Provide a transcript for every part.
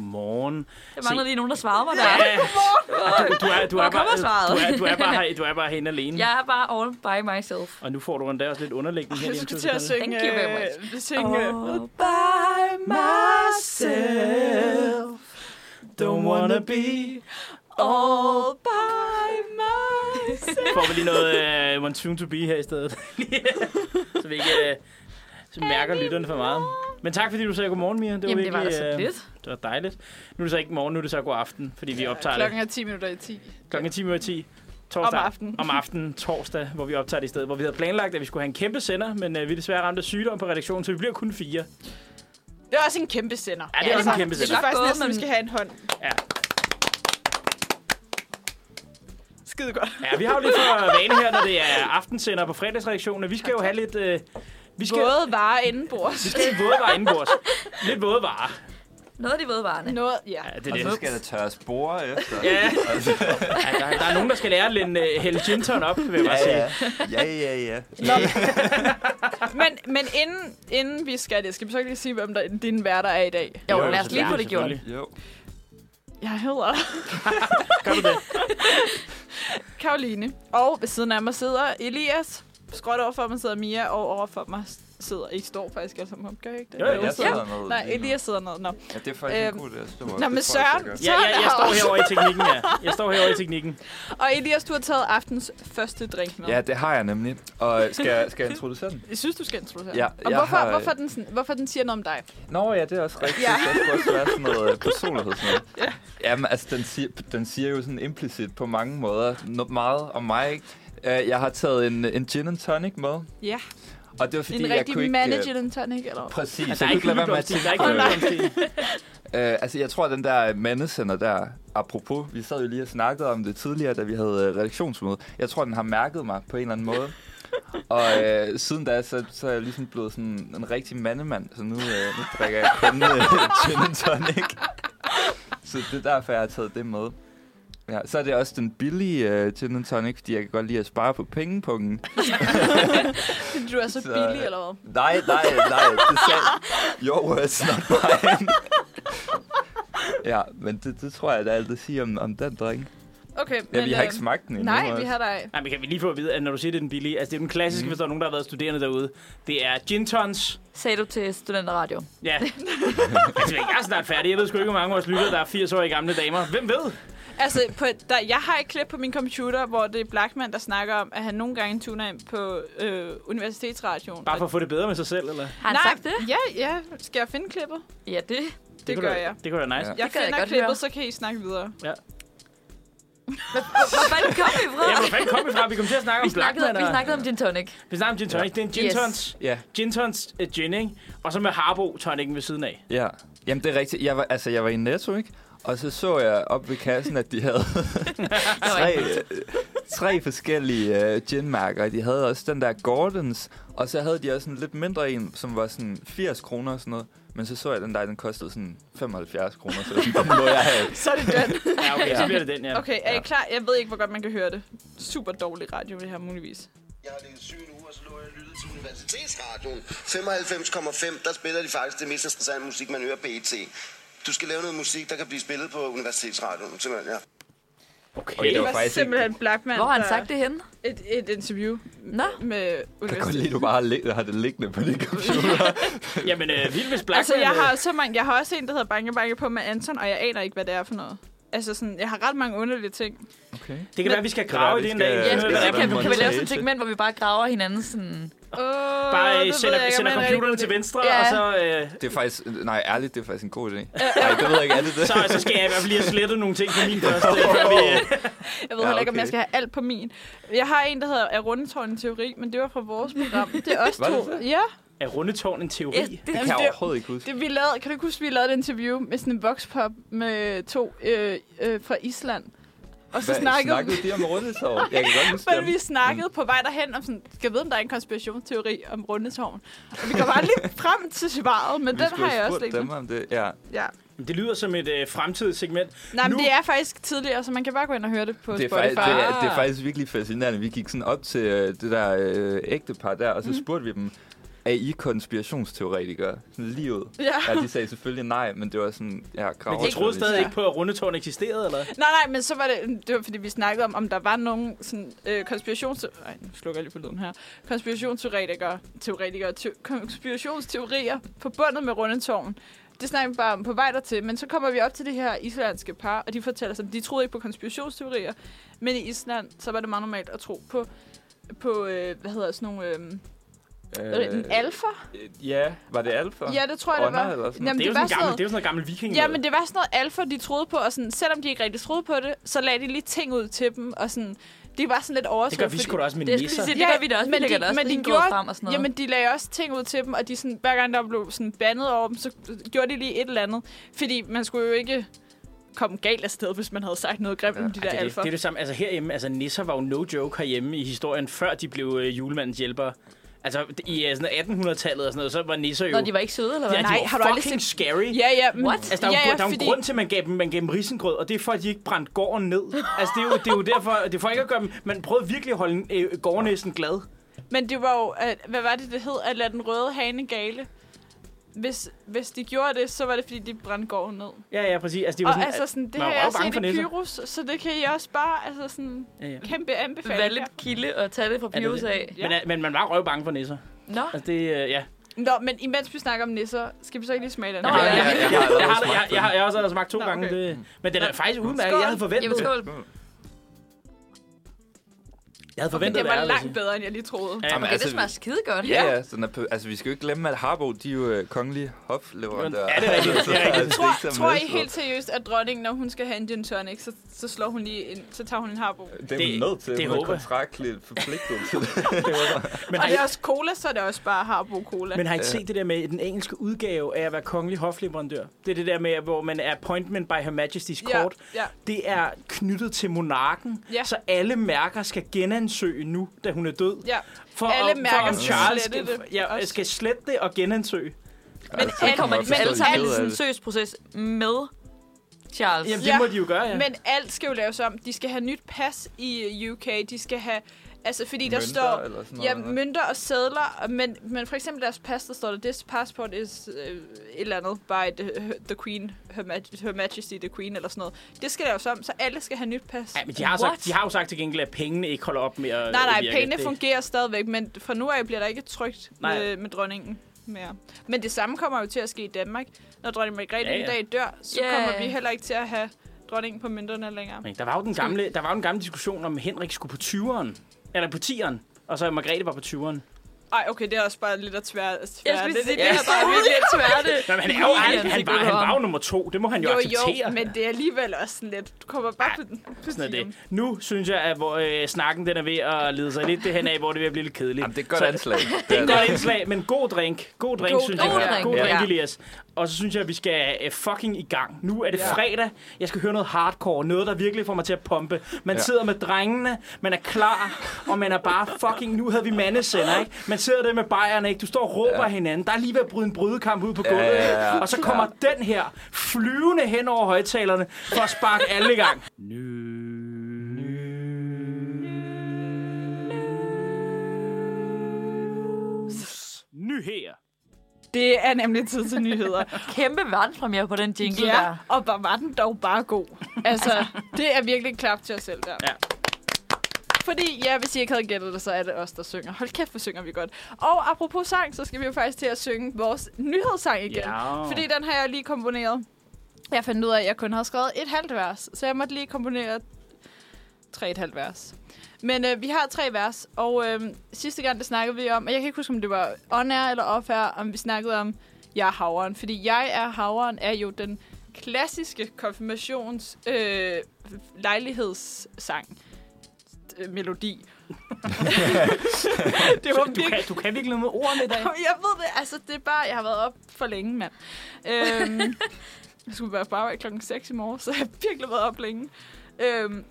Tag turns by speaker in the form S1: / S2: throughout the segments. S1: godmorgen.
S2: Jeg mangler
S1: Se-
S2: lige nogen, der svarede mig der.
S1: Ja, du, du, er, du, er
S2: Hvor kommer
S1: bare,
S2: svaret?
S1: du, er, du, er bare, her- du er bare herinde alene.
S2: Jeg er bare all by myself.
S1: Og nu får du endda også lidt underlægning her
S3: Jeg
S1: lige om
S3: skulle
S1: to
S3: til at
S1: sekunder.
S3: synge...
S2: Thank you very much.
S3: øh, synge oh.
S2: by
S1: don't wanna be.
S2: all by myself.
S1: Får vi lige noget uh, Want Soon To Be her i stedet. så vi ikke uh, så mærker lytterne for meget. Men tak fordi du sagde godmorgen, Mia. Det var
S2: Jamen, det var da
S1: virkelig,
S2: så
S1: øh,
S2: lidt.
S1: Det var dejligt. Nu er det så ikke morgen, nu er det så god aften, fordi vi optager det
S3: Klokken er 10 minutter i 10.
S1: Klokken er 10 minutter 10. Torsdag.
S3: Om aftenen.
S1: Om aftenen, torsdag, hvor vi optager det i stedet. Hvor vi havde planlagt, at vi skulle have en kæmpe sender, men øh, vi er desværre ramt af sygdom på redaktionen, så vi bliver kun fire.
S3: Det er også en kæmpe sender.
S1: Ja, det er også en kæmpe
S3: Jeg
S1: sender.
S3: synes faktisk
S2: Godt
S3: næsten,
S2: gået,
S3: vi
S2: men-
S3: skal have en hånd.
S1: Ja.
S3: Skide godt.
S1: Ja, vi har jo lidt for vane her, når det er aftensender på fredagsredaktionen, at vi skal jo have lidt... Øh, vi skal,
S3: Både varer indenbords.
S1: vi skal have våde varer indenbords. Lidt våde varer.
S2: Noget af de vådvarerne.
S3: Noget, ja.
S1: Ja, det er
S4: Og
S1: det.
S4: så skal der tørres spore efter.
S1: Ja.
S4: Altså,
S1: Ja, der, der, er nogen, der skal lære at lænde, øh, hælde gin tonic op, vil jeg bare
S4: ja,
S1: sige.
S4: ja. Ja, ja, ja.
S3: Men, men inden, inden vi skal det, skal vi så ikke lige sige, hvem der, dine værter er i dag?
S2: Jo,
S1: Jo,
S2: lad os lige få det gjort.
S1: selvfølgelig.
S4: Jo.
S3: Jeg hedder
S1: Gør du det?
S3: Karoline. Og ved siden af mig sidder Elias. Skråt over for mig sidder Mia, og over for mig sidder... I står faktisk alle sammen op, gør I ikke det?
S1: Jo, jo.
S4: Ja, jeg sidder
S3: Ja.
S4: ned.
S3: Nej,
S4: lige nu.
S3: Elias sidder ned. Nå.
S4: Ja, det er faktisk
S3: Øhm,
S4: en god idé. Jeg står op.
S3: Nå,
S4: Det
S3: men
S4: tror
S3: Søren,
S4: jeg, jeg gør.
S1: Ja, ja, jeg står herovre i teknikken, ja. Jeg står herovre i teknikken.
S3: Og Elias, du har taget aftens første drink med.
S4: Ja, det har jeg nemlig. Og skal, jeg- skal jeg introducere den?
S3: Jeg synes, du skal introducere.
S4: Ja,
S3: den. og
S4: jeg
S3: hvorfor,
S4: har-
S3: hvorfor, den, sådan- hvorfor den siger noget om dig?
S4: Nå ja, det er også rigtigt.
S3: Ja.
S4: Ja. Der skulle også være sådan noget øh, personlighed. Sådan noget. Ja. Jamen, altså, den siger, den siger jo sådan implicit på mange måder noget meget om mig, ikke? Øh, Jeg har taget en, en gin and tonic med, og
S3: Ja,
S4: det var fordi,
S3: en
S4: jeg kunne
S3: rigtig
S4: ikke... øh,
S3: manager den tonic, eller hvad?
S4: Præcis,
S1: Altså, der
S4: jeg
S1: er
S4: kunne
S1: ikke
S4: ikke lade være med at
S1: hyggeligdomstil. Der er
S4: tænke
S1: ikke
S4: på det.
S1: hyggeligdomstil.
S4: Øh, altså, jeg tror, at den der mandesender der, apropos, vi sad jo lige og snakkede om det tidligere, da vi havde øh, redaktionsmøde. Jeg tror, den har mærket mig på en eller anden måde. Og øh, siden da, så, så er jeg ligesom blevet sådan en rigtig mandemand, så nu, øh, nu drikker jeg kun øh, gin and tonic. Så det er derfor, jeg har taget det med. Ja, så er det også den billige øh, gin and tonic, fordi jeg kan godt lide at spare på pengepungen.
S3: Fordi du er så
S4: Så-
S3: billig, eller hvad?
S4: Nej, nej, nej, det sagde... Your words, not mine. ja, men det, det tror jeg, der er alt at sige om, om den drink.
S3: Okay,
S4: Ja, men, vi har
S3: øh,
S4: ikke smagt den endnu. altså.
S3: Nej, vi
S4: også.
S3: har dig.
S1: Nej, men kan vi lige få at vide, at når du siger, det er den billige, altså det er den klassiske, mm.
S4: Mm.
S1: hvis der er nogen, der har været studerende derude. Det er gin tons.
S2: Sagde du til Studenterradio.
S1: Ja. altså, jeg er snart færdig. Jeg ved sgu ikke, hvor mange af vores lyttere, der er 80 år i gamle damer. Hvem ved?
S3: Altså, på, der, jeg har et klip på min computer, hvor det er Blackman, der snakker om, at han nogle gange tuner ind på øh, universitetsradioen.
S1: Bare for at få det bedre med sig selv, eller?
S2: Har han
S3: Nej,
S2: sagt det?
S3: Ja, ja. Skal jeg finde klippet? Det,
S2: Ja, det.
S3: det
S1: kunne
S3: gør
S1: da-
S3: jeg.
S1: Det kunne være nice. Ja.
S4: Ja.
S3: Jeg
S2: gad jeg
S3: finder
S2: godt høre.
S3: klippet, så kan I snakke videre.
S2: Hvor fanden kom vi fra?
S1: Ja, hvor fanden kom vi fra? Vi kom til at snakke
S2: Vi
S1: om
S2: snakkede,
S1: Blackman.
S2: vi
S1: og-
S2: snakkede om din tonic.
S1: vi snakkede om gin tonic. Det er en gin
S2: Yes.
S1: tons.
S4: Ja,
S1: Gin tons uh, gin, ikke? Og så med Harbo tonicen ved siden af.
S4: ja. Jamen, det er rigtigt. Jeg var, altså, jeg var i Netto, ikke? Og så så jeg op ved kassen, at de havde tre, øh, tre forskellige øh, ginmærker. De havde også den der Gordons, og så havde de også en lidt mindre en, som var sådan 80 kroner og sådan noget. Men så så jeg den der, den kostede sådan 75 kroner, så sådan, den må jeg have.
S3: Så er det den.
S1: Ja, okay, så bliver det den, ja.
S3: Okay, er I
S4: Ja.
S3: klar? Jeg ved ikke, hvor godt man kan høre det. Super dårlig radio, det her muligvis.
S5: Jeg har ligget syg nu, og så lå jeg og lyttede til Universitetsradioen. 95,5, der spiller de faktisk det mest interessante musik, man hører på ET. Du skal lave noget musik, der kan blive spillet på Universitetsradioen, simpelthen, ja.
S4: Okay,
S3: Det
S4: det
S3: var,
S4: var faktisk ikke...
S3: simpelthen Blackman,
S2: Hvor har han
S3: der-
S2: sagt det henne?
S3: Et, et interview
S1: Øh,
S2: Nå,
S3: med
S4: Jeg kan godt
S3: universitetet.
S4: lide, at du bare har, lig- har det liggende på din computer.
S1: Jamen, øh, vild hvis Blackman...
S3: Altså, jeg
S1: øh,
S3: har så mange. Jeg har også en, der hedder Banke Banke på med Anton, og jeg aner ikke, hvad det er for noget. Altså sådan, jeg har ret mange underlige ting.
S4: Okay.
S1: Det kan være, vi skal grave i det en dag.
S4: Ja,
S2: ja,
S1: Finde ud af,
S2: så
S4: det
S1: hvad
S4: er
S1: der
S2: kan,
S1: er på
S2: vi- kan vi
S1: bunden.
S2: lave
S4: montage.
S2: sådan et segment, hvor vi bare graver hinanden sådan...
S3: Oh,
S1: Bare øh, sender, sender computeren til venstre,
S2: Ja.
S1: og så... Øh,
S4: Det er faktisk... Nej, ærligt, det er faktisk en god idé.
S3: Øh,
S4: Nej, det ved jeg ikke. Er det det?
S1: så, så skal jeg i hvert fald lige have slettet nogle ting på min første, før vi... Øh,
S3: Jeg ved
S4: Ja,
S3: heller ikke, om
S4: okay.
S3: jeg skal have alt på min. Jeg har en, der hedder Er Rundetårn teori, men det var fra vores program. Det er os
S4: Var det
S3: to. Ja,
S1: Er rundetårn en teori?
S2: Ja,
S1: Yes.
S2: det,
S4: Det kan
S3: Jamen,
S4: jeg
S3: det-
S4: overhovedet ikke huske.
S3: det vi lavede, kan du ikke huske, vi lavede et interview med sådan en voxpop med to øh, øh, fra Island. Og så
S4: Hvad
S3: snakkede vi
S4: snakkede de om rundetår? Jeg kan godt huske
S3: Men
S4: dem.
S3: vi snakkede på vej derhen om sådan, skal jeg vide, om der er en konspirationsteori om rundetårn? Og vi kom aldrig frem til svaret, men
S4: Vi
S3: den
S4: skulle
S3: har jeg også
S4: spurgt dem
S3: liggende.
S4: om det. Ja.
S3: Ja.
S1: Det lyder som et øh, fremtidigt segment.
S3: Nej, men
S1: Nu-
S3: det er faktisk tidligere, så man kan bare gå ind og høre det på
S4: Det er,
S3: Spotify.
S4: faktisk, det, er,
S3: Mm.
S4: det er faktisk virkelig fascinerende. Vi gik sådan op til øh, det der øh, ægtepar der, og så spurgte vi dem, er I konspirationsteoretikere? Sådan lige ud.
S3: Ja.
S4: Ja, de sagde selvfølgelig nej, men det var sådan, ja, krav.
S1: Men de troede stadig ikke på, at rundetårn eksisterede, eller?
S3: Nej, nej, men så var det, det var fordi, vi snakkede om, om der var nogen sådan, øh, konspirations... Ej, nu slukker jeg lige på lyden her. Konspirationsteoretikere, teoretikere, te- konspirationsteorier forbundet med rundetårn. Det snakker vi bare om på vej dertil, men så kommer vi op til det her islandske par, og de fortæller sig, at de troede ikke på konspirationsteorier, men i Island, så var det meget normalt at tro på, på øh, hvad hedder sådan nogle... Øh, øh, en alfa?
S4: Ja, var det alfa?
S3: Ja, det tror jeg, det
S4: Ånder
S3: var.
S4: eller sådan
S1: Det er jo
S3: var
S1: sådan en gammel,
S3: noget-
S1: det er jo sådan noget gammel viking.
S3: Ja, men det var sådan noget alfa, de troede på, og sådan, selvom de ikke rigtig troede på det, så lagde de lige ting ud til dem, og sådan, det var sådan lidt oversat.
S1: det gør vi sgu da også med
S2: Det, jeg skulle
S1: nisser.
S2: lige sige, det gør vi da også. Vi
S3: men
S2: lægger
S3: de-
S2: da også
S3: men de
S2: men de
S3: gjorde-
S2: frem og sådan noget.
S3: Jamen, de lagde også ting ud til dem, og de sådan, hver gang der blev sådan bandet over dem, så gjorde de lige et eller andet. Fordi man skulle jo ikke komme galt af sted, hvis man havde sagt noget grimt ja. om de der
S1: Ej, det, er det,
S3: alfa.
S1: det er det samme. Altså herhjemme, altså nisser var jo no joke herhjemme i historien, før de blev øh, julemandens hjælpere. Altså i øh, sådan 1800-tallet og sådan noget, så var nisser jo...
S2: Når de var ikke søde, eller
S1: ja,
S2: hvad?
S1: de
S3: Nej,
S1: var
S3: har du aldrig
S1: fucking scary.
S3: Ja, ja. Men,
S2: What?
S1: Altså, der er jo,
S3: ja, ja,
S1: der er jo
S3: fordi-
S1: en grund til, at man gav dem, man gav dem risengrød, og det er for, at de ikke brændte gården ned. Altså, det er jo, det er jo derfor, det er for ikke at gøre dem... Man prøvede virkelig at holde øh, gårdnæsen glad.
S3: Men det var jo, at, hvad var det, det hed? At lade den røde hane gale. Hvis, hvis de gjorde det, så var det, fordi de brændte gården ned.
S1: Ja, ja, præcis. Altså, det var
S3: Og
S1: sådan,
S3: altså
S1: at-
S3: sådan, det
S1: man
S3: har
S1: var
S3: jeg
S1: jo bange for
S3: set i
S1: nisser.
S3: Pyrus, så det kan I også bare, altså sådan,
S1: Ja, ja.
S3: kæmpe
S2: Vær
S3: anbefaling.
S2: lidt kilde og tage det fra
S1: det
S2: Pyrus
S1: det?
S2: af.
S1: Men, øh, men man var røvbange for nisser.
S2: Nå,
S1: Altså, det... Øh, ja.
S3: Nå, men imens vi snakker om nisser, skal vi så ikke lige smage den?
S2: Nå,
S3: her?
S2: ja.
S1: Jeg, jeg, jeg, jeg, jeg,
S4: smagt
S1: jeg, jeg, har- jeg har også allerede smagt to
S3: Nå,
S1: gange.
S3: okay.
S1: Det, men den er faktisk udmærket.
S3: Skål.
S1: Jeg havde forventet,
S2: jamen skål.
S1: jeg havde
S3: Men
S1: forventet
S3: det var
S1: det,
S3: langt bedre, end jeg lige troede.
S1: Ja,
S4: Jamen, altså,
S2: Okay, det smager skide godt.
S4: Ja, ja, sådan er, på- altså vi skal jo ikke glemme, at Harbo, de er jo øh, kongelige hofleverandører.
S1: Men- Ja, det er rigtigt, det er rigtigt.
S4: Så- så- så-
S3: Tror,
S4: så-
S3: tror
S4: så-
S3: I helt seriøst, at dronningen, når hun skal have en gin tonic, så, så slår hun lige en, så tager hun en harbo?
S4: Det er
S1: Det-
S4: hun nødt til,
S1: det
S4: det hun er
S1: håber jeg.
S4: kontraktligt forpligtet til.
S1: Men
S3: Og
S1: har,
S3: det er
S1: I,
S3: også cola, så er det også bare harbo cola.
S1: men har I ikke set det der med den engelske udgave af at være kongelig hofleverandør? Det er det der med, hvor man er appointment by her majesty's
S3: ja,
S1: court.
S3: ja.
S1: Det er knyttet til monarken,
S3: Ja.
S1: så alle mærker skal genansøge nu, da hun er død.
S3: ja.
S1: For
S3: Alle
S1: om-
S3: mærker
S1: for om
S3: skal
S1: Charles
S3: slette
S1: skal,
S3: det
S1: ja,
S3: også.
S1: skal slette det og genansøge.
S4: Men
S2: Så kommer de
S3: men
S2: alle
S3: alle-
S2: sammen i sådan en seriøs proces med Charles.
S1: Jamen, det
S3: Ja.
S1: må de jo gøre, ja.
S3: Men alt skal jo laves om. De skal have nyt pas i øh, UK. De skal have... Altså, fordi der står...
S4: Eller sådan
S3: Ja,
S4: noget.
S3: mønter og sædler, og- men, men for eksempel deres pas, der står der, this passport is øh, et eller andet by the, the queen, her, maj- her majesty the queen, eller sådan noget. Det skal laves om, så alle skal have nyt pas.
S1: Ja, men de har,
S2: What?
S1: sagt, de har jo sagt til gengæld, at pengene ikke holder op med at
S3: nej, nej,
S1: virke.
S3: pengene
S1: Det-
S3: fungerer stadigvæk, men fra nu af bliver der ikke trygt
S1: Nej.
S3: med, med dronningen mere. Men det samme kommer jo til at ske i Danmark. Når dronning Margrethe
S1: Ja,
S3: ja,
S1: ja.
S3: en dag dør, så
S2: Ja.
S3: kommer vi heller ikke til at have dronningen på mønterne længere.
S1: Men Der var jo den gamle, der var jo den gamle diskussion om, at Henrik skulle på 20'eren, eller på 10'eren, og så Margrethe var på 20'eren.
S3: Ej, okay, det er også bare lidt at tvære.
S2: Jeg skulle sige,
S3: det,
S2: det er bare virkelig et tværte.
S1: Nå, men han er jo,
S2: Julian
S1: han, han,
S2: fik
S1: var,
S2: det
S1: han
S2: for
S1: var
S2: ham.
S1: jo nummer to. Det må han jo,
S3: Jo,
S1: acceptere.
S3: jo, men det er alligevel også sådan lidt. Du kommer bare på den. på
S1: Sådan er
S3: tieren.
S1: det. Nu synes jeg, at hvor, øh, snakken den er ved at lede sig lidt det hen af, hvor det er ved at blive lidt kedeligt.
S4: Jamen, det er et godt
S1: Så-
S4: anslag.
S1: Det er et godt indslag, men god drink. God drink,
S3: God
S1: synes
S2: drink.
S1: jeg.
S2: God
S1: God drink,
S2: drink, ja.
S1: Elias. Og så synes jeg, at vi skal øh, fucking i gang. Nu er det fredag. Jeg skal høre noget hardcore. Noget, der virkelig får mig til at pumpe. Man
S4: Ja.
S1: sidder med drengene. Man er klar. Og man er bare fucking... Nu havde vi mandesender, ikke? Man sidder der med bajerne, ikke? Du står og råber ja. hinanden. Der er lige ved at bryde en brydekamp ud på gulvet.
S4: ja,
S1: ikke?
S4: ja.
S1: Og så kommer den her flyvende hen over højtalerne for at sparke alle i gang. Ny her.
S3: Det er nemlig tid til nyheder.
S2: Kæmpe verdenspremiere på den jingle der.
S3: ja, og hvor var den dog bare god. Altså, det er virkelig en klap til os selv der.
S1: Ja.
S3: Fordi, ja, hvis I ikke havde gættet det, så er det os, der synger. Hold kæft, hvor synger vi godt. Og apropos sang, så skal vi jo faktisk til at synge vores nyhedssang igen.
S1: Ja.
S3: Fordi den har jeg lige komponeret. Jeg fandt ud af, at jeg kun havde skrevet et halvt vers, så jeg måtte lige komponere tre et halvt vers. Men øh, vi har tre vers, og øh, sidste gang, der snakkede vi om, og jeg kan ikke huske, om det var on air eller off air, om vi snakkede om, jeg er havren. Fordi jeg er havren er jo den klassiske konfirmations øh, lejlighedssang øh, melodi. det var
S1: Du kan, du kan virkelig noget med ordene i dag.
S3: jeg ved det. Altså, det er bare, jeg har været op for længe, mand. Øhm, jeg skulle være bare af klokken 6 i morgen, så jeg har virkelig været op længe. Øhm,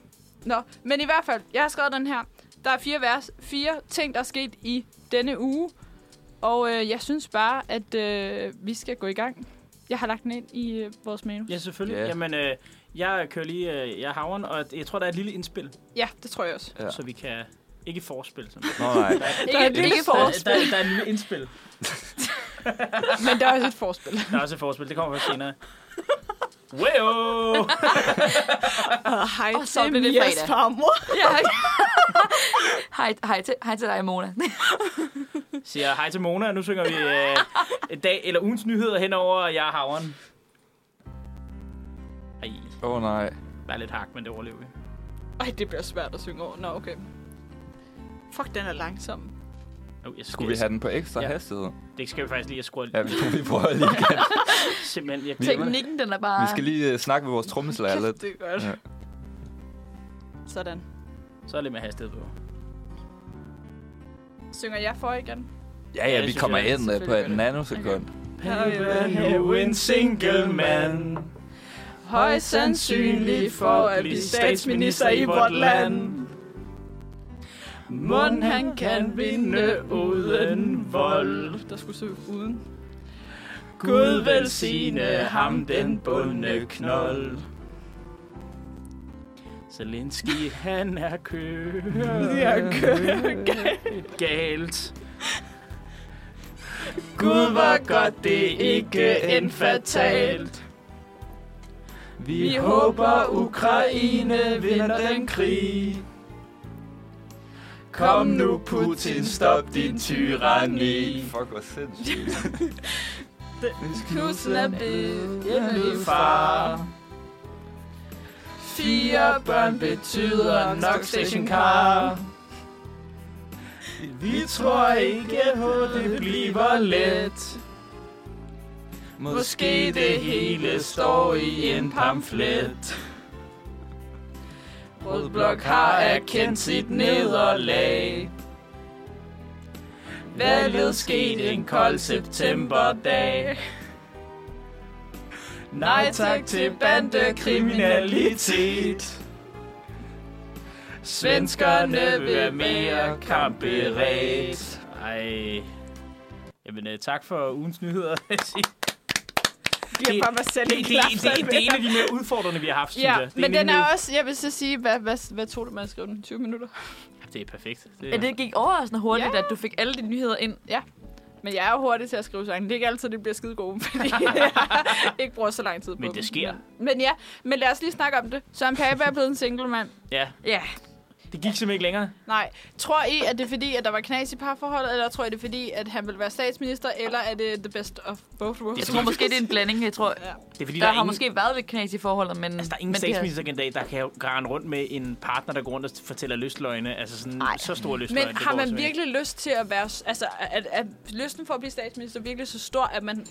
S3: nå, men i hvert fald, jeg har skrevet den her. Der er fire vers, fire ting, der er sket i denne uge. Og øh, jeg synes bare, at øh, vi skal gå i gang. Jeg har lagt den ind i øh, vores manus.
S1: Ja, selvfølgelig.
S4: Ja.
S1: Jamen, øh, jeg kører lige, øh, jeg er havren, og jeg tror, der er et lille indspil,
S3: Ja, det tror jeg også.
S4: Ja.
S1: så vi kan... Ikke forspil, som
S4: Nå, nej.
S3: Der er et lille
S2: ikke
S1: der,
S3: forspil,
S1: der, der er et lille indspil.
S3: men der er også et forspil.
S1: Der er også et forspil, det kommer først senere. Wow!
S3: Og hej,
S2: Og så
S3: det er
S2: blev det
S3: Mias
S2: fredag.
S3: farmor.
S2: Ja. hej, hej, til, hej til dig, Mona.
S1: Siger hej til Mona, og nu synger vi øh, dag eller ugens nyheder henover Jeg er havren. Ej,
S4: Åh, oh, nej.
S1: bare lidt hak, men det overlever vi.
S3: Ej, det bliver svært at synge over. Nå, okay. Fuck, den er langsom.
S1: Oh, jeg skal,
S4: Skulle vi have den på ekstra
S1: Ja.
S4: ja. hastighed?
S1: Det skal vi faktisk lige at skrue
S4: Ja,
S1: ja.
S4: vi, vi prøver lige igen.
S1: simpelthen. Jeg,
S4: Vi-
S2: Teknikken, den er bare...
S4: Vi skal lige øh, snakke med vores trommeslager
S3: Kæft,
S4: lidt.
S3: det er godt.
S4: Ja.
S3: Sådan.
S1: så er lidt mere hastighed på.
S3: Synger jeg for igen?
S4: Ja,
S1: Ja,
S4: ja,
S1: det
S4: vi
S1: synes
S4: kommer
S1: jeg,
S4: ind øh, på
S3: selvfølgelig gør
S4: et
S3: det.
S4: nanosekund.
S1: Nu en single man.
S3: Højst sandsynlig for at blive statsminister i vort land.
S1: Mund han kan vinde uden vold.
S3: Der skulle søge uden.
S1: Gud velsigne ham, den bundne knold. Zelensky, han er kørt galt. Gud, hvor godt det ikke end fatalt. Vi håber, Ukraine vinder den krig. Kom nu, Putin, stop din tyranni.
S4: Fuck, hvor sindssygt.
S3: Knudsen er blevet
S1: Hjemlig far. Fire børn betyder nok station car. Vi tror ikke på, det bliver let. Måske det hele står i en pamflet. Rød Blok har erkendt sit nederlag. Valget skete en kold septemberdag. Nej tak til bandekriminalitet. Svenskerne vil være mere kampberedt. Ej. Jamen, øh, tak for ugens nyheder. det, det,
S3: Giver bare mig selv en
S1: det, det,
S3: klap.
S1: det, det er en af de mere udfordrende, vi har haft, synes
S3: Ja,
S1: jeg. Det
S3: men den
S1: nemlig-
S3: er også, jeg vil så sige, hvad, hvad, hvad tog det med at skrive den? 20 minutter?
S1: Det er perfekt. Det
S2: Ja, det gik overraskende hurtigt,
S3: Ja.
S2: at du fik alle de nyheder ind.
S3: Men jeg er jo hurtig til at skrive sange. Det er ikke altid, det bliver skide gode, fordi jeg ikke bruger så lang tid på
S1: Men det
S3: dem.
S1: sker.
S3: Men, men ja, men lad os lige snakke om det. Søren Pape er blevet en single mand.
S1: Ja,
S2: Ja.
S1: det gik simpelthen ikke længere.
S3: Nej. Tror I, at det er fordi, at der var knas i parforholdet, eller tror I, det er fordi, at han vil være statsminister, eller er det the best of both worlds?
S2: Jeg tror måske, det er en blanding. Jeg tror,
S3: Ja.
S1: Det er fordi, der,
S2: der, har
S1: er ingen,
S2: måske været lidt knas i forholdet, men...
S1: altså, der er ingen
S2: men det her-
S1: statsministerkandidat, der kan grænne rundt med en partner, der går rundt og fortæller løsløgne. Altså sådan
S2: Ej.
S1: så store løsløgne.
S3: Men
S1: det
S3: har
S1: går
S3: man
S1: simpelthen ikke.
S3: virkelig lyst til at være... s- Altså, er, er lysten for at blive statsminister virkelig så stor, at man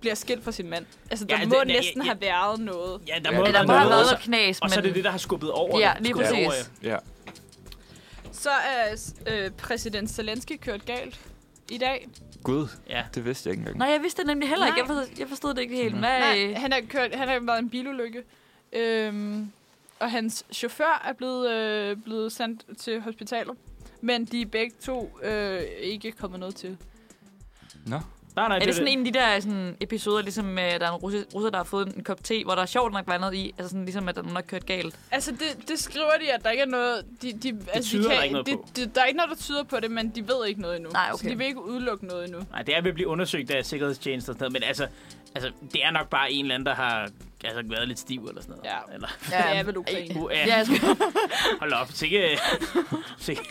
S3: bliver skilt fra sin mand? Altså, der
S1: Ja,
S3: ja,
S1: det-
S3: må
S1: ja,
S3: det, næsten
S1: ja,
S3: have været noget.
S1: Ja, der
S4: Ja,
S1: må,
S2: Ja, der
S1: være
S2: må
S1: noget,
S2: have været
S1: og så-
S2: noget knas,
S1: Og så er det
S2: men...
S1: det, der har skubbet over.
S2: Ja,
S1: det.
S2: lige
S1: Skubbet
S2: præcis.
S1: over, ja.
S4: Ja.
S3: Så er øh, præsident Zelensky kørt galt i dag.
S4: Gud,
S1: Ja.
S4: det vidste jeg ikke engang.
S2: Nej, jeg vidste det nemlig heller ikke. Jeg
S3: Nej.
S2: forstod, jeg forstod det ikke
S1: Mm.
S2: helt. Hvad,
S3: Nej, han har kørt, han har været i en bilulykke. Øhm, og hans chauffør er blevet, øh, blevet sendt til hospitalet. Men de er begge to øh, ikke kommet noget til.
S1: Nej, nej,
S2: er det sådan en af de der sådan, episoder, ligesom øh, der er en russer, russer, der har fået en kop te, hvor der er sjovt nok var noget i, altså sådan, ligesom at der er nogen, der har kørt galt.
S3: Altså, det, det skriver de, at der ikke er noget... De, de, det altså,
S1: tyder
S3: de
S1: der
S3: kan,
S1: ikke noget
S3: det,
S1: på.
S3: Det, der er ikke noget, der tyder på det, men de ved ikke noget endnu.
S2: Nej,
S3: Så
S2: okay.
S3: de vil ikke udelukke noget endnu.
S1: Nej, det er ved at blive undersøgt af sikkerhedstjenester og sådan noget, men altså, altså, det er nok bare en eller anden, der har altså, været lidt stiv eller sådan noget.
S3: Ja.
S1: Eller,
S3: Ja, det er vel Ukraine.
S1: uh,
S2: Ja, altså,
S1: ja.
S2: jeg skulle,
S1: Hold op, sikke... sikke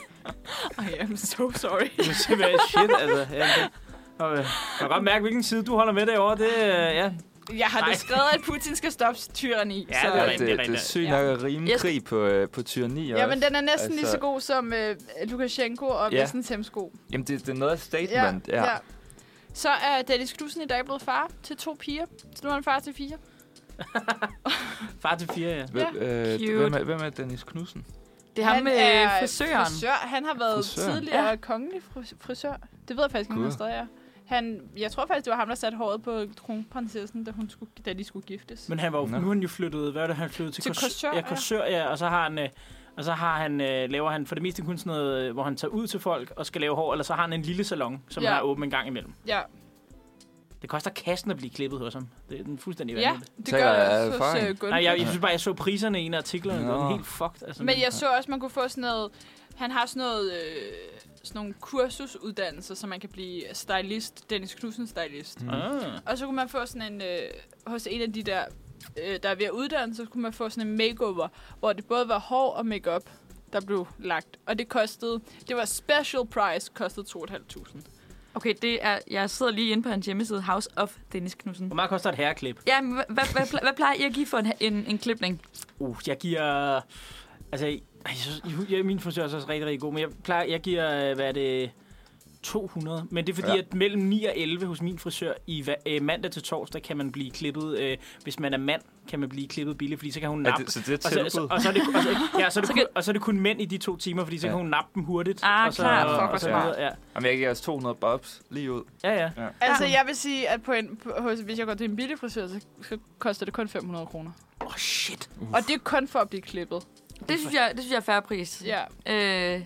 S3: I am so sorry.
S1: simpelthen shit, altså. Ja, det, og, øh, man kan godt mærke, hvilken side du holder med derovre. Det, øh, ja.
S3: Jeg har
S1: Nej.
S3: da skrevet, at Putin skal stoppe tyranni.
S1: Ja,
S3: så.
S1: det er rigtigt.
S4: det, det, er sygt nok at rime
S2: Ja.
S4: krig på, øh, på tyranni også.
S3: Ja, men den er næsten altså... lige
S4: Altså-
S3: så god som øh, Lukashenko og
S4: Ja.
S3: ja. Vestens Hemsko.
S4: Jamen, det, det er noget af statement, ja. ja.
S3: Så er Dennis Knudsen i dag blevet far til to piger. Så nu er han far til fire.
S1: Far til fire, ja.
S4: Hvem, øh,
S2: Cute.
S4: hvem, er, hvem er Dennis Knudsen?
S2: det er ham med øh, frisøren.
S3: Frisør. Han har været
S4: Frisør.
S3: frisør. tidligere ja. kongelig fris- frisør. Det ved jeg faktisk ikke, om han
S4: Gud.
S3: stadig er. Han, jeg tror faktisk, det var ham, der satte håret på kronprinsessen, da, hun skulle, da de skulle giftes. Men
S1: Men han var jo, nu
S4: Nå.
S1: er han jo flyttet, hvad er det, han flyttede til?
S3: Til
S1: Kors-
S3: Korsør,
S1: Ja,
S3: ja.
S1: Korsør, ja. Og så har han... Øh, og så har han, øh, laver han for det meste kun sådan noget, øh, hvor han tager ud til folk og skal lave hår, eller så har han en lille salon, som
S3: Ja.
S1: han har åben en gang imellem.
S3: ja,
S1: Det koster kassen at blive klippet hos ham. Det er den fuldstændig
S3: ja,
S1: vanvittigt.
S3: det
S4: Så
S3: gør
S4: er
S3: jeg
S4: der
S3: også hos
S4: erfaring.
S3: øh, Gunn.
S1: Nej, jeg, jeg synes bare, jeg så priserne i en af artiklerne, og det var
S4: Nå.
S1: helt fucked. Altså,
S3: Men jeg så også, man kunne få sådan noget Han har sådan, noget, øh, sådan nogle kursusuddannelser, så man kan blive stylist, Dennis Knudsen stylist. Mm.
S1: Ah.
S3: Og så kunne man få sådan en, øh, hos en af de der, øh, der er ved at uddanne, så kunne man få sådan en makeover, hvor det både var hår og makeup der blev lagt. Og det kostede, det var special price, kostede 2.500.
S2: Okay, det er, jeg sidder lige inde på hans hjemmeside, House of Dennis Knudsen.
S1: Hvor meget koster et herreklip?
S2: Ja, men hvad, hvad, hvad, hvad plejer I at give for en, en, en klipning?
S1: Uh, jeg giver... Altså, ej, jeg synes, jeg, min frisør er så også rigtig, rigtig god, men jeg, plejer, jeg giver, øh, hvad er det, 200. Men det er fordi, ja.
S4: Ja.
S1: at mellem 9 og 11 hos min frisør i hva- øh, mandag til torsdag kan man blive klippet, øh, hvis man er mand, kan man blive klippet billigt, fordi så kan hun
S4: Er
S1: nappe.
S4: det, så det er et
S1: Og så, og, så,
S4: tilbud?
S1: og, så er det, og, så, ja, så er det kun,
S2: Så kan-
S1: og så er det kun mænd i de to timer, fordi så
S4: Ja.
S1: kan hun nappe dem hurtigt.
S2: Ah,
S1: og så,
S2: klart. Fuck,
S1: og,
S2: hvor
S1: så
S4: smart.
S1: videre, ja.
S4: Jamen, jeg giver os 200 bobs lige ud.
S1: ja, ja.
S3: Altså,
S2: Ja.
S3: jeg vil sige, at på en, på, hos- hvis jeg går til en billig frisør, så, så koster det kun 500 kroner.
S1: Åh, oh, shit.
S3: Og det er kun for at blive klippet.
S2: Det synes jeg, det synes jeg er færre pris.
S3: Ja.
S2: Øh,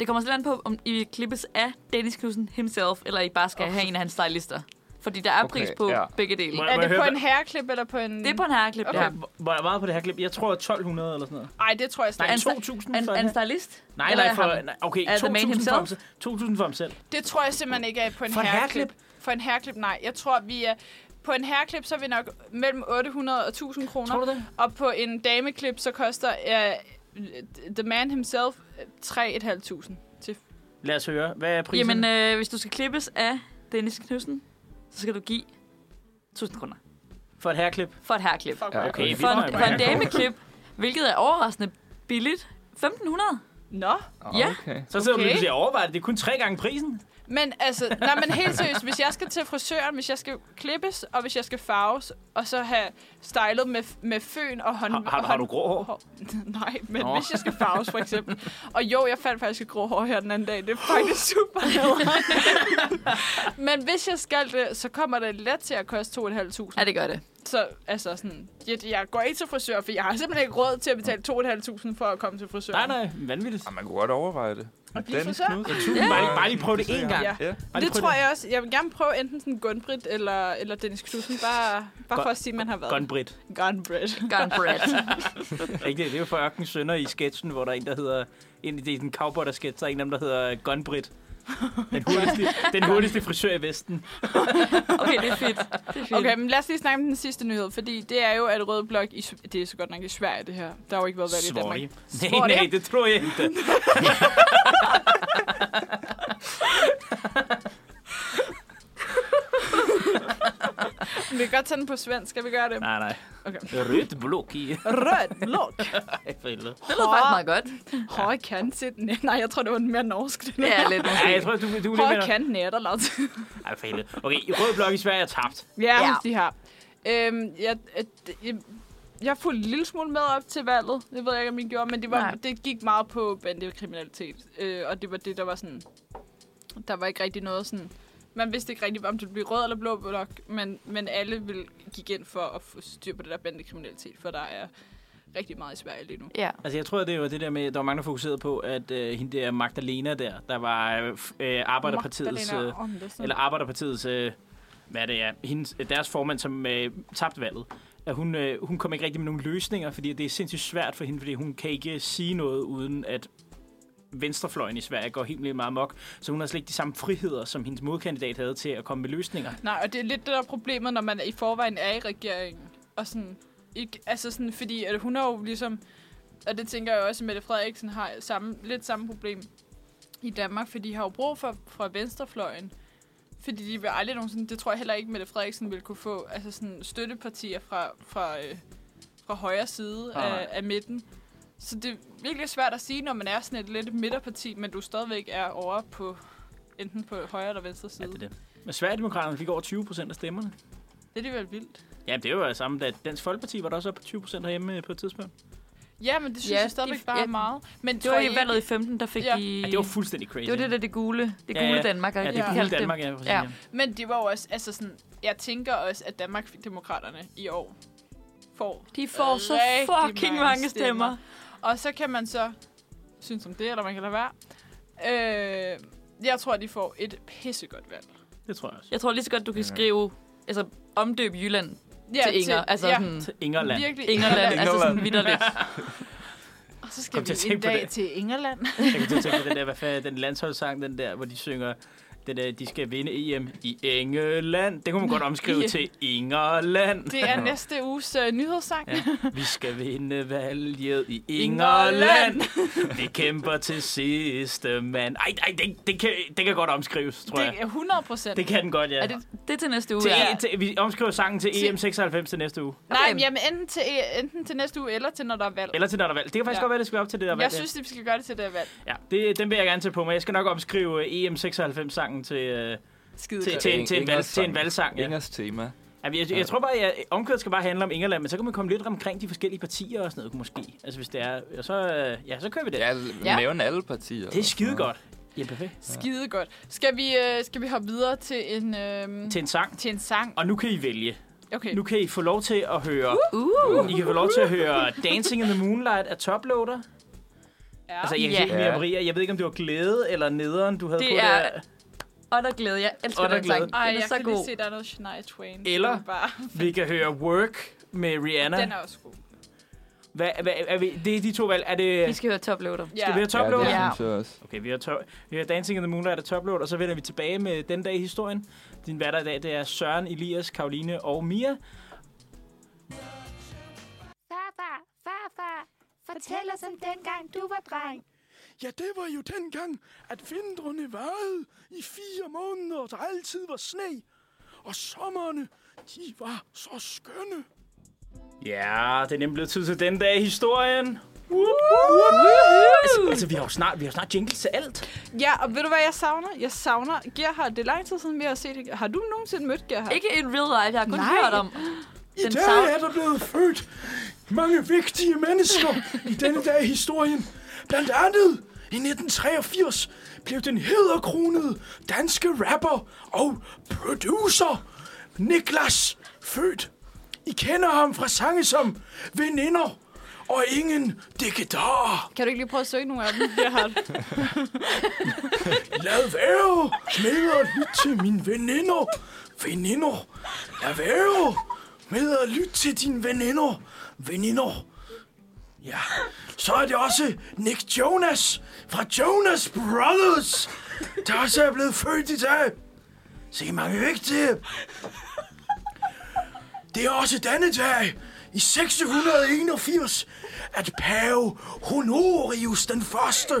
S2: det kommer sådan an på, om I klippes af Dennis Knudsen himself, eller I bare skal oh. have en af hans stylister. Fordi der er
S4: Okay,
S2: pris på
S4: ja.
S2: begge dele.
S1: Må-
S3: Er
S1: må
S3: det
S1: jeg
S3: på
S1: høre,
S3: en herreklip eller på en...
S2: Det er på en herreklip, okay. ja.
S3: Okay.
S1: Hvor hvor er meget på det her klip? Jeg tror 1200 eller sådan noget.
S3: Ej, det tror jeg
S1: Nej,
S3: slet
S2: En-
S3: ikke.
S1: 2000
S2: En,
S1: for
S2: en
S1: en
S2: stylist?
S1: Nej,
S2: Eller
S1: nej, for,
S2: ham?
S1: nej okay,
S2: Er the man
S1: 2.000 for, ham
S2: himself?
S1: selv. 2.000 for ham selv.
S3: Det tror jeg simpelthen ikke er på en
S1: For en
S3: herreklip. For en herreklip, nej. Jeg tror, vi er... På en herreklip, så er vi nok mellem 800 og 1000 kroner.
S1: Tror du det?
S3: Og på en dameklip, så koster uh, the man himself øh, 3.500. Til...
S1: Lad os høre. Hvad er prisen?
S2: Jamen, øh, hvis du skal klippes af Dennis Knudsen, så skal du give 1000 kroner
S1: for et herreklip?
S2: for et herreklip. For,
S4: Ja,
S1: Okay, vi
S2: øh, for,
S1: nøjer
S2: en,
S1: med
S2: for en
S1: herreklip.
S2: dameklip, hvilket er overraskende billigt, 1500.
S3: Nå.
S2: Ja.
S4: Okay.
S1: Så sidder okay.
S3: Okay.
S1: du lige og overvejer, det. det er kun tre gange prisen.
S3: Men altså, nej, men helt seriøst, hvis jeg skal til frisøren, hvis jeg skal klippes, og hvis jeg skal farves, og så have stylet med, med føn og hånd...
S1: Har, har, har du grå hår?
S3: Hår. Nej, men
S1: Nå.
S3: Nå. hvis jeg skal farves, for eksempel. Og jo, jeg fandt faktisk et grå hår her den anden dag. Det er faktisk super nederen. Men hvis jeg skal det, så kommer det let til at koste 2.500.
S2: Ja, det gør det.
S3: Så altså sådan, jeg, jeg går ikke til frisør, for jeg har simpelthen ikke råd til at betale 2.500 for at komme til frisør.
S1: Nej, nej, vanvittigt.
S4: Ej, man kunne godt overveje det.
S3: Og blive frisør?
S1: Yeah. Bare, lige- bare lige prøve det én gang.
S3: Ja.
S4: Ja.
S1: Bare lige
S3: Det
S1: prøv
S3: tror jeg også. Jeg vil gerne prøve enten sådan Gunbrit eller, eller Dennis Knudsen, bare, bare for at sige, at man har været.
S1: Gunbrit.
S3: Gunbrit.
S2: Gun bread.
S1: Ikke det, det er jo fra Ørken Sønder i sketchen, hvor der er en, der hedder... En, det er en cowboy, der sketch, der er en af dem, der hedder Gunbrit. Den hurtigste, den hurtigste frisør i Vesten.
S2: Okay, det er fedt. Det er fedt.
S3: Okay, men lad os lige snakke om den sidste nyhed, fordi det er jo, at Rød Blok, i, Sv- det er så godt nok i Sverige, det her. Der har jo ikke været valg i Danmark.
S1: Sorry. Nej,
S3: Svorige.
S1: nej, det tror jeg ikke.
S3: Vi kan godt tage den på svensk, skal vi gøre det?
S1: Nej, nej.
S3: Okay.
S1: Rødt blok i.
S3: Rød Blok.
S1: Ej, for helvede.
S2: Det lyder faktisk meget godt.
S3: Høj kantet. Nej, nej, jeg tror, det var mere norsk. Det
S2: Ja, lidt.
S1: Ej, jeg tror, du, du er
S3: Høj
S1: lidt mere...
S3: kant netter,
S1: Ej, for helvede. Okay, rød blok i Sverige er tabt.
S3: Ja,
S2: Ja.
S3: ja. de har. Øhm, jeg, øh, d- jeg, jeg fulgte en lille smule med op til valget. Det ved jeg ikke, om I gjorde, men det, var,
S2: Nej.
S3: det gik meget på bandekriminalitet. Øh, og det var det, der var sådan... Der var ikke rigtig noget sådan... Man vidste ikke rigtig, om det blev rød eller blå blok, men, men alle ville, gik ind for at få styr på det der bandekriminalitet, for der er rigtig meget i Sverige lige nu.
S2: Ja.
S1: Altså, jeg tror, det var det der med, der var mange, der fokuserede på, at øh, hende der Magdalena der, der var øh, f- øh, Arbejderpartiets... Øh,
S3: Magdalena Andersen.
S1: eller Arbejderpartiets... Øh, hvad er det er? Hendes, deres formand, som øh, tabte valget. At hun, øh, hun kom ikke rigtig med nogen løsninger, fordi det er sindssygt svært for hende, fordi hun kan ikke sige noget, uden at venstrefløjen i Sverige går helt vildt meget mok. Så hun har slet ikke de samme friheder, som hendes modkandidat havde til at komme med løsninger.
S3: Nej, og det er lidt det der er problemet, når man i forvejen er i regeringen. Og sådan, ikke, altså sådan, fordi at hun har jo ligesom, og det tænker jeg også, at Mette Frederiksen har samme, lidt samme problem i Danmark, for de har jo brug for, fra venstrefløjen. Fordi de vil aldrig nogensinde, det tror jeg heller ikke, Mette Frederiksen vil kunne få, altså sådan støttepartier fra, fra, øh, fra højre side
S1: Nej.
S3: af, af, midten. Så det er virkelig svært at sige, når man er sådan et lidt midterparti, men du stadigvæk er over på enten på højre eller venstre
S1: Ja,
S3: side.
S1: det er det. Men Sverigedemokraterne fik over 20 procent af stemmerne.
S3: det er alligevel vildt.
S1: Ja, det var jo samme, da Dansk Folkeparti var der også oppe på 20 procent herhjemme øh, på et tidspunkt.
S3: Ja, men det synes
S2: Ja,
S3: ja, jeg stadigvæk
S2: de-
S3: bare
S2: ja,
S3: ja, er meget. Men
S2: Det
S3: tror
S2: var
S3: I
S2: i valget i 15, der fik
S3: Ja.
S2: I...
S1: Ja, det var fuldstændig crazy.
S2: det var det der, det gule, det
S1: Ja, ja.
S2: gule Danmark,
S1: Ja,
S2: ikke?
S1: det er
S2: De
S1: ja.
S2: kaldte
S1: Danmark, ja.
S2: Ja.
S1: ja.
S3: ikke- Men det var jo også, altså sådan, jeg tænker også, at Danmarksdemokraterne i år får.
S2: De får så
S3: rigtig
S2: fucking mange stemmer.
S3: Og så kan man så synes om det, eller man kan lade være. Øh, jeg tror, de får et pissegodt valg.
S1: Det tror jeg også.
S2: Jeg tror lige så godt, du kan
S4: Ja.
S2: skrive... Altså, omdøb Jylland til
S3: Ja,
S2: Inger. Altså,
S3: ja,
S2: sådan,
S1: Til Ingerland.
S3: virkelig
S2: Ingerland. Altså, sådan
S4: Ingerland.
S2: vidderligt.
S3: Og Så skal
S1: Kom til at
S3: vi en
S1: tænke på
S3: dag
S1: det.
S3: til England.
S1: Jeg kan til at tænke på den der, hvad fanden, er den landsholdssang, den der, hvor de synger, den der, de skal vinde EM i England. Det kunne man godt omskrive
S3: Ja.
S1: til Ingerland.
S3: Det er næste uges uh, nyhedssang.
S1: Ja. Vi skal vinde valget i Ingerland.
S3: Ingerland.
S1: Vi kæmper til sidste mand. Ej, ej det, det, kan, det kan godt omskrives, tror
S3: Det
S1: jeg.
S3: er 100 procent.
S1: Det kan den godt, ja.
S2: Er det, det er til næste uge,
S1: Til,
S2: ja.
S1: til, vi omskriver sangen til
S3: Til-
S1: EM96 til næste uge.
S3: Nej,
S2: Okay.
S3: men jamen, enten, til, enten til næste uge, eller til når der er valg.
S1: Eller til når der er valg. Det kan faktisk
S3: Ja.
S1: godt være, det skal op til det der er valg.
S3: jeg
S1: ja.
S3: synes, at vi skal gøre det til der er valg.
S1: Ja, det, den vil jeg gerne tage på mig. Jeg skal nok omskrive øh, EM96-sangen til, øh,
S3: Skide
S1: til,
S3: godt.
S1: til, en, til, en, valg,
S4: Ingers
S1: til en
S4: sang.
S1: valgsang. Ja.
S4: Ingers tema.
S1: Ja, jeg, jeg tror bare, at omkvædet skal bare handle om England, men så kan man komme lidt omkring de forskellige partier og sådan noget, måske. Altså hvis det er, og så, øh, ja, så kører vi det. Ja.
S4: Ja, ja. nævne alle partier.
S1: Det er skide godt. Ja, perfekt.
S3: Skide godt. Skal vi, øh, skal vi hoppe videre til en, øh,
S1: Til en sang.
S3: til en sang?
S1: Og nu kan I vælge.
S3: Okay.
S1: Nu kan I få lov til at høre...
S2: Uh.
S1: I kan få lov til at høre Dancing in the Moonlight af Toploader.
S3: Ja.
S1: Altså, jeg kan
S2: Ja.
S1: yeah. Mia Maria, jeg ved ikke, om det var glæde eller nederen, du havde
S2: Det
S1: på
S2: er-
S1: der.
S2: Og der glæder jeg. elsker
S1: Og der
S2: den
S1: glæder.
S2: sang.
S3: Ej,
S2: den
S3: jeg
S2: er så
S3: kan lige
S2: god.
S3: se, der er noget Shania Twain.
S1: Eller-
S3: Det er Bare,
S1: Vi kan høre Work med Rihanna.
S3: den er også god.
S1: Hvad, hvad, er vi, det er de to valg. Er det...
S2: Vi
S1: Skal
S2: skal høre toploader.
S3: Ja.
S1: vi have
S4: Ja,
S1: Toploader?
S4: det
S2: Ja.
S4: synes jeg også.
S1: Okay, vi har, to- vi har Dancing in the Moonlight og Topload, og så vender vi tilbage med den dag i historien. Din hverdag i dag, det er Søren, Elias, Karoline og Mia.
S6: Farfar, farfar, fortæl os om dengang du var dreng.
S7: Ja, det var jo dengang, at vintrene varede i fire måneder, og der altid var sne. Og sommerne, de var så skønne.
S1: Ja, det er nemlig blevet tid til den dag i historien. Altså, altså, vi har jo snart, vi har jo snart jingles til alt.
S3: Ja, og ved du hvad jeg savner? Jeg savner Gerhard. Det er lang tid siden, vi har set Har du nogensinde mødt Gerhard?
S2: Ikke in real life, jeg har kun
S3: Nej.
S2: hørt om
S7: I
S2: den sang.
S7: dag er der blevet født mange vigtige mennesker i denne dag i historien. Blandt andet i 1983 blev den hedderkronede danske rapper og producer Niklas født. I kender ham fra sange som Veninder og Ingen Digitarer.
S3: Kan du ikke lige prøve at søge nogle af dem, Gerhard?
S7: Lad være med at lytte til mine veninder. Veninder. Lad være med at lytte til dine veninder. Veninder. Ja. Så er det også Nick Jonas fra Jonas Brothers, der også er blevet født i dag. Se mange vigtige. Det er også denne dag i 681, at pave Honorius den første,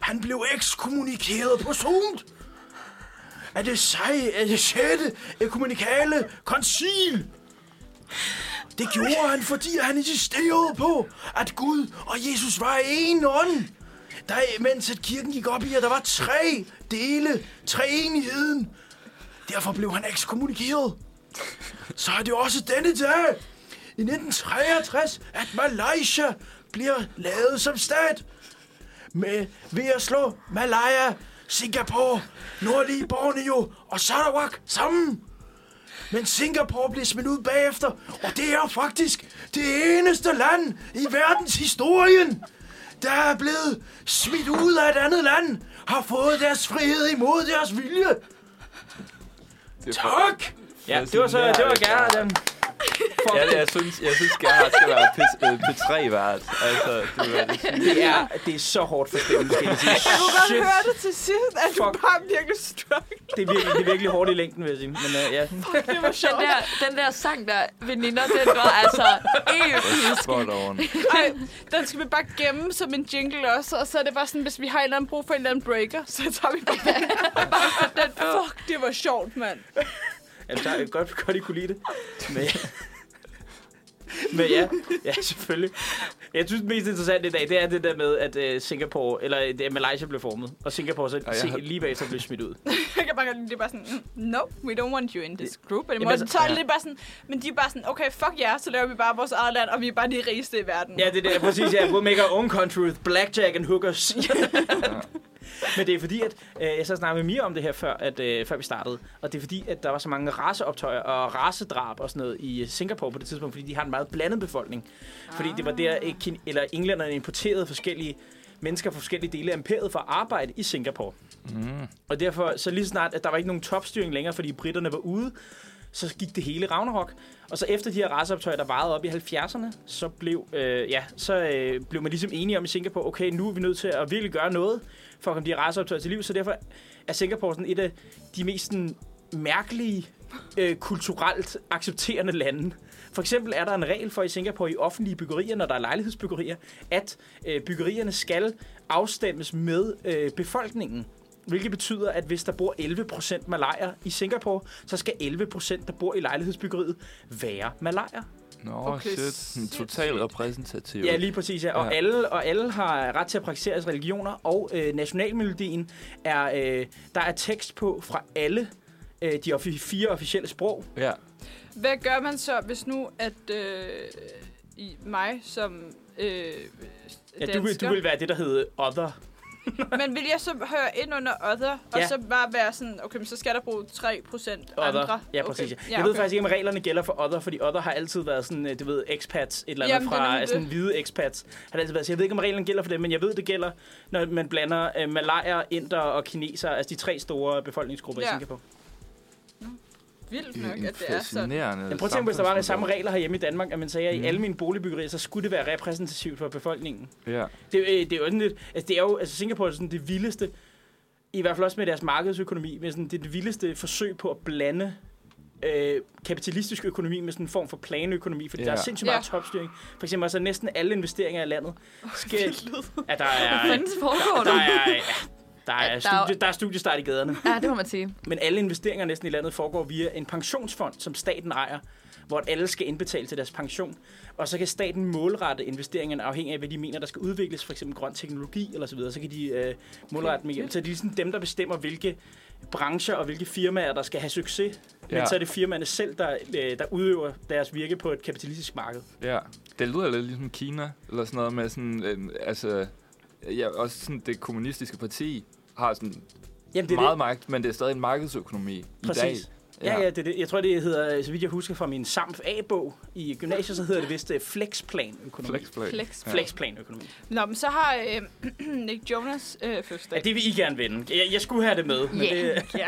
S7: han blev ekskommunikeret på Zoom. Er det, sej, er det sjette kommunikale koncil? Det gjorde han, fordi han insisterede på, at Gud og Jesus var en ånd. Der, mens at kirken gik op i, at der var tre dele, tre enigheden. Derfor blev han ekskommunikeret så er det også denne dag i 1963, at Malaysia bliver lavet som stat. Med, ved at slå Malaya, Singapore, nordlige Borneo og Sarawak sammen. Men Singapore blev smidt ud bagefter, og det er faktisk det eneste land i verdenshistorien, der er blevet smidt ud af et andet land, har fået deres frihed imod deres vilje.
S4: Det er for-
S7: Tak!
S1: Ja, det var så, det var Gerhard. øhm.
S4: Ja, jeg synes, jeg synes Gerhard skal være P- øh, P3-vært. Altså, det var det.
S1: Det er, det er så hårdt for stemmen, skal jeg lige sige.
S3: Jeg kunne godt
S1: Shit.
S3: høre det til sidst, at du
S1: Fuck.
S3: bare virkelig struck.
S1: Det er virkelig, det er virkelig hårdt i længden, vil jeg sige. Men øh, ja,
S3: Det var
S2: den
S3: sjovt.
S2: der, den der sang der, veninder, den var altså episk.
S4: Spot on.
S3: Ej, den skal vi bare gemme som en jingle også, og så er det bare sådan, hvis vi har en eller anden brug for en eller anden breaker, så tager vi bare den. Bare for den. Fuck, det var sjovt, mand.
S1: Jamen, Altså, der er godt, godt, I kunne lide det. Men, men ja, ja, selvfølgelig. Jeg synes, det mest interessante i dag, det er det der med, at øh, Singapore, eller øh, det er Malaysia blev formet, og Singapore så
S4: jeg
S1: se,
S4: har-
S1: lige bagefter blev smidt ud.
S3: Jeg kan bare godt lide, det er bare sådan, mm, no, we don't want you in this group anymore.
S1: Jamen, altså-
S3: Jamen, så er det lidt bare sådan, men de er bare sådan, okay, fuck jer, yeah, så laver vi bare vores eget land, og vi er bare de rigeste i verden.
S1: Ja, det er der, præcis. Ja, we'll make our own country with blackjack and hookers. Men det er fordi, at øh, jeg så snakkede med Mia om det her, før, at, øh, før vi startede. Og det er fordi, at der var så mange raceoptøjer og racedrab og sådan noget i øh, Singapore på det tidspunkt, fordi de har en meget blandet befolkning. Fordi det var der, øh, kin- eller englænderne importerede forskellige mennesker fra forskellige dele af imperiet for at arbejde i Singapore. Mm. Og derfor, så lige så snart, at der var ikke nogen topstyring længere, fordi britterne var ude, så gik det hele Ragnarok. Og så efter de her raceoptøjer, der varede op i 70'erne, så blev, øh, ja, så, øh, blev man ligesom enige om i Singapore, okay, nu er vi nødt til at virkelig gøre noget for at komme de her raceoptøjer til liv. Så derfor er Singapore sådan et af de mest sådan, mærkelige, øh, kulturelt accepterende lande. For eksempel er der en regel for i Singapore i offentlige byggerier, når der er lejlighedsbyggerier, at øh, byggerierne skal afstemmes med øh, befolkningen. Hvilket betyder, at hvis der bor 11% malayer i Singapore, så skal 11% der bor i lejlighedsbyggeriet være malayer.
S4: Nå,
S3: Okay,
S4: okay, shit.
S3: sindssygt.
S4: Totalt repræsentativ.
S1: Ja, lige præcis. Ja. Og,
S4: Ja.
S1: Alle, og alle har ret til at praktisere deres religioner, og øh, nationalmelodien er, øh, der er tekst på fra alle øh, de offi- fire officielle sprog.
S4: Ja.
S3: Hvad gør man så, hvis nu, at øh, i mig som øh,
S1: Ja, du, vil, du vil være det, der hedder other.
S3: Men vil jeg så høre ind under other, og
S1: Ja.
S3: så bare være sådan, okay, men så skal der bruge 3% andre?
S1: Other. Ja, præcis. Okay. Jeg ved faktisk ikke, om reglerne gælder for other, fordi other har altid været sådan, øh, du ved, expats, et eller andet
S3: Jamen, det er
S1: fra
S3: nemlig
S1: sådan
S3: det.
S1: hvide expats. Har det altid været. Så jeg ved ikke, om reglerne gælder for det, men jeg ved, det gælder, når man blander øh, malayer, inder og kineser, altså de tre store befolkningsgrupper ja. i
S3: Ja.
S1: Singapore.
S3: Vildt
S4: En,
S3: nok,
S4: en
S3: at det er sådan.
S4: fascinerende
S1: Men prøv at tænke, hvis der var de samme
S4: samfundsmodel.
S1: regler herhjemme i Danmark, at man sagde, at
S3: Mhm.
S1: i alle mine boligbyggerier, så skulle det være repræsentativt for befolkningen.
S4: Ja.
S1: Det, øh, det er jo sådan lidt, altså det er jo, altså Singapore er sådan det vildeste, i hvert fald også med deres markedsøkonomi, men sådan, det er det vildeste forsøg på at blande øh, kapitalistisk økonomi med sådan en form for planøkonomi, fordi
S4: Ja.
S1: der er sindssygt meget
S3: Ja.
S1: topstyring. For eksempel også næsten alle investeringer i landet. Skal, at der
S2: Hvad
S1: er,
S2: fanden foregår
S1: der
S2: der?
S1: er, der er,
S2: At der er-
S1: studie, der er studiestart i gaderne.
S2: Ja, det må man sige.
S1: Men alle investeringer næsten i landet foregår via en pensionsfond, som staten ejer, hvor alle skal indbetale til deres pension. Og så kan staten målrette investeringerne afhængig af, hvad de mener, der skal udvikles, f.eks. grøn teknologi eller så videre. Så kan de øh, målrette med hjælp. Så det er ligesom dem, der bestemmer, hvilke brancher og hvilke firmaer, der skal have succes. Men
S4: Ja.
S1: så er det firmaerne selv, der, øh, der udøver deres virke på et kapitalistisk marked.
S4: Ja, det lyder lidt ligesom Kina, eller sådan noget med sådan, øh, altså, ja, også sådan det kommunistiske parti har sådan det
S1: Jamen,
S4: er meget det. magt, men det er stadig en markedsøkonomi i dag.
S1: Præcis. Ja, ja, det er det. Jeg tror, det hedder, øh, så vidt jeg husker fra min SAMF A-bog i gymnasiet, så hedder det vist øh, flexplanøkonomi.
S4: Flexplay.
S2: Flex.
S4: Ja.
S1: Flexplanøkonomi.
S3: Nå, men så har øh, Nick Jonas øh, fødselsdag.
S1: Ja, det vil I gerne vinde. Jeg, jeg skulle have det med. Men
S2: Ja.
S1: det,
S3: Ja.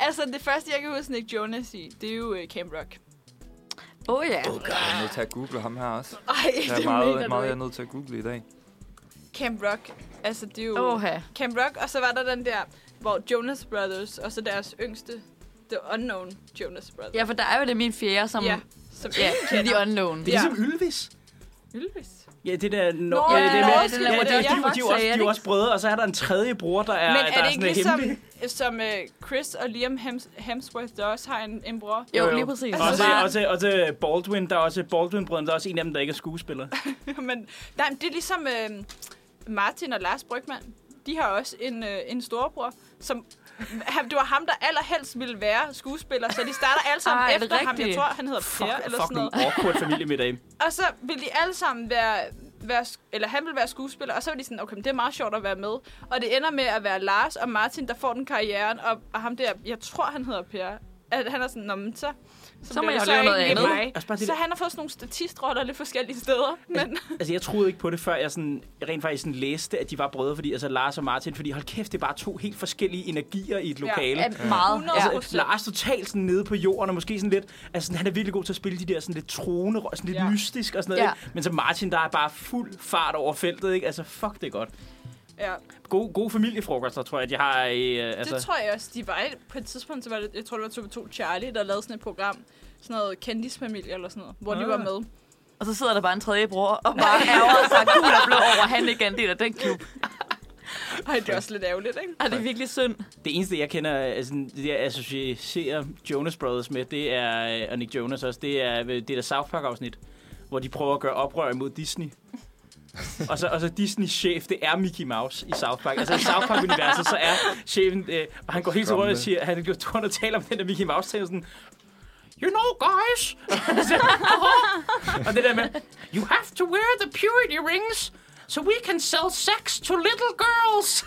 S3: altså, det første, jeg kan huske Nick Jonas i, det er jo øh, Camp Rock.
S2: Åh oh, ja.
S4: Jeg er nødt til at google ham her også.
S3: Ej,
S4: Der er
S3: det mener
S4: meget, meget jeg
S3: du
S4: er
S3: ikke.
S4: nødt til at google i dag.
S3: Camp Rock, altså det er jo...
S2: Åh ja.
S3: Camp Rock, og så var der den der, hvor Jonas Brothers, og så deres yngste, The Unknown Jonas Brothers.
S2: Ja, for der er jo det min fjerde, som...
S3: ja
S2: Ja,
S3: som
S2: ja de unknown.
S1: det er ligesom Ylvis.
S3: Ylvis.
S1: Ja, det der... No,
S3: Nå,
S1: ja,
S3: ja,
S1: det
S3: ja,
S1: med,
S3: det
S1: ja, det
S3: der
S1: er,
S3: hvor
S1: de,
S3: det
S1: de,
S3: er
S1: de, er
S2: Fox,
S1: jo også, de
S2: er
S1: er
S2: det
S1: jo
S2: ikke?
S1: også brødre, og så er der en tredje bror, der er,
S3: Men
S1: der
S3: er det ikke
S1: sådan
S3: ligesom,
S1: hemmelig.
S3: som øh, Chris og Liam Hems Hemsworth, der også har en, en bror?
S2: Jo, lige præcis.
S1: Og
S3: Altså,
S1: til,
S3: bare-
S1: og, til, og til Baldwin, der er også Baldwin-brødrene, der er også en af dem, der ikke er skuespiller.
S3: men nej, men det er ligesom øh, Martin og Lars Brygman. De har også en, øh, en storebror, som... Han, det var ham, der allerhelst ville være skuespiller, så de starter alle sammen
S2: Ej, er det
S3: efter ham. Jeg
S2: rigtigt?
S3: tror, han hedder
S1: Fuck,
S3: Per eller sådan
S1: fucking
S3: noget.
S1: awkward familiemiddag.
S3: Og så vil de alle sammen være, være sk- eller han vil være skuespiller, og så vil de sådan, okay, men det er meget sjovt at være med. Og det ender med at være Lars og Martin, der får den karrieren, og, og ham der, jeg tror, han hedder Per, at han er sådan, Nå, men så,
S2: Så må
S3: bliver
S2: jeg
S3: det
S2: lave noget
S3: egentlig
S2: andet."
S3: mig."
S1: Altså, bare det
S3: Så
S1: der-
S3: han har fået sådan nogle statistroller lidt forskellige steder. Men
S1: Altså, jeg troede ikke på det, før jeg sådan, rent faktisk sådan læste, at de var brødre, fordi altså Lars og Martin, fordi hold kæft, det er bare to helt forskellige energier i et lokale.
S2: Ja, meget. Ja.
S3: 100%.
S1: Altså, Lars totalt sådan nede på jorden, og måske sådan lidt... Altså, sådan, han er virkelig god til at spille de der sådan lidt troende, ro- sådan lidt ja.
S3: Ja.
S1: mystisk og sådan noget.
S2: Ja.
S1: Ja. Men så Martin, der er bare fuld fart over feltet, ikke? Altså, fuck, det er godt.
S3: ja,
S1: God, gode familiefrokoster, tror jeg, de har i... Øh, altså,
S3: det tror jeg også, de var på et tidspunkt, så var det, jeg tror, det var TV2 Charlie, der lavede sådan et program, sådan noget kendisfamilie eller sådan noget, hvor de
S1: Ah.
S3: var med.
S2: Og så sidder der bare en tredje bror og bare ærger sig gul og blå over, at han ikke er en del af den klub.
S3: Ej, det er også lidt ærgerligt, ikke?
S2: Ej, det er virkelig synd.
S1: Det eneste, jeg kender, altså, det jeg associerer Jonas Brothers med, det er... øh, Og Nick Jonas også, det er øh, det der South Park-afsnit, hvor de prøver at gøre oprør imod Disney. og så, og så Disneys chef, det er Mickey Mouse i South Park. Altså i South Park-universet, så er chefen, øh, og han går helt rundt og
S4: Skræmmende.
S1: siger, han går rundt og taler om den der Mickey mouse ting sådan, You know, guys! og det der med, You have to wear the purity rings, so we can sell sex to little girls!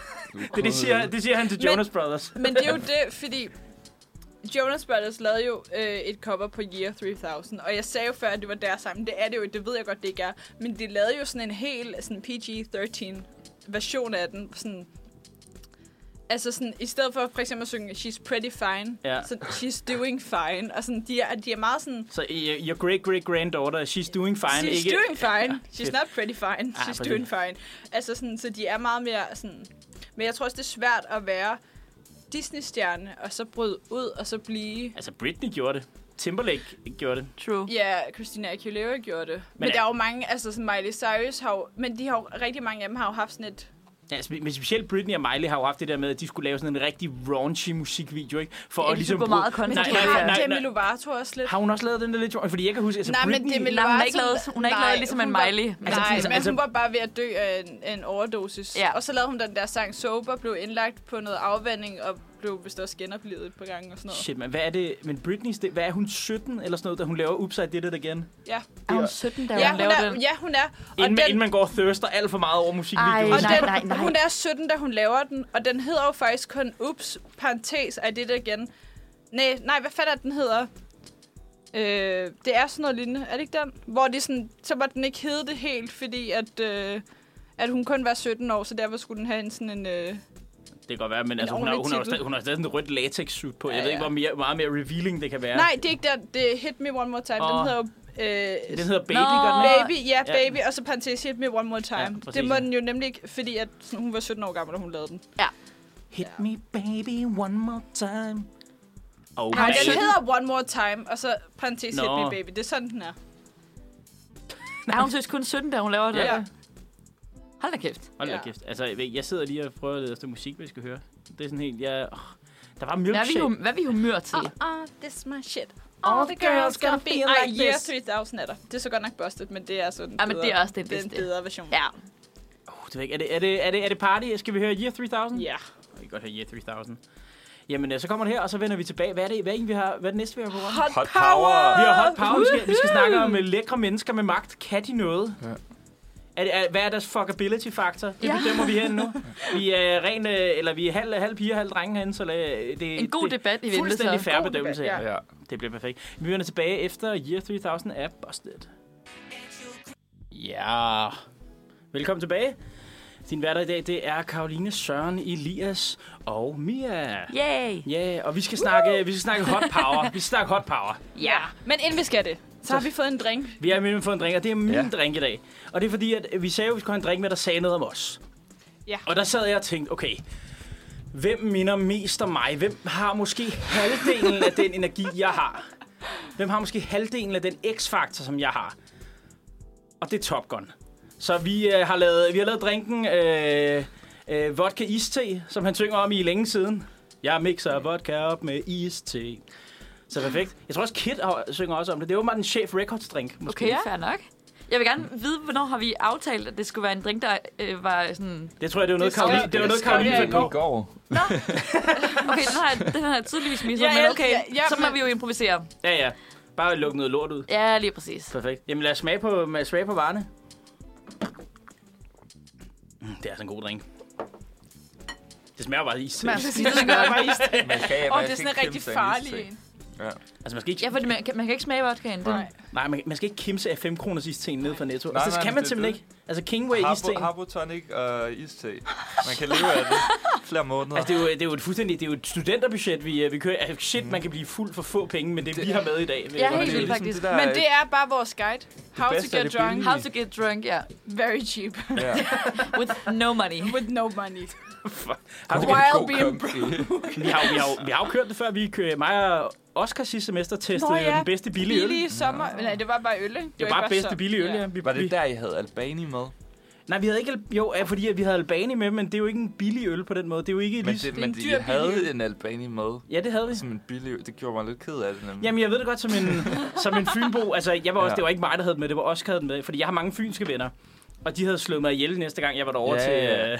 S1: Det, det, siger, det siger han til
S3: Men-
S1: Jonas Brothers.
S3: Men det er jo det, fordi Jonas Brothers lavede jo øh, et cover på Year 3000, og jeg sagde jo før, at det var deres sang, men det er det jo, det ved jeg godt, det ikke er. Men de lavede jo sådan en hel sådan PG-13 version af den, sådan altså sådan, i stedet for for eksempel at synge She's pretty fine,
S1: Ja.
S3: så She's doing fine. Og sådan, de er, de er meget sådan,
S1: Så øh, your great-great-granddaughter, she's doing fine,
S3: She's
S1: ikke?
S3: doing fine.
S1: Ja,
S3: She's
S1: fedt.
S3: not pretty fine.
S1: Ah,
S3: She's
S1: præcis.
S3: doing fine. Altså sådan, så de er meget mere sådan... Men jeg tror også, det er svært at være Disney-stjerne, og så bryde ud, og så blive...
S1: Altså, Britney gjorde det. Timberlake gjorde det.
S2: True.
S3: Ja, Christina Aguilera gjorde det. Men,
S1: Men
S3: men der
S1: er-
S3: er jo mange, altså sådan Miley Cyrus har jo, Men de har jo, rigtig mange af dem har jo haft sådan et...
S1: Ja, altså, men specielt Britney og Miley har jo haft det der med, at de skulle lave sådan en rigtig raunchy musikvideo, ikke? For
S2: Ja, de tog på
S1: bryde-
S2: meget
S3: Men
S2: content.
S1: Nej,
S3: de
S1: nej,
S3: har
S1: nej, nej,
S3: Demi
S1: nej.
S3: Lovato også lidt.
S1: Har hun også lavet den der lidt... Fordi jeg kan huske, altså
S3: Nej, men
S1: Britney...
S3: Demi
S2: Nej, hun har ikke
S3: Lovato-
S2: lavet, hun har ikke
S3: Nej,
S2: lavet ligesom en
S3: hun var-
S2: Miley.
S3: Altså, Nej,
S1: præcis, altså-
S3: men altså, hun var bare ved at dø af en, af en overdosis.
S2: Ja.
S3: Ja. Og så lavede hun den der sang Sober, blev indlagt på noget afvanding, og blev vist også genoplevet et par gange og sådan noget.
S1: Shit, man, hvad er det? Men Britney, det, hvad er hun, 17 eller sådan noget, da hun laver Upside Did It Again? Inden,
S3: Ja,
S2: Er hun 17, da
S3: ja,
S2: hun
S3: hun,
S2: laver
S3: er,
S2: den?
S3: ja hun er. Og
S1: man-
S3: den,
S1: inden man går og thirster alt for meget over musikvideoer.
S2: Ej,
S3: og
S2: nej,
S3: den,
S2: nej, nej.
S3: Hun er 17, da hun laver den, og den hedder jo faktisk kun Ups, parentes, er det der igen? Nej, nej, hvad fanden er den hedder? Øh, det er sådan noget lignende, er det ikke den? Hvor det sådan, så var den ikke hedde det helt, fordi at, øh, at hun kun var 17 år, så derfor skulle den have en sådan en... Øh,
S1: Det kan godt være, men altså, hun,
S3: ordentlig
S1: har, hun, har, jo
S3: titel.
S1: stadig, hun har stadig sådan et rødt latex-suit på. Jeg
S3: Ja,
S1: ved ikke,
S3: ja.
S1: hvor mere, meget mere revealing det kan være.
S3: Nej, det er ikke der. Det er Hit Me One More Time.
S1: Åh.
S3: Den hedder jo... Øh,
S1: Den hedder Baby,
S2: Nå.
S1: gør den ikke?
S3: Baby, ja,
S1: Ja.
S3: baby, og så parentes Hit Me One More Time.
S1: Ja, præcis,
S3: det må
S1: ja.
S3: den jo nemlig ikke, fordi at sådan, hun var 17 år gammel, da hun lavede den.
S1: Hit me, baby, one more time. Oh,
S3: Nej,
S1: baby.
S3: den hedder One More Time, og så parentes Hit
S1: Nå.
S3: Me Baby. Det er sådan, den er.
S2: Er hun seriøst kun 17, da hun laver det?
S3: Ja.
S2: Hold da kæft.
S1: Hold da
S3: Ja.
S1: kæft. Altså, jeg jeg sidder lige og prøver at lede efter musik, vi skal høre. Det er sådan helt, jeg... åh. Der var
S2: Hvad er vi,
S1: milkshake. Uh,
S2: hum- hvad er vi i humør til?
S3: Oh, this is my shit.
S1: All the girls gonna feel
S3: Ej,
S1: like
S3: Year
S1: this.
S3: 3000 er der. Det er så godt nok busted, men det er sådan
S2: Ja, men det er også det
S3: det er en
S2: bedste.
S3: bedre version.
S2: Ja.
S1: Uh, det ved jeg ikke. er, det, er, det, er, det, er det party? Skal vi høre Year 3000?
S3: Ja.
S1: Vi kan godt høre Year 3000. Jamen, øh, så kommer det her, og så vender vi tilbage. Hvad er det, hvad er det, vi har, hvad er det næste, vi har på programmet?
S3: Hot,
S4: Hot
S3: power!
S4: power.
S1: Vi har hot power. Vi skal, vi skal snakke om øh, lækre mennesker med magt. Kan de noget?
S4: Ja.
S1: Er det, er, hvad er deres fuckability faktor? Det
S2: Ja.
S1: bestemmer vi herinde nu. Vi er ren, øh, eller vi er halv, halv piger, halv drenge herinde, så lad, øh, det,
S2: En god
S1: det,
S2: debat, I
S1: det er
S2: venter
S1: fuldstændig
S2: så.
S1: færre
S3: God
S1: bedømmelse.
S3: debat,
S1: Ja.
S3: ja.
S4: Ja.
S1: Det bliver perfekt. Vi vender tilbage efter Year 3000 af Busted. Ja. Velkommen tilbage. Din hverdag i dag, det er Karoline, Søren, Elias og Mia.
S2: Yay!
S1: Ja, yeah, og vi skal snakke, vi skal snakke hot power. vi skal snakke hot power.
S2: Ja.
S3: Men inden vi skal det, så har vi fået en drink.
S1: Vi har nemlig fået en drink, og det er min ja.
S4: Ja.
S1: drink i dag. Og det er fordi, at vi sagde jo, at vi skulle have en drink med, der sagde noget om os.
S3: Ja.
S1: Og der sad jeg og tænkte, okay, hvem minder mest om mig? Hvem har måske halvdelen af den energi, jeg har? Hvem har måske halvdelen af den x-faktor, som jeg har? Og det er Top Gun. Så vi, øh, har, lavet, vi har lavet drinken øh, øh, vodka iste, som han synger om i længe siden. Jeg mixer vodka op med iste. Så perfekt. Jeg tror også, Kid har- synger også om det. Det er åbenbart en Chef Records drink, måske.
S2: Okay, ja. fair nok. Jeg vil gerne vide, hvornår har vi aftalt, at det skulle være en drink, der øh, var sådan...
S1: Det tror jeg, det var noget,
S3: Det er
S1: Karoline,
S3: skønt.
S1: det var noget,
S3: Det er skønt,
S1: Karoline
S3: ja.
S1: fandt på.
S4: i går.
S2: Okay, den har jeg, den har jeg tydeligvis misset,
S3: Ja,
S2: men
S3: ja,
S2: okay,
S3: ja, ja,
S2: så må
S3: men-
S2: vi jo improvisere.
S1: Ja, ja. Bare lukke noget lort ud.
S2: Ja, lige præcis.
S1: Perfekt. Jamen lad os smage på, lad os smage på varerne. Mm, det er altså en god drink. Det smager bare af is.
S3: Man
S1: Altså,
S3: skal sige, det smager bare is.
S4: Man skal,
S3: Åh, det er sådan en rigtig farlig en.
S1: Altså, man skal ikke,
S2: Ja, fordi man, kan- man kan ikke smage vodkaen. Den,
S3: Nej.
S1: nej, man, man skal ikke kimse af 5 kroners isten nede fra Netto.
S4: Nej,
S1: Altså, det
S4: nej,
S1: kan man
S4: det er
S1: simpelthen
S4: det.
S1: ikke. Altså, Kingway isten.
S4: Harbo, Harbo tonic og iste. Man kan leve af det flere måneder.
S1: Altså, det er, jo, det er jo et fuldstændig, det er jo et studenterbudget, vi, øh, vi kører. Altså, shit, man kan blive fuld for få penge med det, vi har med i dag.
S2: Ja,
S4: Og ligesom
S2: helt vildt, faktisk.
S4: der,
S3: Men det er bare vores guide. How
S4: bedste
S3: to
S4: er
S3: get
S4: det
S3: drunk.
S2: How to get drunk, ja.
S3: Very cheap.
S4: Ja.
S2: With no money.
S3: With no money.
S1: Har du-
S3: While
S4: God
S3: being
S4: kombi.
S1: Vi har, jo- vi, har, jo- vi har jo kørt det før. Vi kører, mig og Oscar sidste semester testede
S3: Nå, ja.
S1: den bedste billige øl.
S3: Billige sommer. Nej, det var bare øl, ikke?
S1: Det var bare bedste billige øl, ja. Vi,
S4: Var det
S1: vi,
S4: der, I havde Albani med?
S1: nej, vi havde ikke... Al- Jo, ja, fordi at vi havde Albani med, men det er jo ikke en billig øl på den måde. Det er jo ikke...
S4: Men,
S1: lige-
S4: det,
S3: er
S4: men
S3: en
S4: de
S3: dyr billig
S4: havde en Albani med.
S1: Ja, det havde vi.
S4: Som en billig øl. Det gjorde mig lidt ked af det nemlig.
S1: Jamen, jeg ved det godt som en, som en fynbo. Altså, jeg var også,
S4: Ja.
S1: det var ikke mig, der havde det med. Det var Oscar, der havde det med. Fordi jeg har mange fynske venner. Og de havde slået mig ihjel næste gang, jeg var derovre
S4: Ja,
S1: til,
S4: ja.
S1: øh,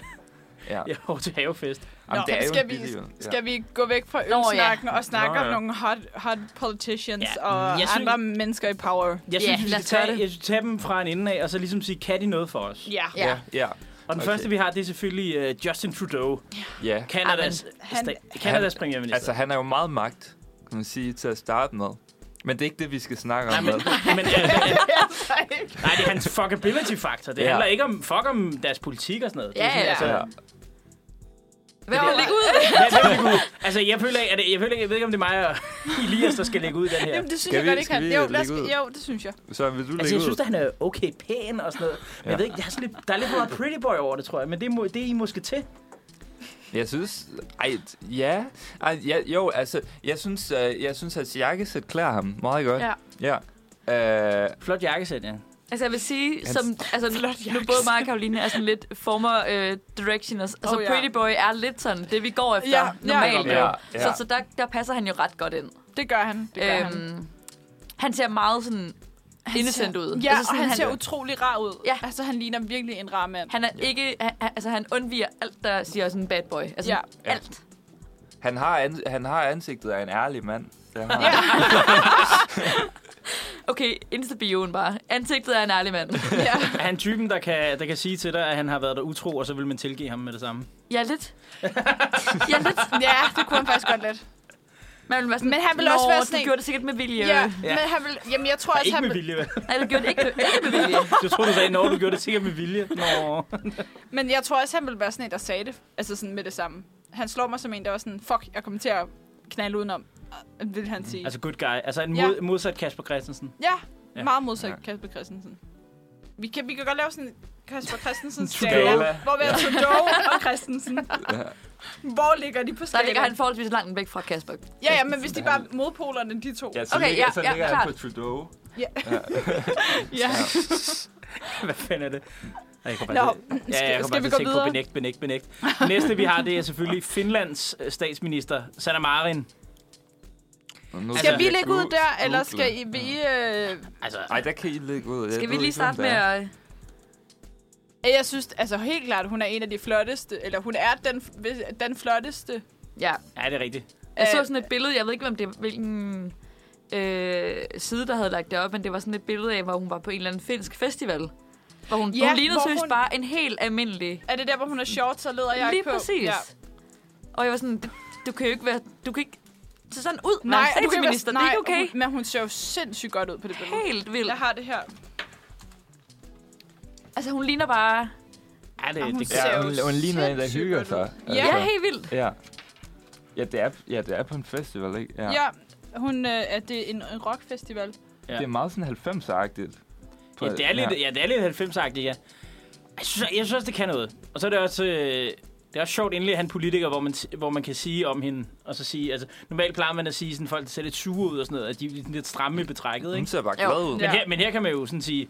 S4: ja.
S1: jeg var over til havefest.
S4: Jamen, det er jo
S3: skal
S4: en
S3: vi,
S4: billig øl. Ja.
S3: skal vi gå væk fra
S2: ja.
S3: ølsnakken og snakke
S4: Nå,
S3: om
S4: ja.
S3: nogle hot, hot politicians
S1: Ja,
S3: og
S1: jeg synes-
S3: andre mennesker i power?
S1: Jeg
S2: Ja,
S1: synes, vi skal
S2: lad os gøre
S1: tage,
S2: det.
S1: jeg synes, tage dem fra en ende af, og så ligesom sige, kan de noget for os?
S3: Ja.
S2: Ja.
S4: Ja, ja.
S1: Og den
S4: Okay.
S1: første, vi har, det er selvfølgelig uh, Justin Trudeau.
S4: ja.
S1: Kanadas,
S3: han-
S1: sta- Kanadas premierminister.
S4: Altså, han er jo meget magt, kan man sige, til at starte med. Men det er ikke det, vi skal snakke
S1: Nej,
S4: om.
S1: men,
S4: vel?
S1: men, øh, øh, nej, det er hans fuckability-faktor. Det
S4: Ja.
S1: handler ikke om fuck om deres politik og sådan altså, noget. Det er
S2: Ja,
S1: sådan,
S2: ja.
S1: altså,
S4: Ja.
S2: Hvad vil lægge ud?
S1: Hvad skal vi lægge ud? Altså, jeg føler, at jeg, føler, jeg ved ikke, om det er mig og Elias, der skal lægge ud den her.
S3: Jamen, det synes
S4: Skal
S3: jeg
S4: vi-
S3: godt ikke,
S4: skal
S3: han.
S4: vi,
S3: Jo,
S4: øh,
S3: lad os,
S4: lægge ud?
S3: jo, det synes jeg.
S4: Så vil du lægge
S1: Altså, jeg
S4: ud?
S1: synes, at han er okay pæn og sådan noget. Men ja. jeg ved ikke, jeg har sådan lidt, der er lidt for meget pretty boy over det, tror jeg. Men det er, må- det er I måske til.
S4: Jeg synes... Ej, ja. Ej, ja jo, altså, jeg synes, øh, jeg synes, at jakkesæt klæder ham meget godt.
S2: Ja.
S4: Ja. Øh,
S1: Flot jakkesæt, ja.
S2: Altså, jeg vil sige, som, altså, nu både mig og Karoline er sådan lidt former øh, directioners. Altså,
S3: Oh,
S2: oh,
S3: ja.
S2: ja. Pretty Boy er lidt sådan det, vi går efter
S3: Ja,
S2: ja,
S3: ja.
S2: normalt.
S4: Ja,
S2: Ja,
S4: ja.
S2: ja. Så, så der, der passer han jo ret godt ind.
S3: Det gør han. Det gør han.
S2: Øhm, han ser meget sådan innocent
S3: ser,
S2: ud.
S3: Ja, altså, og han,
S2: han,
S3: han ser utrolig rar ud.
S2: Ja.
S3: Altså, han ligner virkelig en rar mand.
S2: han er ikke... Han, han- altså, han undviger alt, der siger sådan bad boy. Altså,
S3: Ja.
S2: ja.
S4: Ja.
S2: alt.
S4: han, har ans- han har ansigtet af en ærlig mand. Det har han.
S2: Okay, instabioen bare. Ansigtet er en ærlig mand.
S3: ja.
S1: Er han typen, der kan, der kan sige til dig, at han har været der utro, og så vil man tilgive ham med det samme?
S2: Ja, lidt. ja, lidt.
S3: ja, det kunne han faktisk godt lidt.
S2: Man vil være sådan,
S3: Men han vil også
S2: "Nå,
S3: være sådan
S2: du
S3: en-
S2: gjorde det sikkert med vilje.
S3: Ja,
S2: Ja.
S3: men han vil... Jamen, jeg tror
S1: Og
S3: også,
S1: ikke
S3: han
S1: med
S3: vil...
S1: vilje, vel?
S2: Nej, du gjorde det ikke, ikke med vilje.
S1: Jeg tror, du sagde, når du gjorde det sikkert med vilje. Nå.
S3: Men jeg tror også, han vil være sådan en, der sagde det. Altså sådan med det samme. Han slår mig som en, der var sådan, fuck, jeg kommer til at knalde udenom, øh, vil han sige.
S1: Altså good guy. Altså en
S3: Ja.
S1: mod, modsat Kasper Christensen.
S3: ja,
S1: Ja.
S3: meget modsat
S4: Ja.
S3: ja. Kasper Christensen. Vi kan, vi kan godt lave sådan en Kasper Christensen
S1: Tudor.
S3: skala, hvor vi har Tudor og Christensen. Hvor ligger de på
S2: Der
S3: skalaen?
S2: ligger han forholdsvis langt væk fra Kasper.
S3: Ja, ja, men hvis de bare er modpolerne, de to.
S4: Ja, så
S1: Altså,
S2: Okay,
S4: ligger,
S2: ja,
S4: så
S2: ja,
S4: ligger han
S2: klart.
S4: på Trudeau.
S3: ja.
S1: Hvad fanden er det? Ej, Jeg kan
S3: Nå,
S1: bare til-
S3: skal-
S1: ja, jeg kan
S3: skal
S1: bare
S3: vi
S1: til
S3: gå
S1: at tænke på
S3: videre?
S1: benægt, benægt, benægt. Næste, vi har, det er selvfølgelig Finlands øh, statsminister, Sanna Marin.
S4: Nå, nu
S3: Skal
S1: Altså,
S3: vi lægge ud der,
S4: Google.
S3: eller skal I... Vi, øh,
S1: Altså,
S4: Ej, der kan I lægge ud. Jeg
S2: Skal vi
S4: ved
S2: lige
S4: ikke,
S2: starte
S4: hvem
S2: med
S4: der er.
S2: at...
S3: jeg synes altså helt klart, hun er en af de flotteste, eller hun er den, den flotteste.
S2: Ja,
S1: ja, det er rigtigt.
S2: jeg
S3: Øh,
S2: så sådan et billede, jeg ved ikke, hvem det, hvilken øh, side, der havde lagt det op, men det var sådan et billede af, hvor hun var på en eller anden finsk festival. Hvor hun,
S3: Ja,
S2: ja, hun lignede
S3: hvor
S2: seriøst
S3: hun-
S2: hun... bare en helt almindelig.
S3: Er det der, hvor hun har shorts og leder jeg
S2: Lige
S3: på?
S2: præcis. Ja. Og jeg var sådan, "Det- du kan jo ikke være... Du kan ikke se sådan ud,
S3: Nej,
S2: nej,
S3: du kan være-
S2: statsminister. Det er
S3: nej,
S2: ikke okay.
S3: Hun, men hun ser jo sindssygt godt ud på det billede.
S2: Helt vildt.
S3: Jeg har det her.
S2: Altså, hun ligner bare...
S1: Ja, det,
S3: Og hun
S1: det,
S3: ser
S1: ja.
S4: Ja, hun, hun ligner en, der
S3: sindssygt
S4: hygger
S3: godt
S4: sig.
S3: ud. Ja.
S2: Ja, helt vildt.
S4: Ja. Ja, det er, ja, det er på en festival, ikke? Ja.
S3: Ja, ja hun, øh, er det en, en rockfestival?
S4: Det er meget sådan 90'er-agtigt. På-
S1: Ja, det er lidt, ja, det er lidt 90-agtigt, ja. Jeg synes, jeg synes også, det kan noget. Og så er det også... Øh, det er også sjovt endelig at have en politiker, hvor man, t- hvor man kan sige om hende, og så sige, altså, normalt plejer man at sige, sådan folk der ser lidt sure ud og sådan noget, at de er sådan lidt stramme i betrækket,
S4: Hun
S1: ikke?
S4: ser bare
S2: Jo.
S4: glad ud.
S1: Men,
S3: Ja.
S1: her, men her kan man jo sådan sige,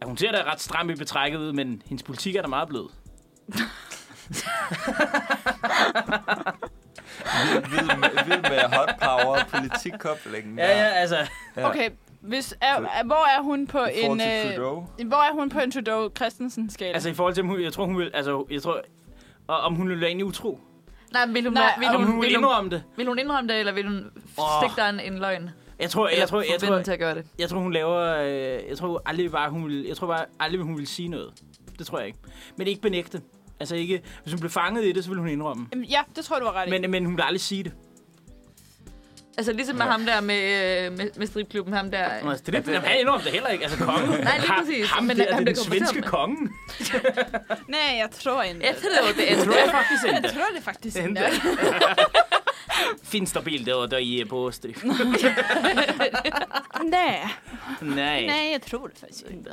S1: at hun ser da ret stram i betrækket ud, men hendes politik er da meget blød.
S4: Vild, vild, med, vild med hot power og politikkoblingen.
S1: Ja, ja, altså.
S4: Ja.
S3: Okay, hvis, er, er, hvor er hun på
S4: I forhold
S3: en...
S4: til
S3: øh,
S4: Trudeau.
S3: hvor er hun på en Trudeau Christensen-skala?
S1: Altså i forhold til, om hun, jeg tror, hun vil, altså, jeg tror, og om hun vil være egentlig utro.
S2: Nej, vil hun,
S3: Nej,
S2: nej, vil
S1: Om
S2: hun,
S1: hun vil
S2: vil, hun,
S1: indrømme det.
S2: vil hun indrømme det, eller vil hun
S1: Åh.
S2: oh. stikke dig en, en løgn?
S1: Jeg tror, jeg,
S2: Eller
S1: jeg tror, jeg
S2: forbinde
S1: tror,
S2: hende til at gøre det.
S1: jeg tror, hun laver, øh, jeg tror aldrig bare, hun vil, jeg tror bare aldrig, hun vil sige noget. Det tror jeg ikke. Men ikke benægte. Altså ikke, hvis hun blev fanget i det, så ville hun indrømme.
S3: Jamen, ja, det tror jeg, du var ret i.
S1: Men, men hun vil aldrig sige det.
S2: Altså ligesom med ham der med, øh, med, med stripklubben, ham der...
S1: Hun er altså, det, det, jamen, han indrømmer det heller ikke. Altså kongen.
S2: Nej, lige
S1: Ham-
S2: præcis.
S1: Ham,
S2: Men
S1: men, det,
S2: han
S1: er den
S2: blev konfronteret
S1: svenske
S2: med-
S1: kongen.
S3: Nej, jeg tror ikke.
S2: Jeg tror det, jeg
S1: Jeg
S2: tror
S1: tror faktisk
S3: Jeg
S1: ikke.
S3: tror det faktisk
S1: Hende.
S3: ikke.
S1: Finns det bilder der i på Østrig?
S3: Nej.
S1: Nej.
S3: Nej, jeg tror det faktisk ikke.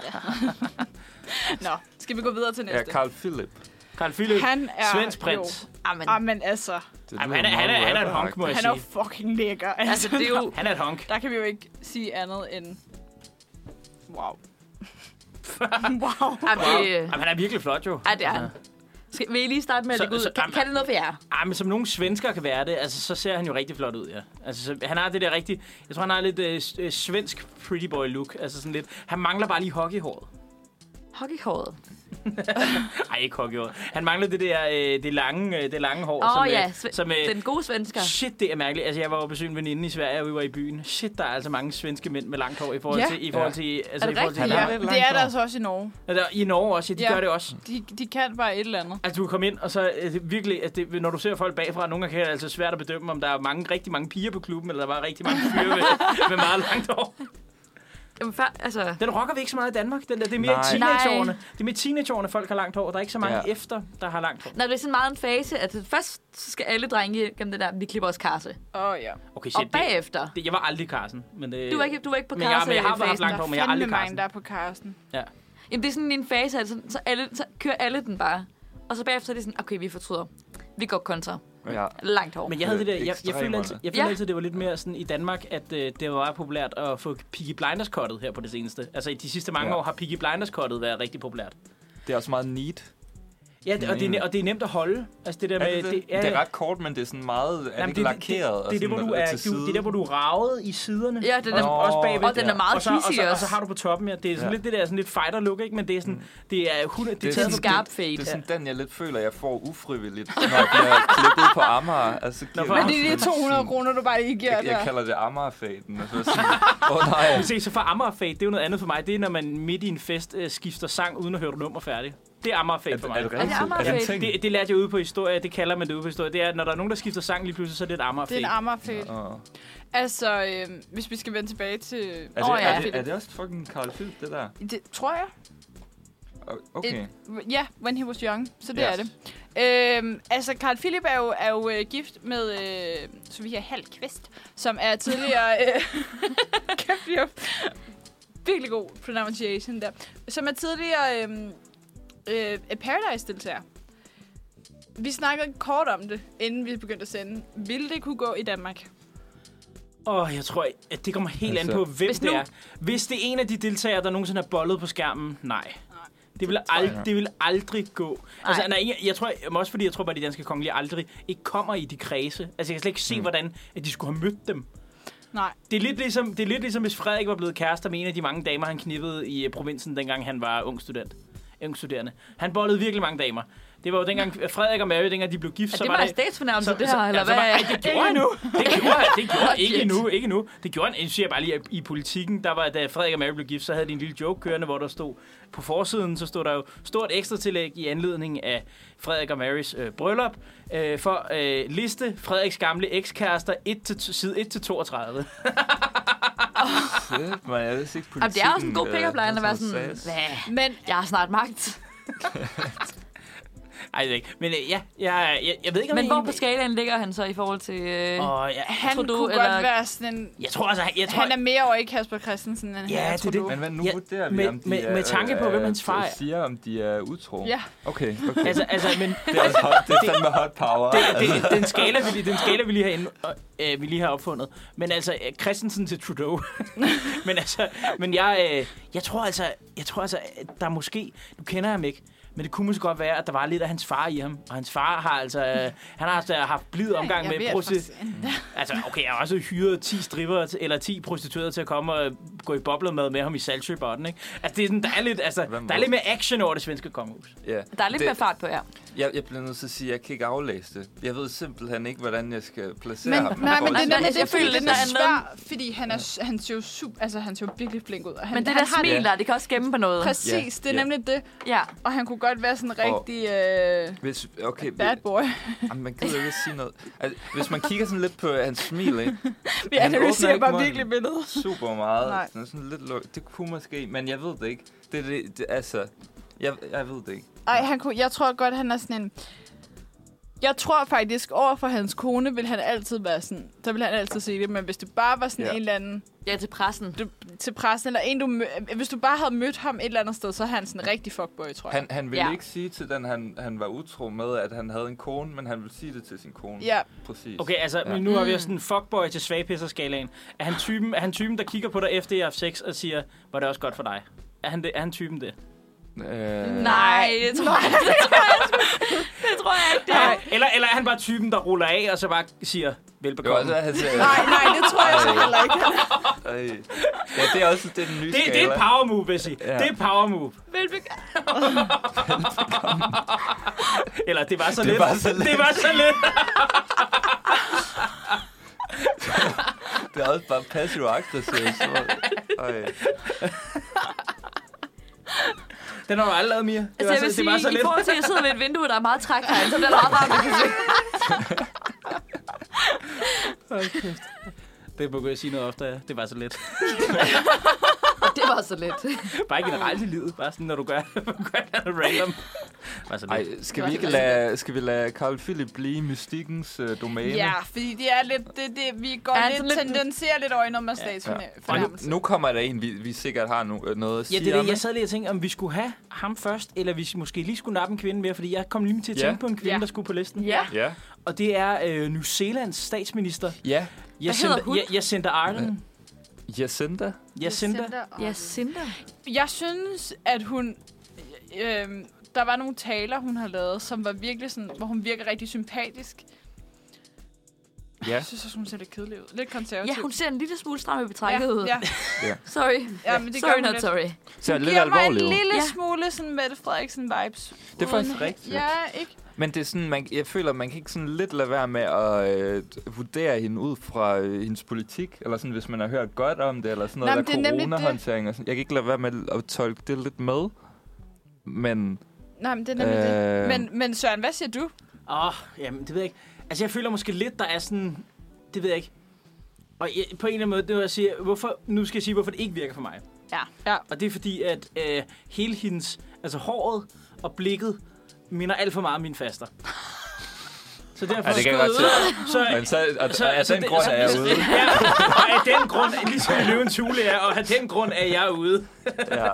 S3: Nå, skal vi gå videre til
S4: Ja,
S3: næste?
S4: Carl Philip.
S1: Carl Philip,
S3: Han er
S1: svensk prins.
S3: Jo.
S2: Amen.
S3: Jamen altså,
S4: Det
S1: Jamen,
S4: lyder
S1: han, er, han, er,
S4: meget
S1: han er et honk,
S4: rapperagtigt.
S1: må jeg
S3: han er jo
S1: sige.
S3: fucking lækker. Altså.
S2: Altså, det er jo...
S1: Han er et honk.
S3: Der kan vi jo ikke sige andet end... Wow. wow.
S2: Jamen, det, øh,
S1: Jamen, han er virkelig flot, jo.
S2: ej, det er han. Skal, vil I lige starte med at
S1: Så-
S2: lægge ud?
S1: så-
S2: Kan, kan det noget for jer?
S1: Ah, men som nogle svensker kan være det, altså, så ser han jo rigtig flot ud, ja. Altså, så, han har det der rigtig... Jeg tror, han har lidt øh, s- øh, svensk pretty boy look. Altså sådan lidt... Han mangler bare lige hockeyhåret.
S2: Hockeyhåret.
S1: Ej, ikke hockeyhåret. Han mangler det der øh, det lange, øh, det lange hår,
S2: Åh
S1: som,
S2: oh,
S1: øh,
S2: ja, sve-
S1: som øh,
S2: den gode svensker.
S1: Shit, det er mærkeligt. Altså, jeg var jo besøgt en veninde i Sverige, og vi var i byen. Shit, der er altså mange svenske mænd med langt hår i forhold
S3: Ja.
S1: til... I forhold
S4: Ja.
S1: til altså,
S2: Er det
S1: i forhold til
S2: rigtigt?
S1: Ja.
S3: Ja,
S4: lidt langt
S3: det er der
S4: hår.
S3: altså også i Norge.
S1: Altså, I Norge også, ja, de
S3: Ja.
S1: ja. gør det også.
S3: De, de kan bare et eller andet.
S1: Altså, du kan komme ind, og så øh, det, virkelig, altså, det, når du ser folk bagfra, nogle gange kan det altså svært at bedømme, om der er mange, rigtig mange piger på klubben, eller der var rigtig mange fyre med, med meget langt hår.
S2: Jamen, før, altså,
S1: Den rocker vi ikke så meget i Danmark. Den der, det er mere
S4: Nej.
S1: i teenageårene. Det er mere i teenageårene, folk har langt hår. Der er ikke så mange
S4: Ja.
S1: ja. efter, der har langt hår.
S2: nej, det er sådan meget en fase, at først så skal alle drenge gennem det der, vi klipper os karse.
S3: Åh, oh, ja.
S1: Okay, shit,
S2: Og bagefter.
S1: det, det, jeg var aldrig Carsten. Men, øh,
S2: Du var ikke, du var ikke på
S1: men jeg,
S2: karse
S1: men jeg har haft
S2: fasen.
S1: langt hår, men jeg har
S3: Fandme
S1: aldrig
S3: mange,
S1: Carsten.
S3: der er på Karsten.
S2: Jamen, det er sådan en fase, altså, så, alle, så kører alle den bare. Og så bagefter er det sådan, okay, vi fortryder. Vi går kontra.
S4: Ja.
S2: Langt hår.
S1: Men jeg havde det der, jeg, jeg
S4: Ekstremerne.
S1: følte altid, jeg følte
S2: Ja.
S1: altid, det var lidt mere sådan i Danmark, at øh, det var populært at få Peaky blinders cuttet her på det seneste. Altså i de sidste mange
S4: Ja.
S1: ja. år har Peaky blinders cuttet været rigtig populært.
S4: Det er også meget neat.
S1: Ja, det, og, det, er ne- og det er nemt at holde. Altså det der med...
S4: Er det, det?
S1: ja,
S4: det er
S1: ja.
S4: ret kort, men det er sådan meget... Er det
S1: Jamen,
S4: ikke altså, lakeret?
S1: Det,
S4: og
S1: det, er det,
S4: sådan,
S1: hvor
S4: og
S1: du
S4: til
S1: er, du,
S4: side?
S1: det er der, hvor du er ravet i siderne.
S2: Ja, det er den-
S1: og, også
S4: Åh.
S1: bagved.
S2: Og den er meget
S1: og så, og,
S2: cheesy
S1: så, og så
S2: også.
S1: har du på toppen, ja. Det er sådan
S4: Ja. Mm.
S1: ja. lidt det der sådan lidt fighter look, ikke? Men det er sådan, det er 100, det,
S4: Det
S1: er
S2: Det
S4: er
S2: er
S1: taget
S2: en
S1: på-
S2: skarp
S4: Det er
S2: fade.
S4: sådan den, jeg lidt føler, jeg får ufrivilligt, når jeg bliver klippet på Amager. Altså, giver
S1: for-
S4: mig
S3: Men det er de
S4: sådan
S3: 200
S4: sin-
S3: kroner, du bare lige giver
S4: Jeg, jeg
S3: der.
S4: kalder det Amager-faden. og så er jeg sådan, Åh oh, nej.
S1: Se, så for Amagerfag, det er jo noget andet for mig. Det er, når man midt i en fest øh, skifter sang, uden at høre det nummer færdigt. Det er Amagerfag for mig.
S4: Er, er det rigtigt?
S2: Amager
S4: det en
S2: Fade?
S4: ting?
S1: Det, det lærte Altså, jeg ude på historie, det kalder man det ude på historie. Det er, at når der er nogen, der skifter sang lige pludselig, så er det et amager
S3: Det er en ammerfæl.
S4: Åh.
S3: Altså, øh, hvis vi skal vende tilbage til...
S1: Altså-
S4: Altså, Er,
S2: Åh,
S4: det,
S2: ja.
S4: er, det, er det også fucking Carl Philip, det der?
S3: Det, tror jeg.
S4: Okay.
S3: Ja, yeah, When He Was Young. Så det
S4: Yes.
S3: yes. er det. Øhm, altså, Carl Philip er jo, er jo øh, gift med øh, Sofia Halkvist, som er tidligere... Øh, kæft, jeg er virkelig god pronunciation der. Som er tidligere øh, øh, Paradise-deltager. Vi snakkede kort om det, inden vi begyndte at sende. Ville det kunne gå i Danmark?
S1: Åh, jeg tror, at det kommer helt
S4: Altså.
S1: an på, hvem
S2: Hvis
S1: Hvis
S2: nu-
S1: det er. Hvis det er en af de deltagere, der nogensinde har bollet på skærmen, nej. Det vil, ald- det vil aldrig gå. Altså, nej, jeg, jeg tror, men også fordi jeg tror bare, at de danske kongelige aldrig ikke kommer i de kredse. Altså, jeg kan slet ikke se, mm. hvordan at de skulle have mødt dem.
S3: Nej.
S1: Det er, lidt ligesom, det er lidt ligesom, hvis Frederik var blevet kærester med en af de mange damer, han knippede i øh, provinsen, dengang han var ung student. Ung studerende. Han bollede virkelig mange damer. Det var jo dengang Frederik og Mary, dengang de blev gift,
S2: Er
S1: så
S2: det
S1: var
S2: bare
S1: det...
S2: statsfornærmelse, Altså, det her, eller
S1: så
S2: hvad?
S1: var- Ej, det gjorde han nu. Det gjorde han. Det gjorde han ikke
S2: Shit.
S1: endnu. Ikke endnu. Det gjorde han. Nu siger jeg bare lige, at i politikken, der var, da Frederik og Mary blev gift, så havde de en lille joke kørende, hvor der stod på forsiden, så stod der jo stort ekstra tillæg i anledning af Frederik og Marys øh, bryllup øh, for øh, liste Frederiks gamle ekskærester 1 til, side 1 til 32.
S4: Shit, man, jeg vidste ikke
S2: Jamen,
S4: politikken.
S2: det er også en god
S4: øh,
S2: pick-up line
S4: havde
S2: at være
S1: altså,
S4: noget
S2: sådan,
S4: sass.
S2: hvad?
S3: Men
S2: Jeg har snart magt.
S1: Ej, det er ikke. Men øh, ja, jeg, jeg, jeg ved ikke, om
S2: Men
S1: jeg
S2: hvor
S1: egentlig-
S2: på skalaen ligger han så i forhold til... Øh...
S1: Åh, ja.
S3: han
S2: Tror
S3: du,
S2: du,
S3: kunne eller...
S2: eller-
S3: godt være sådan en...
S1: Jeg tror altså, jeg, jeg tror...
S3: Han er mere over i Kasper Christensen, end
S1: Ja,
S3: han er,
S1: det er
S3: tror
S1: det.
S3: du?
S4: Men hvad nu
S1: Ja,
S4: vurderer vi,
S1: med-
S4: om de
S1: med-
S4: er,
S1: med tanke på,
S4: øh,
S1: hvem hans far er.
S4: siger, om de er utro?
S3: Ja.
S4: Okay, okay.
S1: Altså, altså, men
S4: det er også hot, det er fandme hot power.
S1: det, den, skala, vi, lige- den skala, vi lige har, inde, øh, vi lige har opfundet. Men altså, øh, Christensen til Trudeau. men altså, men jeg, øh, jeg tror altså, jeg tror altså, at der måske, nu kender jeg ham ikke, men det kunne måske godt være, at der var lidt af hans far i ham. Og hans far har altså, øh, han har altså haft blid omgang
S3: Jeg
S1: med
S3: ved
S1: prosti-
S3: faktisk ikke.
S1: Altså, okay, jeg har også hyret 10 stripper eller 10 prostituerede til at komme og gå i boblermad med ham i Saltsjøbotten, ikke? Altså, det er sådan, der er lidt, altså,
S4: Hvem
S1: der er
S4: ved?
S1: lidt mere action over det svenske kongehus.
S4: Ja.
S2: Der er lidt
S4: det,
S2: mere fart på jer.
S4: Jeg, jeg bliver nødt til at sige, at jeg kan ikke aflæse det. Jeg ved simpelthen ikke, hvordan jeg skal placere
S3: Men,
S4: ham.
S3: nej, men det,
S2: Altså,
S3: er
S2: jeg
S3: nemlig- det,
S2: føler
S3: føler
S2: lidt,
S3: lidt,
S2: der
S3: der
S2: er
S3: er svær, fordi han, er, han ser jo super, altså han ser jo virkelig flink ud. og Han,
S2: Men det
S3: han
S2: der smil
S4: det.
S2: der, det kan også skæmme på noget.
S3: præcis,
S4: Ja,
S3: det er
S4: ja.
S3: nemlig det.
S2: Ja.
S3: Og han kunne godt være sådan en rigtig øh,
S4: Hvis, okay,
S3: bad boy.
S4: Jamen, man gider ikke sige noget. Altså, hvis man kigger sådan lidt på hans smil, ikke?
S3: Vi
S4: han åbner
S3: analyserer
S4: ikke
S3: bare
S4: munden.
S3: virkelig billedet.
S4: Super meget.
S3: Nej.
S4: Sådan, sådan lidt luk. Det kunne måske, men jeg ved det ikke. Det, er det, det altså, jeg, jeg ved det ikke.
S3: Ej, han kunne, jeg tror godt, han er sådan en... Jeg tror faktisk, over for hans kone vil han altid være sådan. Der vil han altid sige det, men hvis det bare var sådan
S4: Ja.
S3: en eller anden
S2: Ja, til pressen.
S3: du, til pressen, eller en, du mø- hvis du bare havde mødt ham et eller andet sted, så er han sådan en rigtig fuckboy, tror jeg.
S4: Han, han ville
S2: Ja.
S4: ja. ikke sige til den, han, han var utro med, at han havde en kone, men han ville sige det til sin kone.
S3: Ja,
S4: Præcis.
S1: Okay, altså,
S4: Ja.
S1: ja. men nu har
S2: Mm.
S1: vi jo sådan en fuckboy til svagpisserskalaen. Er han, typen, er han typen, der kigger på dig efter, jeg har haft sex, og siger, var det også godt for dig? Er han, det, er han typen det?
S4: Øh,
S2: Nej, det tror jeg ikke. Det tror jeg sgu- Det tror jeg ikke, det er.
S1: Eller, eller er han bare typen, der ruller af, og så bare siger,
S4: jo,
S1: velbekomme?
S4: altså, han sagde,
S3: nej, nej, det tror jeg så heller ikke.
S4: øh, ja, det er også det er den nye
S1: det,
S4: skala.
S1: det er et power move, vil jeg sige.
S4: Ja.
S1: Ja. Det er et power move.
S2: Velbekomme.
S1: Eller, det var så
S4: Det
S1: lidt.
S4: var så lidt.
S1: Det var så lidt.
S4: Det er også bare passiv aggressiv. Så... Ej.
S1: Den har du aldrig lavet, Mia. Det
S2: Altså,
S1: var
S2: jeg vil
S1: så, det var så
S2: sige, i
S1: lidt.
S2: forhold til, at jeg sidder ved et vindue, der er meget træk herinde, så bliver der meget varmt. jeg kan se.
S1: Det begynder jeg at sige noget ofte, ja. Det var så lidt.
S2: Og
S8: var så lidt.
S1: Bare ikke generelt i livet. Bare sådan, når du gør, gør noget random. Bare sådan
S4: Ej,
S1: lidt.
S4: skal vi ikke lade, skal vi lade Carl Philip blive mystikkens øh, domæne?
S3: Ja, fordi det er lidt, det, det, vi går
S2: Ja,
S3: ja,
S2: altså
S3: lidt,
S2: lidt-
S3: tendenserer lidt øjne om at
S4: Og
S3: statsfornærmelse.
S4: nu, nu kommer der en, vi, vi sikkert har no, øh, noget at
S1: Ja,
S4: sige
S1: det er
S4: om,
S1: det. Jeg
S4: ikke?
S1: sad lige og tænkte, om vi skulle have ham først, eller hvis vi måske lige skulle nappe en kvinde mere, fordi jeg kom lige til at
S4: Ja.
S1: tænke på en kvinde,
S3: Ja.
S1: der skulle på listen.
S2: Ja.
S4: Ja.
S1: Og det er øh, New Zealands statsminister,
S4: Ja.
S1: Jacinda,
S2: hedder hun?
S1: Ja- Jacinda Ardern.
S4: Jacinda?
S1: Jacinda.
S2: Ja, Cinder.
S3: Jeg synes, at hun... Øh, der var nogle taler, hun har lavet, som var virkelig sådan, hvor hun virker rigtig sympatisk.
S4: Ja.
S3: Jeg synes også, hun ser lidt kedelig ud. Lidt konservativ.
S2: Ja, hun ser en lille smule stram i betrækket ud.
S3: ja, ja,
S2: Sorry.
S3: ja, men det gør
S2: sorry,
S3: hun
S2: not
S3: lidt.
S2: sorry.
S4: Så er lidt
S3: Giver mig en
S4: alvorlig. ud.
S3: lille
S2: altså- Ja.
S3: smule sådan Mette Frederiksen-vibes.
S4: Det er faktisk rigtigt.
S3: Ja, ikke?
S4: Men det er sådan, man, jeg føler, man kan ikke sådan lidt lade være med at øh, vurdere hende ud fra øh, hendes politik, eller sådan, hvis man har hørt godt om det, eller sådan
S8: Nej,
S4: noget, Nej,
S8: men det er
S4: der
S8: nemlig det.
S4: coronahåndtering og sådan. Jeg kan ikke lade være med at tolke det lidt med, men...
S3: Nej, men det er nemlig
S4: Øh.
S3: det. Men, men Søren, hvad siger du?
S1: Åh, oh, jamen, det ved jeg ikke. Altså, jeg føler måske lidt, der er sådan... Det ved jeg ikke. Og jeg, på en eller anden måde, det vil jeg sige, hvorfor, nu skal jeg sige, hvorfor det ikke virker for mig.
S2: Ja.
S3: Ja.
S1: Og det er fordi, at øh, hele hendes... Altså, håret og blikket minder alt for meget om min faster. Så derfor...
S4: Ja, det kan jeg godt se.
S1: så,
S4: Men så, og,
S1: Så-
S4: og af
S1: så
S4: den
S1: det-
S4: grund
S1: så-
S4: er jeg ude.
S1: Ja, og af den grund, ligesom løvens hule er, og af den grund er jeg ude.
S4: Ja.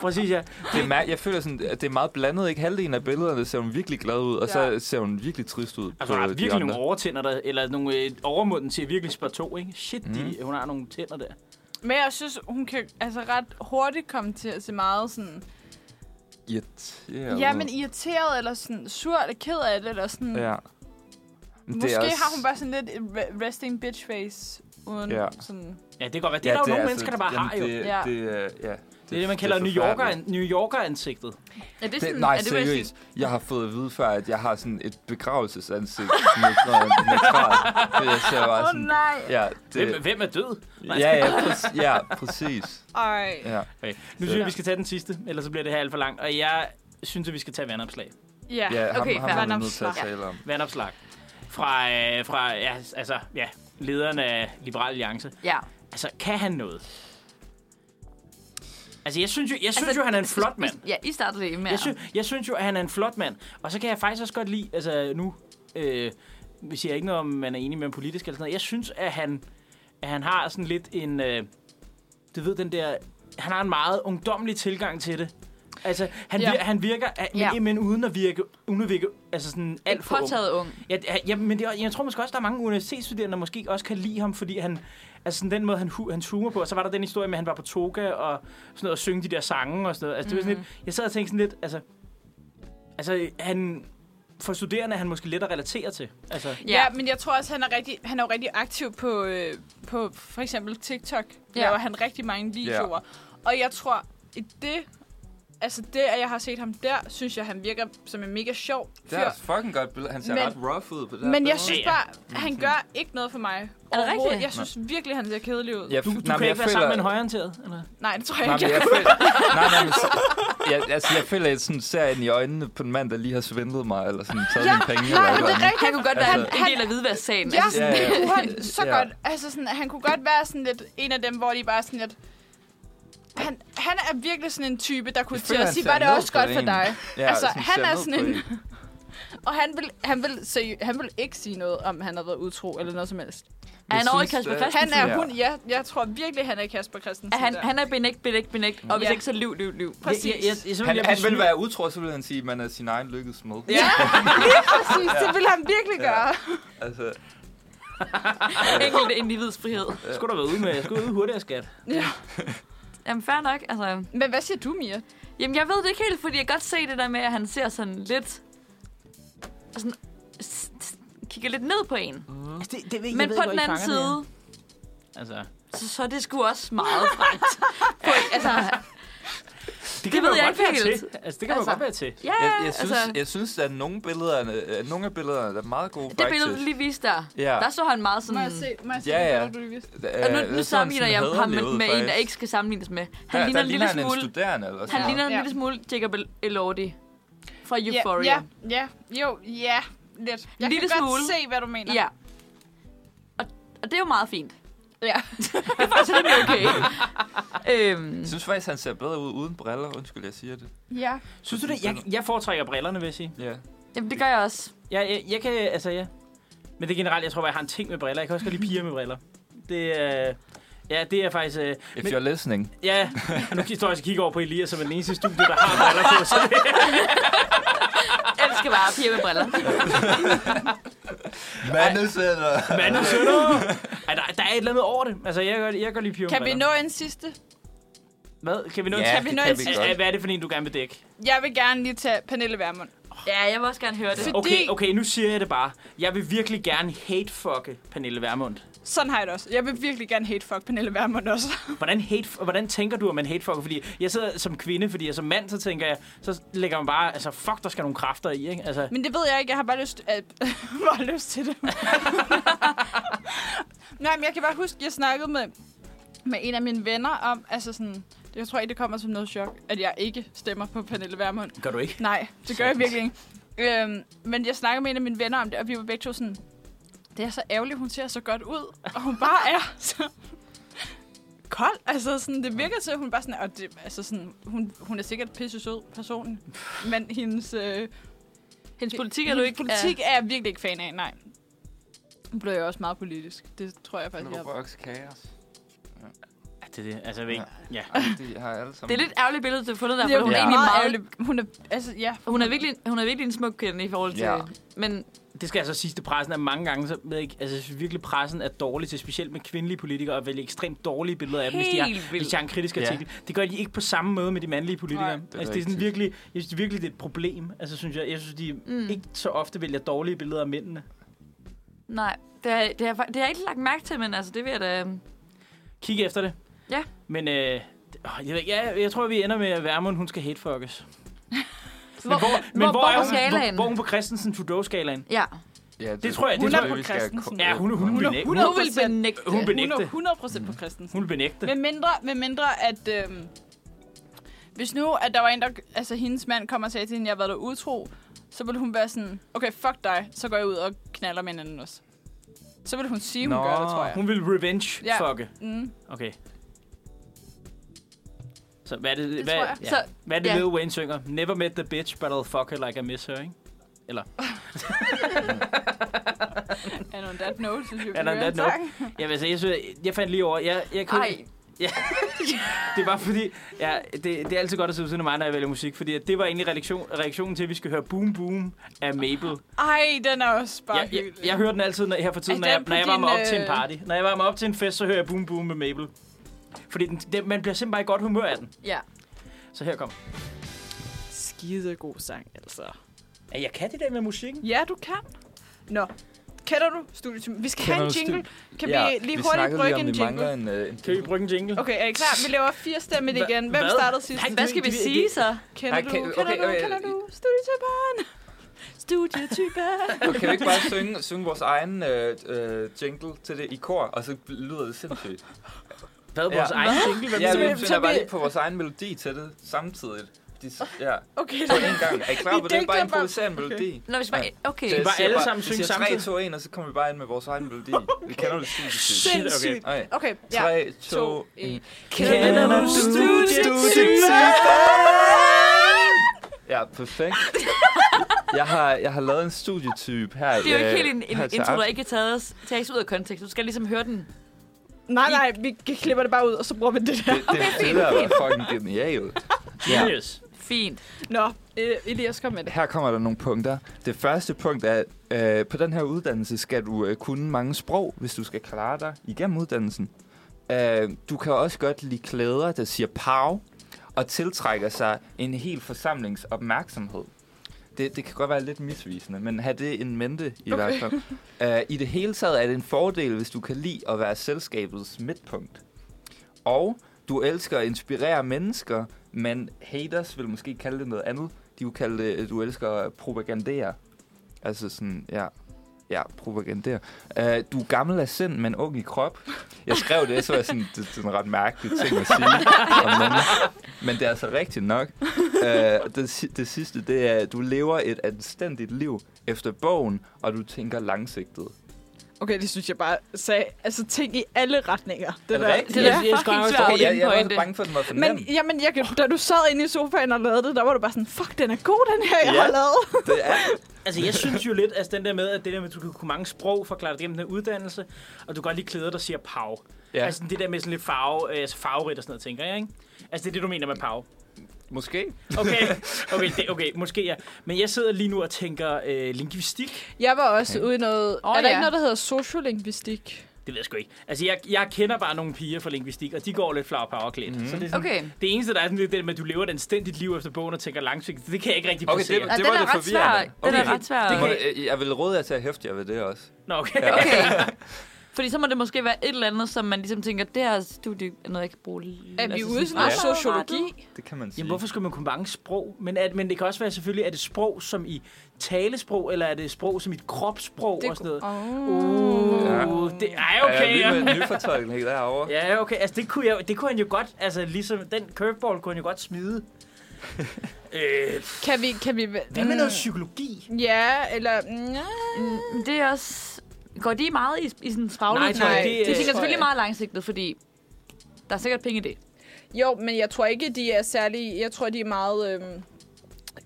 S1: Præcis, ja.
S4: Det er, mær- jeg føler, sådan, at det er meget blandet. Ikke? Halvdelen af billederne ser hun virkelig glad ud, og
S3: Ja.
S4: så ser hun virkelig trist ud.
S1: Altså,
S4: på
S1: hun har
S4: de
S1: virkelig
S4: andre.
S1: nogle overtænder, der, eller nogle øh, overmunden til virkelig spar to, ikke? Shit, de, hun har nogle tænder der.
S3: Men jeg synes, hun kan altså ret hurtigt komme til at se meget sådan...
S4: Irriteret.
S3: Ja, men irriteret, eller sådan sur, eller ked af det, eller sådan...
S4: Ja. Men
S3: Måske også... har hun bare sådan lidt et re- resting bitch face, uden
S4: Ja.
S3: ja. sådan...
S1: Ja, det kan godt være. Det er der jo nogle mennesker, der bare har, jo. Det,
S4: altså- Det,
S3: Ja.
S4: det, øh, ja.
S1: det er det, man kalder New, Yorker, New Yorker-ansigtet.
S2: Er det
S4: Det,
S2: sådan,
S4: nej,
S2: er det, hvad jeg siger?
S4: seriøst. Jeg har fået at vide før, at jeg har sådan et begravelsesansigt. Neutralt. Det ser bare sådan...
S3: nej!
S4: Ja,
S1: Hvem,
S4: det,
S1: hvem er død? Nej.
S4: ja, ja, præcis, ja, præcis.
S3: Ej. Ja.
S4: Ja,
S1: Okay. Nu synes jeg, vi skal tage den sidste, ellers så bliver det her alt for langt. Og jeg synes, at vi skal tage vandopslag.
S3: ja.
S4: ja ham,
S2: Okay,
S4: ham
S2: fair
S4: er vi
S3: nok.
S4: nødt til at
S3: Ja.
S4: tale om.
S1: Vandopslag. Fra, øh, fra ja, altså, ja, lederen af Liberal Alliance.
S2: Ja.
S1: Altså, kan han noget? Altså, jeg synes jo, jeg synes
S2: Altså,
S1: altså, jo han er en
S2: I-
S1: flot mand.
S2: I- Ja, I startede det med
S1: Jeg, sy- jeg synes jo, at han er en flot mand. Og så kan jeg faktisk også godt lide, altså nu, øh, vi siger ikke noget om, man er enig med ham politisk eller sådan noget. Jeg synes, at han, at han har sådan lidt en, øh, du ved den der, han har en meget ungdomlig tilgang til det. Altså, han,
S3: Ja.
S1: ja. vir- han virker, a- men,
S2: Ja.
S1: ja. men uden at virke, uden at virke altså sådan alt
S2: Ikke
S1: for ung.
S2: påtaget ung.
S1: Ja, ja, ja, men det, er- jeg tror måske også, der er mange universitetsstuderende, der måske ikke også kan lide ham, fordi han, altså sådan den måde, han, hu- hans humor på, og så var der den historie med, at han var på toga og sådan noget, og synge de der sange og sådan noget. Altså, det var
S2: Mhm.
S1: sådan lidt, jeg sad og tænkte sådan lidt, altså, altså han, for studerende er han måske let at relatere til. Altså,
S3: Ja, men jeg tror også, han er, rigtig, han er jo rigtig aktiv på, øh, på for eksempel TikTok.
S2: Ja.
S3: Ja. Laver han rigtig mange videoer. Ja. Og jeg tror, i det, altså det, at jeg har set ham der, synes jeg, han virker som en mega sjov fyr.
S4: Det er også fucking godt billede. Han ser
S3: Men-
S4: ret rough ud på det Mm-hmm. her
S3: Men jeg
S4: billede.
S3: synes
S1: Ja,
S3: bare, han gør ikke noget for mig.
S2: det
S3: overhovedet.
S2: rigtigt?
S3: Jeg synes virkelig, han ser kedelig ud.
S4: Jeg,
S1: du, du
S4: nej,
S1: kan
S4: men
S1: ikke
S4: jeg
S1: være
S4: føler,
S1: sammen med en højorienteret, eller?
S3: Nej, det tror jeg
S4: Nej,
S3: ikke.
S4: men jeg føler, nej, nej, men, så- jeg, altså, jeg føler, at jeg sådan ser ind i øjnene på en mand, der lige har svindlet mig, eller sådan taget
S3: Ja,
S4: mine penge.
S3: nej,
S4: eller
S3: men det
S4: noget.
S3: er rigtigt.
S2: Han kunne godt være
S4: Altså-
S2: en del af hvidværdssagen.
S3: Ja,
S2: Altså,
S4: Ja,
S3: det
S4: ja.
S3: kunne han så
S4: Ja.
S3: godt. Altså sådan, han kunne godt være sådan lidt en af dem, hvor de bare sådan lidt... Han, han er virkelig sådan en type, der kunne
S4: Jeg
S3: til
S4: føler,
S3: at
S4: han
S3: sige,
S4: ser
S3: var det
S4: ned
S3: også
S4: på
S3: godt for
S4: en.
S3: dig?
S4: Ja,
S3: Altså,
S4: sådan
S3: han
S4: ser
S3: er
S4: ned
S3: sådan
S4: på
S3: en- Og han vil, han, vil, sige, han vil ikke sige noget, om han har været utro eller noget som helst.
S2: er Altså, han
S4: Jeg
S2: over i
S4: synes,
S2: Kasper
S4: det-
S2: Christensen?
S3: Han er
S4: Ja.
S3: hun, ja, jeg tror virkelig, han er Kasper Christensen.
S2: Er han,
S3: der.
S2: han er benægt, benægt, benægt. Og hvis
S3: Ja.
S2: ikke, så liv, liv, liv.
S3: Præcis.
S1: Jeg, jeg, jeg, jeg,
S4: Han,
S1: jeg,
S4: han vil være utro, så vil han sige, at man er sin egen lykkes med.
S3: Ja, lige præcis. Det vil han virkelig gøre.
S4: Altså,
S2: Enkelte individs frihed.
S1: Skulle du være ude med, skulle ude hurtigere, skat.
S2: Jamen, fair nok. Altså,
S3: Men hvad siger du, Mia?
S2: Jamen, jeg ved det ikke helt, fordi jeg kan godt se det der med, at han ser sådan lidt... og Sådan, s- s- kigger lidt ned på en.
S1: Altså, det, det, ved,
S2: Men på den anden side,
S1: Altså,
S2: så, så er det sgu også meget frankt. på, altså,
S1: det
S2: ved
S1: kan man jo
S2: jeg
S1: godt
S2: ikke
S1: være
S2: helt.
S1: til. Altså, det kan man jo
S2: Altså-
S1: godt være til.
S2: ja,
S4: jeg, jeg, synes,
S2: altså,
S4: jeg synes, at nogle, billederne, øh, nogle af billederne der er meget gode,
S2: det
S4: faktisk.
S2: billede, du lige viste der,
S4: Ja.
S2: der så han meget sådan...
S3: må jeg
S4: se, Ja, ja. hvad du Øh,
S2: Og nu, nu sammenligner jeg ham med, med en, der ikke skal
S4: skal...
S2: sammenlignes med. Han
S4: Han
S2: ligner
S4: der,
S2: en lille
S4: ligner han en
S2: smule...
S4: studerende, eller sådan
S2: Han ligner en
S3: Ja.
S2: lille smule Jacob El- Elordi fra
S3: Ja,
S2: Euphoria.
S3: ja, ja, jo, ja, lidt. Jeg
S2: Lille
S3: kan
S2: smule.
S3: godt se, hvad du mener.
S2: Ja. Og, og det er jo meget fint.
S3: Ja.
S2: så det er okay. øhm,
S4: Jeg synes faktisk, han ser bedre ud uden briller. Undskyld, jeg siger det.
S3: ja.
S1: Synes du det? Jeg, jeg foretrækker brillerne, vil jeg sige.
S4: Ja.
S2: jamen, det gør jeg også.
S1: Jeg, jeg, jeg kan, altså ja. Men det er generelt, jeg tror, jeg har en ting med briller. Jeg kan også godt lide piger med briller. Det er... Øh, ja, det er faktisk... Øh,
S4: If
S1: men,
S4: you're listening.
S1: ja, nu står jeg og kigger over på Elias, som er den eneste studie, der har briller på. Så det,
S2: Jeg elsker bare piger med briller.
S4: Mandesætter!
S1: man er sønder. Ej, der, der er et eller andet over det. Altså, jeg kan godt- jeg kan godt lide piger
S3: Kan
S1: med
S3: vi
S1: briller.
S3: nå en sidste?
S1: Hvad? Kan vi nå?
S4: Ja,
S1: Ja.
S3: vi
S4: det
S3: nå
S4: kan
S3: en
S4: vi
S3: sidste?
S4: godt.
S1: Hvad er det for en, du gerne vil dække?
S3: Jeg vil gerne lige tage Pernille Vermund.
S2: Ja, jeg vil også gerne høre det.
S3: Fordi-
S1: Okay, okay, nu siger jeg det bare. Jeg vil virkelig gerne hatefucke Pernille Vermund.
S3: Sådan har jeg det også. Jeg vil virkelig gerne hate fuck Pernille Vermund også.
S1: Hvordan, hate, hvordan tænker du, at man hatefucker? Fordi jeg sidder som kvinde, fordi jeg som mand, så tænker jeg, så lægger man bare, altså fuck, der skal nogle kræfter i, ikke? Altså,
S3: Men det ved jeg ikke. Jeg har bare lyst, øh, bare lyst til det. Nej, men jeg kan bare huske, jeg snakkede med, med en af mine venner om, altså sådan, jeg tror ikke, det kommer som noget chok, at jeg ikke stemmer på Pernille Vermund.
S1: gør du ikke?
S3: Nej, det gør jeg virkelig ikke. Øhm, men jeg snakkede med en af mine venner om det, og vi var begge to sådan, det er så ærgerligt, hun ser så godt ud, og hun bare er så kold. Altså, sådan, det virker til, at hun bare sådan, og det, altså sådan, hun, hun er sikkert pisse sød person, men hendes, øh,
S2: Hendes politik er du ikke...
S3: politik er jeg virkelig ikke fan af, nej. Nu blev jeg også meget politisk. Det tror jeg faktisk, jeg
S4: Robux Chaos.
S1: Ja, det er det. Altså, jeg ved ikke. Ja.
S4: Ej, de har alle
S2: Ja.
S4: sammen...
S2: Det er lidt ærgerligt billede, du har fundet der,
S3: Det er
S2: for
S3: jo
S2: hun er
S4: Ja.
S2: egentlig
S3: meget
S2: meget...
S3: ærgerlig. Hun er, altså, ja.
S2: Hun er, virkelig, hun er virkelig en smuk kvinde i forhold til...
S4: Ja.
S2: Men
S1: Det skal altså siges til pressen, at mange gange, så ved jeg ikke, altså jeg synes virkelig pressen er dårlig til, specielt med kvindelige politikere, at vælge ekstremt dårlige billeder af dem, hvis de,
S2: Helt
S1: har,
S2: vildt.
S1: hvis de har en kritisk
S4: Ja.
S1: artikel. Det gør de ikke på samme måde med de mandlige politikere.
S3: Nej,
S1: Nej,
S3: det
S1: det
S4: er
S1: altså, det er sådan
S4: rigtigt.
S1: virkelig, jeg synes virkelig, det er et problem. Altså, synes jeg, jeg synes, de mm. ikke så ofte vælger dårlige billeder af mændene.
S2: nej, det har, det, har, det har jeg ikke lagt mærke til, men altså, det vil jeg da...
S1: Kig efter det.
S2: Ja.
S1: Men øh, det- åh, jeg, ved ikke, ja, jeg tror, vi ender med, at Vermund, hun skal hatefuckes. Men hvor, men hvor,
S2: hvor
S1: er
S2: på
S1: hun,
S2: skalaen?
S1: Hvor, hvor er hun på Christensen Trudeau-skalaen?
S2: Ja.
S4: Ja,
S1: Det tror jeg, det
S3: Hun
S1: tror
S3: er
S1: jeg.
S3: på
S4: vi skal
S3: Christensen.
S4: ko-
S1: Ja, hun, hun, hun,
S3: Hun er
S1: hun, hun,
S2: Hun vil benægte.
S1: hun
S3: Hun
S1: benægte.
S3: er 100% på Christensen.
S1: Hun vil benægte.
S3: Med mindre, med mindre at... Øhm, hvis nu, at der var en, der, altså hendes mand kom og sagde til hende, jeg har været der utro, så ville hun være sådan, okay, fuck dig, så går jeg ud og knaller med en anden også. Så ville hun sige, hun gør det, tror jeg.
S1: Hun vil revenge-fucke.
S3: Mm.
S1: Okay. Så hvad er det,
S3: Det
S1: hvad,
S3: tror jeg.
S1: Ja.
S2: Så,
S1: hvad er det
S2: ja.
S1: Lil Wayne synger? Never met the bitch, but I'll fuck her like I miss her, ikke?
S3: And on that note, synes jeg, vi
S1: And on
S3: hører en
S1: that note.
S3: sang.
S1: Jamen, altså, jeg, synes, jeg fandt lige over, jeg, jeg kunne,
S2: ej,
S1: Det var fordi, ja, det, det er altid godt at sidde ved siden af mig, når jeg vælger musik, fordi at det var egentlig reaktion, reaktionen til, at vi skal høre Boom Boom af Mabel.
S3: Ej, den er også bare
S1: Jeg, jeg,
S3: hyggelig.
S1: jeg hører den altid når, her for tiden, når
S3: Er
S1: jeg,
S3: den på
S1: når jeg varmer
S3: din,
S1: op til en
S3: øh,
S1: party. Når jeg varmer op til en fest, så hører jeg Boom Boom med Mabel. Fordi den, den, man bliver simpelthen bare i godt humør af den.
S2: ja.
S1: Så her kom.
S3: Skide god sang, altså.
S1: Ja, jeg kan det der med musikken.
S3: Ja, du kan. Nå, kender du studietim? Vi skal
S4: Kender
S3: have en
S4: du
S3: jingle. Kan vi lige
S4: vi
S3: hurtigt
S4: snakkede
S3: brygge
S4: om,
S3: en
S4: vi mangler
S3: jingle?
S4: en, øh, en
S1: Kan vi bruge en jingle?
S3: Okay, er I klar? Vi laver fire stemmer
S1: Hva-
S3: igen. Hvem
S1: hvad?
S3: startede sidst?
S2: Hvad skal vi sige så?
S3: Kender
S4: Ej,
S3: du,
S4: kan-
S3: kender
S4: okay,
S3: du,
S4: okay,
S3: kender du studietyperen? studietyperen.
S4: Og kan vi ikke bare synge, synge vores egen øh, øh, jingle til det i kor, og så lyder det sindssygt?
S1: Hvad vores
S4: Ja.
S1: egen jingle? Hvad
S4: Ja,
S1: mener
S4: vi
S1: du?
S4: finder
S3: så
S4: bare
S3: vi-
S4: lige på vores egen melodi til det samtidig. De, s- ja,
S3: Okay,
S4: på en gang. Er I klar
S3: Vi
S4: på det? Bare
S3: digter bare-
S4: improvisere en melodi.
S2: Nå, hvis bare... Okay.
S4: Så jeg
S1: bare
S4: siger
S1: alle sammen
S4: vi
S1: synge
S4: siger
S1: samtidig?
S4: 3, 2, 1, og så kommer vi bare ind med vores egen melodi. Vi kender det sindssygt.
S3: sindssygt.
S4: Okay.
S3: Okay, ja.
S4: 3,
S3: To,
S4: 2, 1.
S1: Kender du
S4: Ja, perfekt. Jeg har, jeg har lavet en studietype her. øh,
S2: Det er jo ikke helt en,
S4: her
S2: en
S4: til
S2: intro, der
S4: aften.
S2: ikke er taget, os- tages ud af kontekst. Du skal ligesom høre den.
S3: Nej, nej, vi klipper det bare ud, og så bruger vi det der.
S4: Det, det, det der var fucking genialt. Ja.
S1: Genius.
S2: Fint.
S3: Nå, øh, Elias, kom med det.
S4: Her kommer der nogle punkter. Det første punkt er, øh, på den her uddannelse skal du øh, kunne mange sprog, hvis du skal klare dig igennem uddannelsen. Øh, du kan også godt lide klæder, der siger pav, og tiltrækker sig en hel forsamlings opmærksomhed. Det, det kan godt være lidt misvisende, men have det en mente i okay. hvert fald. Øh, I det hele taget er det en fordel, hvis du kan lide at være selskabets midtpunkt. Og du elsker at inspirere mennesker, men haters vil måske kalde det noget andet. De vil kalde det, at du elsker at propagandere. Altså sådan, ja, ja propagandere. Uh, du er gammel af sind, men ung i krop. Jeg skrev det, så var jeg sådan, det, det er en ret mærkelig ting at sige. om nogen. men det er altså rigtigt nok. Uh, det, si- det sidste, det er, at du lever et anstændigt liv efter bogen, og du tænker langsigtet.
S3: Okay, det synes jeg bare sagde. Altså, tænk i alle retninger. Det,
S4: det
S3: der.
S4: rigtigt?
S2: Det
S1: Jeg-
S2: er
S1: jeg skal
S2: fucking
S1: nok
S2: svært.
S1: stå-
S4: Okay, jeg, jeg var
S2: pointe.
S4: så bange for, at den var for nem.
S3: Men, jamen, jeg, kan- da du sad inde i sofaen og lavede det, der var du bare sådan, fuck, den er god, den her, jeg
S4: Ja.
S3: har lavet.
S4: Det er,
S1: Altså, jeg synes jo lidt, at altså, den der med, at det der med, at du kan kunne mange sprog, forklare dig gennem den her uddannelse, og du kan godt lige klæder der siger pav. Ja.
S4: ja,
S1: Altså, det der med sådan lidt farve, øh, altså farverigt og sådan noget, tænker jeg, ikke? Altså, det er det, du mener med pav.
S4: måske.
S1: Okay, okay, det, okay, måske ja. Men jeg sidder lige nu og tænker øh, linguistik.
S3: Jeg var også okay. ude i noget...
S2: Åh,
S3: er der
S2: ja.
S3: ikke noget, der hedder sociolinguistik?
S1: Det ved jeg sgu ikke. Altså, jeg, jeg kender bare nogle piger fra linguistik, og de går lidt flowerpowerklædt. Mm-hmm. Så det er sådan,
S2: Okay.
S1: Det eneste, der er sådan lidt det med, at du lever et anstændigt liv efter bogen og tænker langsigtet, det kan jeg ikke rigtig
S4: Okay,
S1: placere.
S2: Nej,
S4: Det
S2: den
S4: var
S2: er
S4: lidt
S2: ret svær.
S4: forvirrende.
S2: Den er
S4: Okay.
S2: ret svær.
S4: Det må, jeg, jeg vil råde jer til at hæfte jer ved det også.
S1: Nå, okay. Ja.
S2: Okay. Fordi så må det måske være et eller andet, som man ligesom tænker, det her studie er noget, jeg kan bruge.
S3: Er vi ude i Altså, sådan noget
S4: fremadrettet.
S3: sociologi?
S4: Det kan man sige. Øh,
S1: Jamen, hvorfor skulle man kunne mange sprog? Men, at, men det kan også være selvfølgelig, er det sprog som i talesprog, eller er det sprog som i et kropssprog
S3: Det
S1: og sådan noget?
S3: Oh.
S4: Ja.
S1: Uh, det, ej,
S4: Okay, ja. Er
S1: okay.
S4: lige med en nyfortolkning derovre. Ja.
S1: Ja, okay. Altså, det kunne, jeg, det kunne han jo godt, altså ligesom den curveball kunne han jo godt smide. øh,
S3: Kan vi... Kan vi Mm.
S1: hvad med noget psykologi?
S3: Ja, eller... Mm. Ja.
S2: Men det er også... Går de meget i, i sådan
S1: Nej,
S2: faglige?
S1: tror jeg, det er-
S2: det tænker
S3: tror jeg.
S2: selvfølgelig meget langsigtet, fordi der er sikkert penge i det.
S3: Jo, men jeg tror ikke, de er særlig... Jeg tror, de er meget øhm,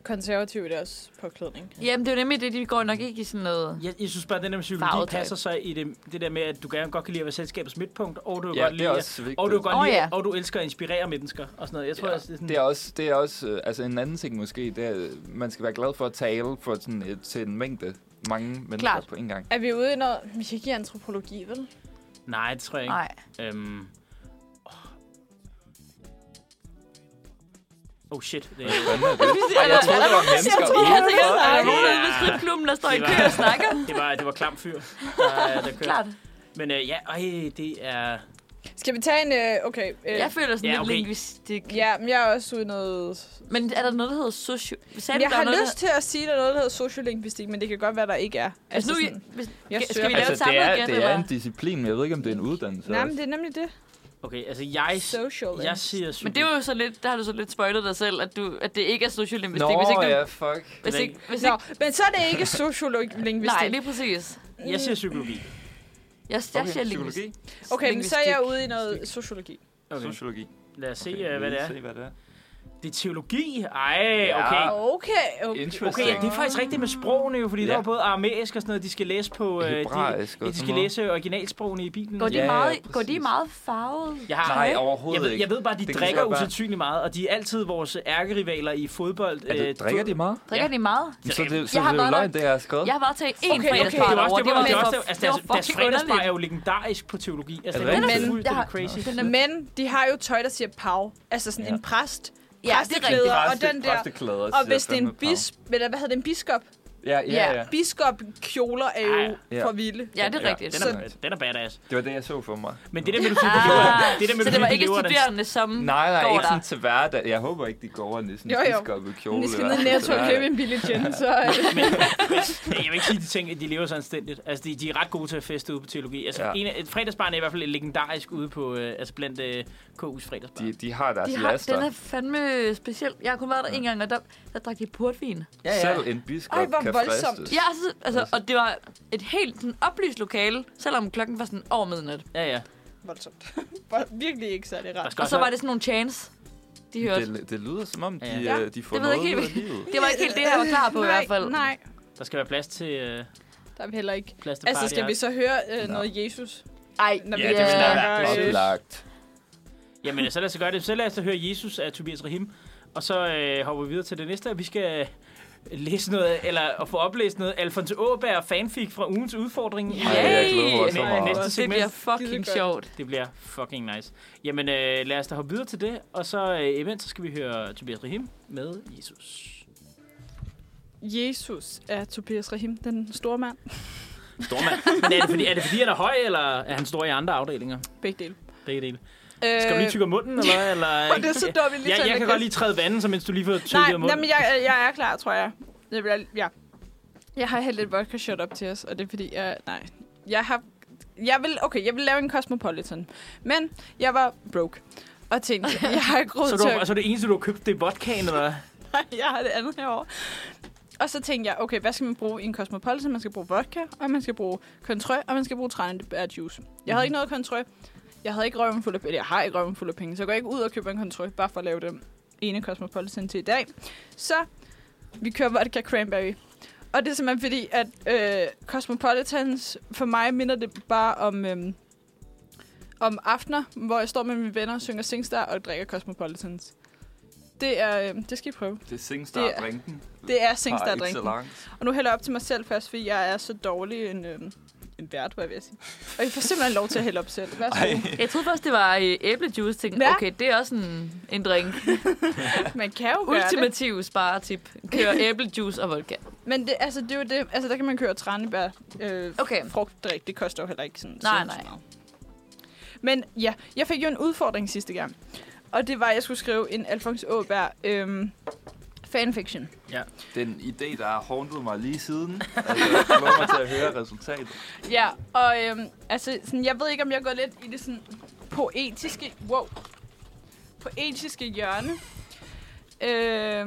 S3: konservative i deres påklædning.
S2: Jamen, det er jo nemlig det, de går nok ikke i sådan noget...
S1: Jeg, jeg synes bare, at den der med psykologi
S2: Farvetøj.
S1: passer sig i det, det der med, at du gerne godt kan lide at være selskabets midtpunkt, og du
S4: Ja,
S1: godt
S4: det
S1: lide,
S4: er også vigtigt.
S1: og du godt
S2: Åh,
S1: lide,
S2: ja.
S1: og du elsker at inspirere mennesker og sådan noget. Jeg tror,
S4: Ja,
S1: også, det er sådan,
S4: Det er også, det er også øh, altså en anden ting måske, det er, øh, man skal være glad for at tale for sådan et, til en mængde mange mennesker
S2: Klart.
S4: på en gang.
S3: Er vi ude i noget... Vi kan ikke i antropologi, vel?
S1: Nej, det tror jeg ikke.
S2: Nej.
S1: Øhm. åh. Oh shit. Det,
S4: Ej, jeg troede, det var mennesker.
S2: Jeg tænker, der er
S1: Ja.
S2: nogen ude ved stripklubben, der står i
S1: Det
S2: kø
S1: var-
S2: og snakker.
S1: det var, det var klam fyr, der, der kørte.
S2: Klart.
S1: Men øh, ja, øj, det er...
S3: Skal vi tage en... Øh, okay. Øh,
S2: Jeg føler sådan
S1: Ja,
S2: lidt
S1: okay.
S2: linguistik.
S3: ja, men jeg er også ude i noget...
S2: Men er der noget, der hedder socio... Sagde
S3: Men
S2: du,
S3: jeg
S2: der er
S3: har
S2: noget,
S3: lyst til at sige, der er noget, der hedder sociolinguistik, men det kan godt være, der ikke er.
S2: Der... Altså, nu,
S3: sådan-
S2: hvis,
S3: Jeg
S2: skal,
S3: søger-
S2: skal vi lave
S4: Altså,
S2: et
S4: det
S2: samlet
S4: er,
S2: gæt,
S4: det
S2: eller
S4: er
S2: hvad?
S4: en disciplin, men jeg ved ikke, om det er en uddannelse
S3: Nej,
S4: også.
S3: men det er nemlig det.
S1: Okay, altså jeg...
S3: Social.
S1: Jeg siger psykologi.
S2: Men det er jo så lidt, der har du så lidt spøjlet dig selv, at, du, at det ikke er sociolinguistik,
S4: Nå,
S2: hvis ikke du...
S4: ja, fuck.
S2: Hvis ikke, hvis
S3: Nå,
S2: ikke,
S3: men så er det ikke
S2: nej,
S3: sociolinguistik.
S2: lige præcis.
S1: Jeg siger psykologi.
S2: Jeg, jeg siger linguistik.
S4: psykologi.
S3: Okay, men så er jeg
S2: linguistik.
S3: ude i noget sociologi.
S1: Okay.
S4: Sociologi.
S1: Lad os se,
S4: Okay,
S1: okay, hvad
S4: vi
S1: det
S4: vil
S1: er.
S4: Se, hvad det er.
S1: Det er teologi? Ej,
S4: Ja.
S1: okay.
S3: Okay, okay.
S1: Okay,
S4: Interesting.
S1: det er faktisk rigtigt med sprogene jo, fordi ja.
S4: Ja.
S1: der er både aramæisk og sådan noget, de skal læse på... øh,
S4: Hebraisk
S1: de,
S4: og
S1: ja, de
S4: sådan
S1: skal
S4: noget.
S1: læse originalsprogene i Bibelen.
S2: Går de,
S4: Ja, ja,
S2: meget, går de
S4: præcis.
S2: meget farvet?
S1: Jeg har,
S4: Nej,
S1: jeg
S4: overhovedet
S1: ved,
S4: ikke.
S1: jeg ved bare, at de
S4: Det
S1: det
S4: kan
S1: drikker
S4: godt være.
S1: usandsynligt meget, og de er altid vores ærkerivaler i fodbold. Øh,
S4: Er det, drikker de meget?
S2: Drikker de meget?
S4: Så det, så
S2: Jeg har
S4: det er
S2: været
S4: jo løgn,
S2: der-
S4: det jeg har skrevet.
S2: Jeg har været til én okay,
S3: okay,
S1: Det
S2: fredagsbar
S1: var
S2: derovre.
S1: også, det var, det var,
S2: lidt
S1: også,
S2: for-
S1: altså,
S2: det var
S1: deres, deres
S2: fucking
S1: fredagsbar er
S2: underligt.
S1: jo legendarisk på teologi. Altså,
S4: Er
S1: det
S4: det
S1: er
S4: rigtigt?
S1: fuldstændig
S3: Men jeg har-
S1: crazy.
S2: Den er-
S3: Men de har jo tøj, der siger pav. Altså sådan
S4: Ja.
S3: en præst.
S2: Ja, det er rigtigt.
S3: Præsteklæder og den der.
S4: Præsteklæder
S3: Og
S4: siger
S3: hvis det er
S4: fandme
S3: en
S4: pau.
S3: bisp, eller hvad hedder det, en biskop?
S4: Ja, ja, ja.
S3: Biskopkjoler er jo
S4: Ja.
S3: for vilde.
S2: Ja, det er
S4: Ja.
S2: rigtigt.
S1: Den er, den er badass.
S4: Det var det, jeg så for mig.
S1: Men det der med, du siger, de lever,
S2: Ah,
S1: det der med,
S2: så
S1: du
S2: det
S1: siger,
S2: var
S1: de
S2: ikke
S1: lever den-
S2: studerende, som
S4: Nej, nej,
S2: Hm. går
S4: ikke
S2: der.
S4: sådan til hverdag. Jeg håber ikke, de går over i sådan
S3: Jo,
S4: en
S3: jo.
S4: biskop kjole.
S3: Men de skal
S4: hver
S3: ned i
S4: dag.
S3: Netto og købe en billig gin, så... øh,
S1: Ja, jeg vil ikke sige de ting, at de lever så anstændigt. Altså, de, de er ret gode til at feste ude på teologi. Altså,
S4: Ja.
S1: ja. en, af- et fredagsbarn er i hvert fald legendarisk ude på, øh, altså blandt øh, KU's fredagsbar.
S4: De, de har deres
S1: Altså,
S2: De
S4: de
S2: har,
S4: laster.
S2: den er fandme speciel. Jeg har kun været der en gang, og der, der drak de portvin.
S4: ja, ja. Selv en biskop
S3: Ej, hvor
S4: kan
S3: voldsomt.
S4: fristes.
S2: Ja, altså, altså, og det var et helt sådan, oplyst lokale, selvom klokken var sådan over midnat.
S1: Ja, ja.
S3: Voldsomt. Hvor- Virkelig ikke særlig
S1: Der
S3: rart.
S1: skal
S2: Og så
S1: også
S2: var det sådan nogle chants, de hørte. Det,
S4: Det, det lyder som om, de,
S1: Ja.
S4: ja. øh, de får
S2: Det ved jeg
S4: noget
S2: ikke
S4: ud af
S2: helt.
S4: livet.
S2: var ikke helt det, jeg var klar på
S3: nej,
S2: i hvert fald.
S3: Nej,
S1: være- der skal være plads til, øh,
S3: der er vi heller ikke.
S1: plads til
S3: Altså,
S1: party
S3: skal vi så høre øh, noget Jesus?
S2: Ej,
S3: Når
S1: Ja,
S3: vi
S1: det ville da
S3: snakker,
S1: være
S3: øh,
S4: Oplagt.
S1: Jamen, så lad os da gøre det. Så lad os da høre Jesus af Tobias Rahim. Og så øh, hopper vi videre til det næste. Vi skal øh, læse noget, eller at få oplæst noget Alfons Åberg fanfic fra ugens udfordring. i-
S2: Yay!
S4: Ej, jeg glæder mig så
S1: Næ-
S4: meget.
S1: Næste
S2: det
S1: segment.
S2: bliver fucking
S3: Skidegodt.
S2: sjovt.
S1: Det bliver fucking nice. Jamen, øh, lad os da hoppe videre til det. Og så øh, imens, så skal vi høre Tobias Rahim med Jesus.
S3: Jesus er Tobias Rahim, den store mand.
S1: Stormand. Men er det, fordi, er det fordi, han er høj, eller er han stor i andre afdelinger?
S3: Begge dele.
S1: Begge dele.
S3: Øh,
S1: Skal du lige tykke om munden, eller hvad? Eller...
S3: og det er så dumt, jeg lige
S1: jeg,
S3: tager
S1: jeg kan
S3: en kast.
S1: godt lige træde vandet, så mens du lige får tykket
S3: Nej,
S1: om
S3: nej,
S1: munden.
S3: men jeg, jeg er klar, tror jeg. Jeg, vil, ja. jeg har hældt et vodka shot op til os, og det er fordi, jeg, nej. Jeg har, jeg vil, okay, jeg vil lave en Cosmopolitan, men jeg var broke. Og tænkte, jeg har ikke råd
S1: Så,
S3: til
S1: du,
S3: at...
S1: så det eneste, du har købt, det er vodkaen, eller hvad?
S3: jeg har det andet herovre. Og så tænkte jeg, okay, hvad skal man bruge i en cosmopolitan? Man skal bruge vodka, og man skal bruge kontrø, og man skal bruge tranebærjuice. Jeg havde ikke noget kontrø. Jeg havde ikke røven fuld af, eller jeg har ikke røven fuld af penge, så jeg går ikke ud og køber en kontrø, bare for at lave den ene cosmopolitan til i dag. Så vi kører vodka cranberry. Og det er simpelthen fordi, at øh, Cosmopolitans, for mig minder det bare om, øh, om aftener, hvor jeg står med mine venner, synger Singstar og drikker Cosmopolitans. Det er, øh, det skal I prøve.
S4: Det er Singstar-drinken.
S3: Det er
S4: Har ikke så
S3: Singstar-drinken.
S4: langt.
S3: Og nu hælder jeg op til mig selv først, fordi jeg er så dårlig en, øh, en vært, var jeg ved at sige. Og I får simpelthen lov til at hælde op selv. Værsgo.
S2: Jeg troede først, det var øh, æblejuice. Tænkte,
S3: Ja.
S2: okay, det er også en, en drink.
S3: Man kan jo gøre det.
S2: Ultimativ sparetip. Kør æblejuice og vodka.
S3: Men det, altså, det er jo det. Altså, der kan man køre tranebær. Øh,
S2: Okay.
S3: Frugtdrik, det koster jo heller ikke sådan
S2: Nej,
S3: sindssygt
S2: nej.
S3: meget. Men ja, jeg fik jo en udfordring sidste gang. Og det var, at jeg skulle skrive en Alfons Åberg øh, fanfiction.
S4: Det er en idé, der har håndtet mig lige siden. Altså, jeg glæder mig til at høre resultatet.
S3: Ja, og øh, altså, sådan, jeg ved ikke, om jeg går lidt i det sådan poetiske... Wow. Poetiske hjørne. Øh,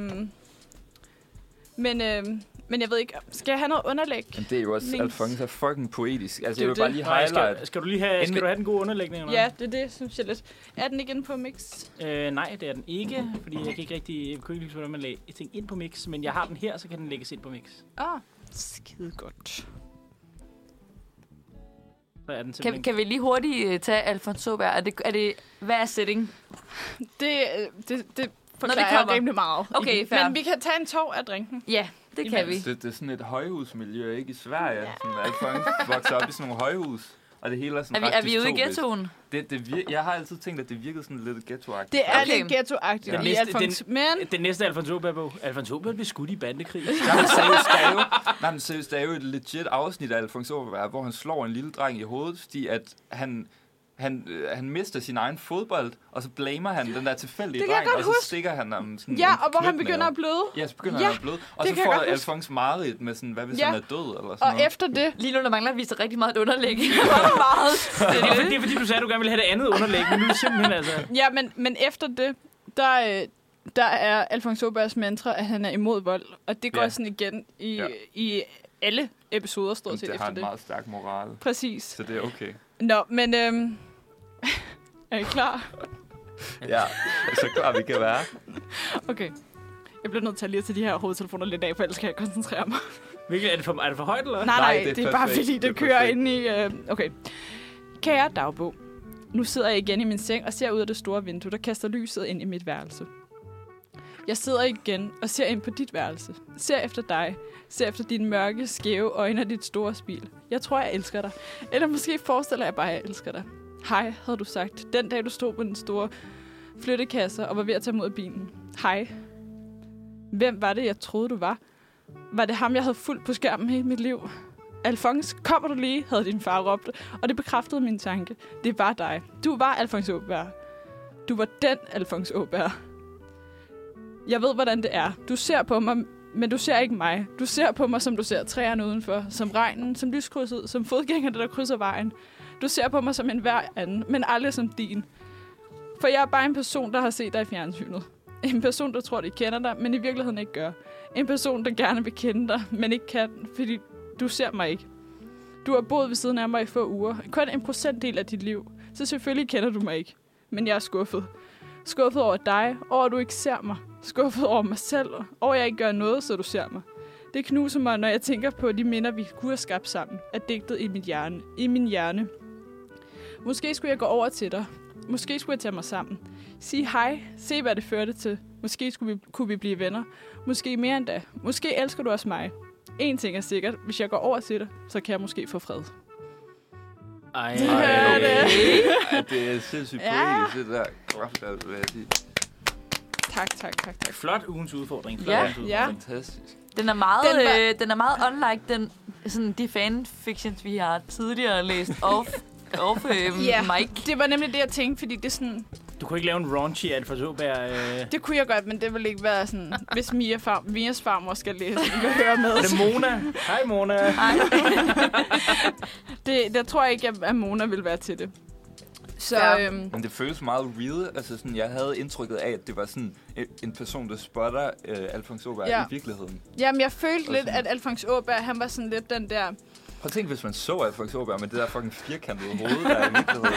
S3: men, øh, men jeg ved ikke, skal jeg have noget underlæg?
S4: Men det er jo også,
S3: Links.
S4: Alphonse er fucking poetisk. Altså,
S3: Det er
S4: jeg
S3: jo
S4: vil bare
S3: det.
S4: lige
S1: Nej, skal,
S4: highlight.
S1: skal, du lige have, skal
S4: Endelig.
S1: du have den gode underlægning? Eller?
S3: Ja, det er det, synes jeg lidt. Er den igen på mix?
S1: hvad? Øh, nej, det er den ikke, fordi jeg kan ikke rigtig jeg kunne ikke lide, hvordan man lagde ting ind på mix, men jeg har den her, så kan den lægges ind på mix.
S3: Ah, skide godt.
S1: Så er den simpelthen...
S2: Kan, kan vi lige hurtigt øh, tage Alfonso Bær? Er det, er det, hvad er setting?
S3: Det, øh, det, det
S2: det
S3: forklarer jeg
S2: kommer.
S3: rimelig meget.
S2: Okay, fair.
S3: Men vi kan tage en tår af drinken.
S2: Ja, det kan vi.
S4: Altså, Det, det er sådan et højhusmiljø, ikke? I Sverige. Sådan, Alphonse vokser op i sådan nogle højhus. Og det hele er sådan
S2: Er vi,
S4: ret
S2: er vi ude i
S4: dystopisk.
S2: ghettoen?
S4: Det, det vir- jeg har altid tænkt, at det virkede sådan lidt ghetto -agtigt.
S3: Det er
S2: Okay.
S3: lidt ghetto-agtigt
S1: Den
S3: i
S1: næste-
S3: Alfons, men
S1: Den næste Alfonso Åberg-bog. Alfonso Åberg blev skudt i bandekrig.
S4: Nej, men seriøst, der er jo, nej, men seriøst, der er jo et legit afsnit af Alfons Åberg, hvor han slår en lille dreng i hovedet, fordi at han, han, øh, han mister sin egen fodbold, og så blamer han den der tilfældige
S3: Det kan jeg
S4: dreng,
S3: godt
S4: og så
S3: huske.
S4: stikker han ham sådan
S3: ja,
S4: en
S3: og hvor han
S4: knytnæve.
S3: begynder at bløde.
S4: Ja, så begynder
S3: Ja,
S4: han at bløde. Og
S3: det
S4: så
S3: kan
S4: får
S3: jeg godt huske.
S4: Alfons Marit med sådan, hvad hvis
S3: Ja.
S4: han er død, eller sådan
S3: Og
S4: noget.
S3: efter det,
S2: Lige nu, der mangler vi så rigtig meget et underlæg. Hvor meget
S1: Det er,
S2: stille.
S1: fordi, det er fordi, du sagde, at du gerne ville have det andet underlæg, men nu er det simpelthen altså...
S3: ja, men, men efter det, der, øh, der er Alfons Åbergs mantra, at han er imod vold. Og det går
S4: Ja.
S3: sådan igen i,
S4: Ja.
S3: i alle episoder,
S4: Jamen,
S3: stort set,
S4: det har
S3: efter
S4: en
S3: det.
S4: meget stærk moral,
S3: Præcis.
S4: så det er okay.
S3: Nå, men øhm, er I klar?
S4: Ja, så klar vi kan være.
S3: Okay. Jeg bliver nødt til at lige tage de her hovedtelefoner lidt af, for ellers kan jeg koncentrere mig.
S1: Hvilket, er det for, er det for højt, eller hvad?
S3: Nej, nej,
S4: Nej,
S3: nej det,
S4: det er
S3: det er bare
S4: perfekt.
S3: fordi, det,
S4: Det er
S3: det kører
S4: perfekt.
S3: ind i... Øh, okay. Kære dagbog, nu sidder jeg igen i min seng og ser ud af det store vindue, der kaster lyset ind i mit værelse. Jeg sidder igen og ser ind på dit værelse. Ser efter dig. Ser efter dine mørke, skæve øjne og dit store smil. Jeg tror, jeg elsker dig. Eller måske forestiller jeg bare, at jeg elsker dig. Hej, havde du sagt, den dag du stod på den store flyttekasse og var ved at tage mod bilen. Hej. Hvem var det, jeg troede, du var? Var det ham, jeg havde fulgt på skærmen hele mit liv? Alfons, kommer du lige, havde din far råbt, og det bekræftede min tanke. Det var dig. Du var Alfons Åberg. Du var den Alfons Åberg. Jeg ved, hvordan det er. Du ser på mig, men du ser ikke mig. Du ser på mig, som du ser træerne udenfor, som regnen, som lyskrydset, som fodgængerne, der krydser vejen. Du ser på mig som en hver anden, men aldrig som din. For jeg er bare en person, der har set dig i fjernsynet. En person, der tror, de kender dig, men i virkeligheden ikke gør. En person, der gerne vil kende dig, men ikke kan, fordi du ser mig ikke. Du har boet ved siden af mig i få uger. Kun en procentdel af dit liv. Så selvfølgelig kender du mig ikke. Men jeg er skuffet. Skuffet over dig, over at du ikke ser mig. Skuffet over mig selv, over at jeg ikke gør noget, så du ser mig. Det knuser mig, når jeg tænker på de minder, vi kunne have skabt sammen, er digtet i min hjerne. I min hjerne. Måske skulle jeg gå over til dig. Måske skulle jeg tage mig sammen. Sige hej. Se, hvad det førte til. Måske skulle vi, kunne vi blive venner. Måske mere end da. Måske elsker du også mig. En ting er sikkert. Hvis jeg går over til dig, så kan jeg måske få fred.
S1: Ej,
S4: Ej,
S1: det.
S4: Ej, det er sindssygt
S3: Ja.
S4: poetisk, det der kraft, altså, vil jeg sige.
S3: Tak, tak, tak, tak.
S1: Flot ugens udfordring. Flot
S2: Ja.
S1: ugens udfordring.
S3: Ja.
S4: Fantastisk.
S2: Den er meget,
S3: Den
S2: den
S3: var-
S2: øh, den er meget unlike den, sådan de fanfictions, vi har tidligere læst off, off øh,
S3: Ja.
S2: yeah. Mike.
S3: Det var nemlig det, jeg tænkte, fordi det, er sådan,
S1: Du kunne ikke lave en raunchy Alfonso Åberg... Øh...
S3: det kunne jeg godt, men det ville ikke være sådan, hvis Mia far, Mias farmor skal læse, vi kan høre med.
S1: Er det Mona? Hej, Mona.
S2: Ej,
S3: Det, der tror jeg ikke, at- at Mona ville være til det. Så
S2: Ja.
S3: øhm,
S4: Men det føles meget real. Altså sådan, jeg havde indtrykket af, at det var sådan en- en person, der spotter øh, Alfons Åberg
S3: Ja.
S4: ja. i virkeligheden.
S3: jamen, jeg følte
S4: Og
S3: lidt,
S4: sådan-
S3: at Alfons Åberg, han var sådan lidt den der...
S4: Prøv at tænke, hvis man så Alfons Åberg med det der fucking firkantede hoved, der er i virkeligheden.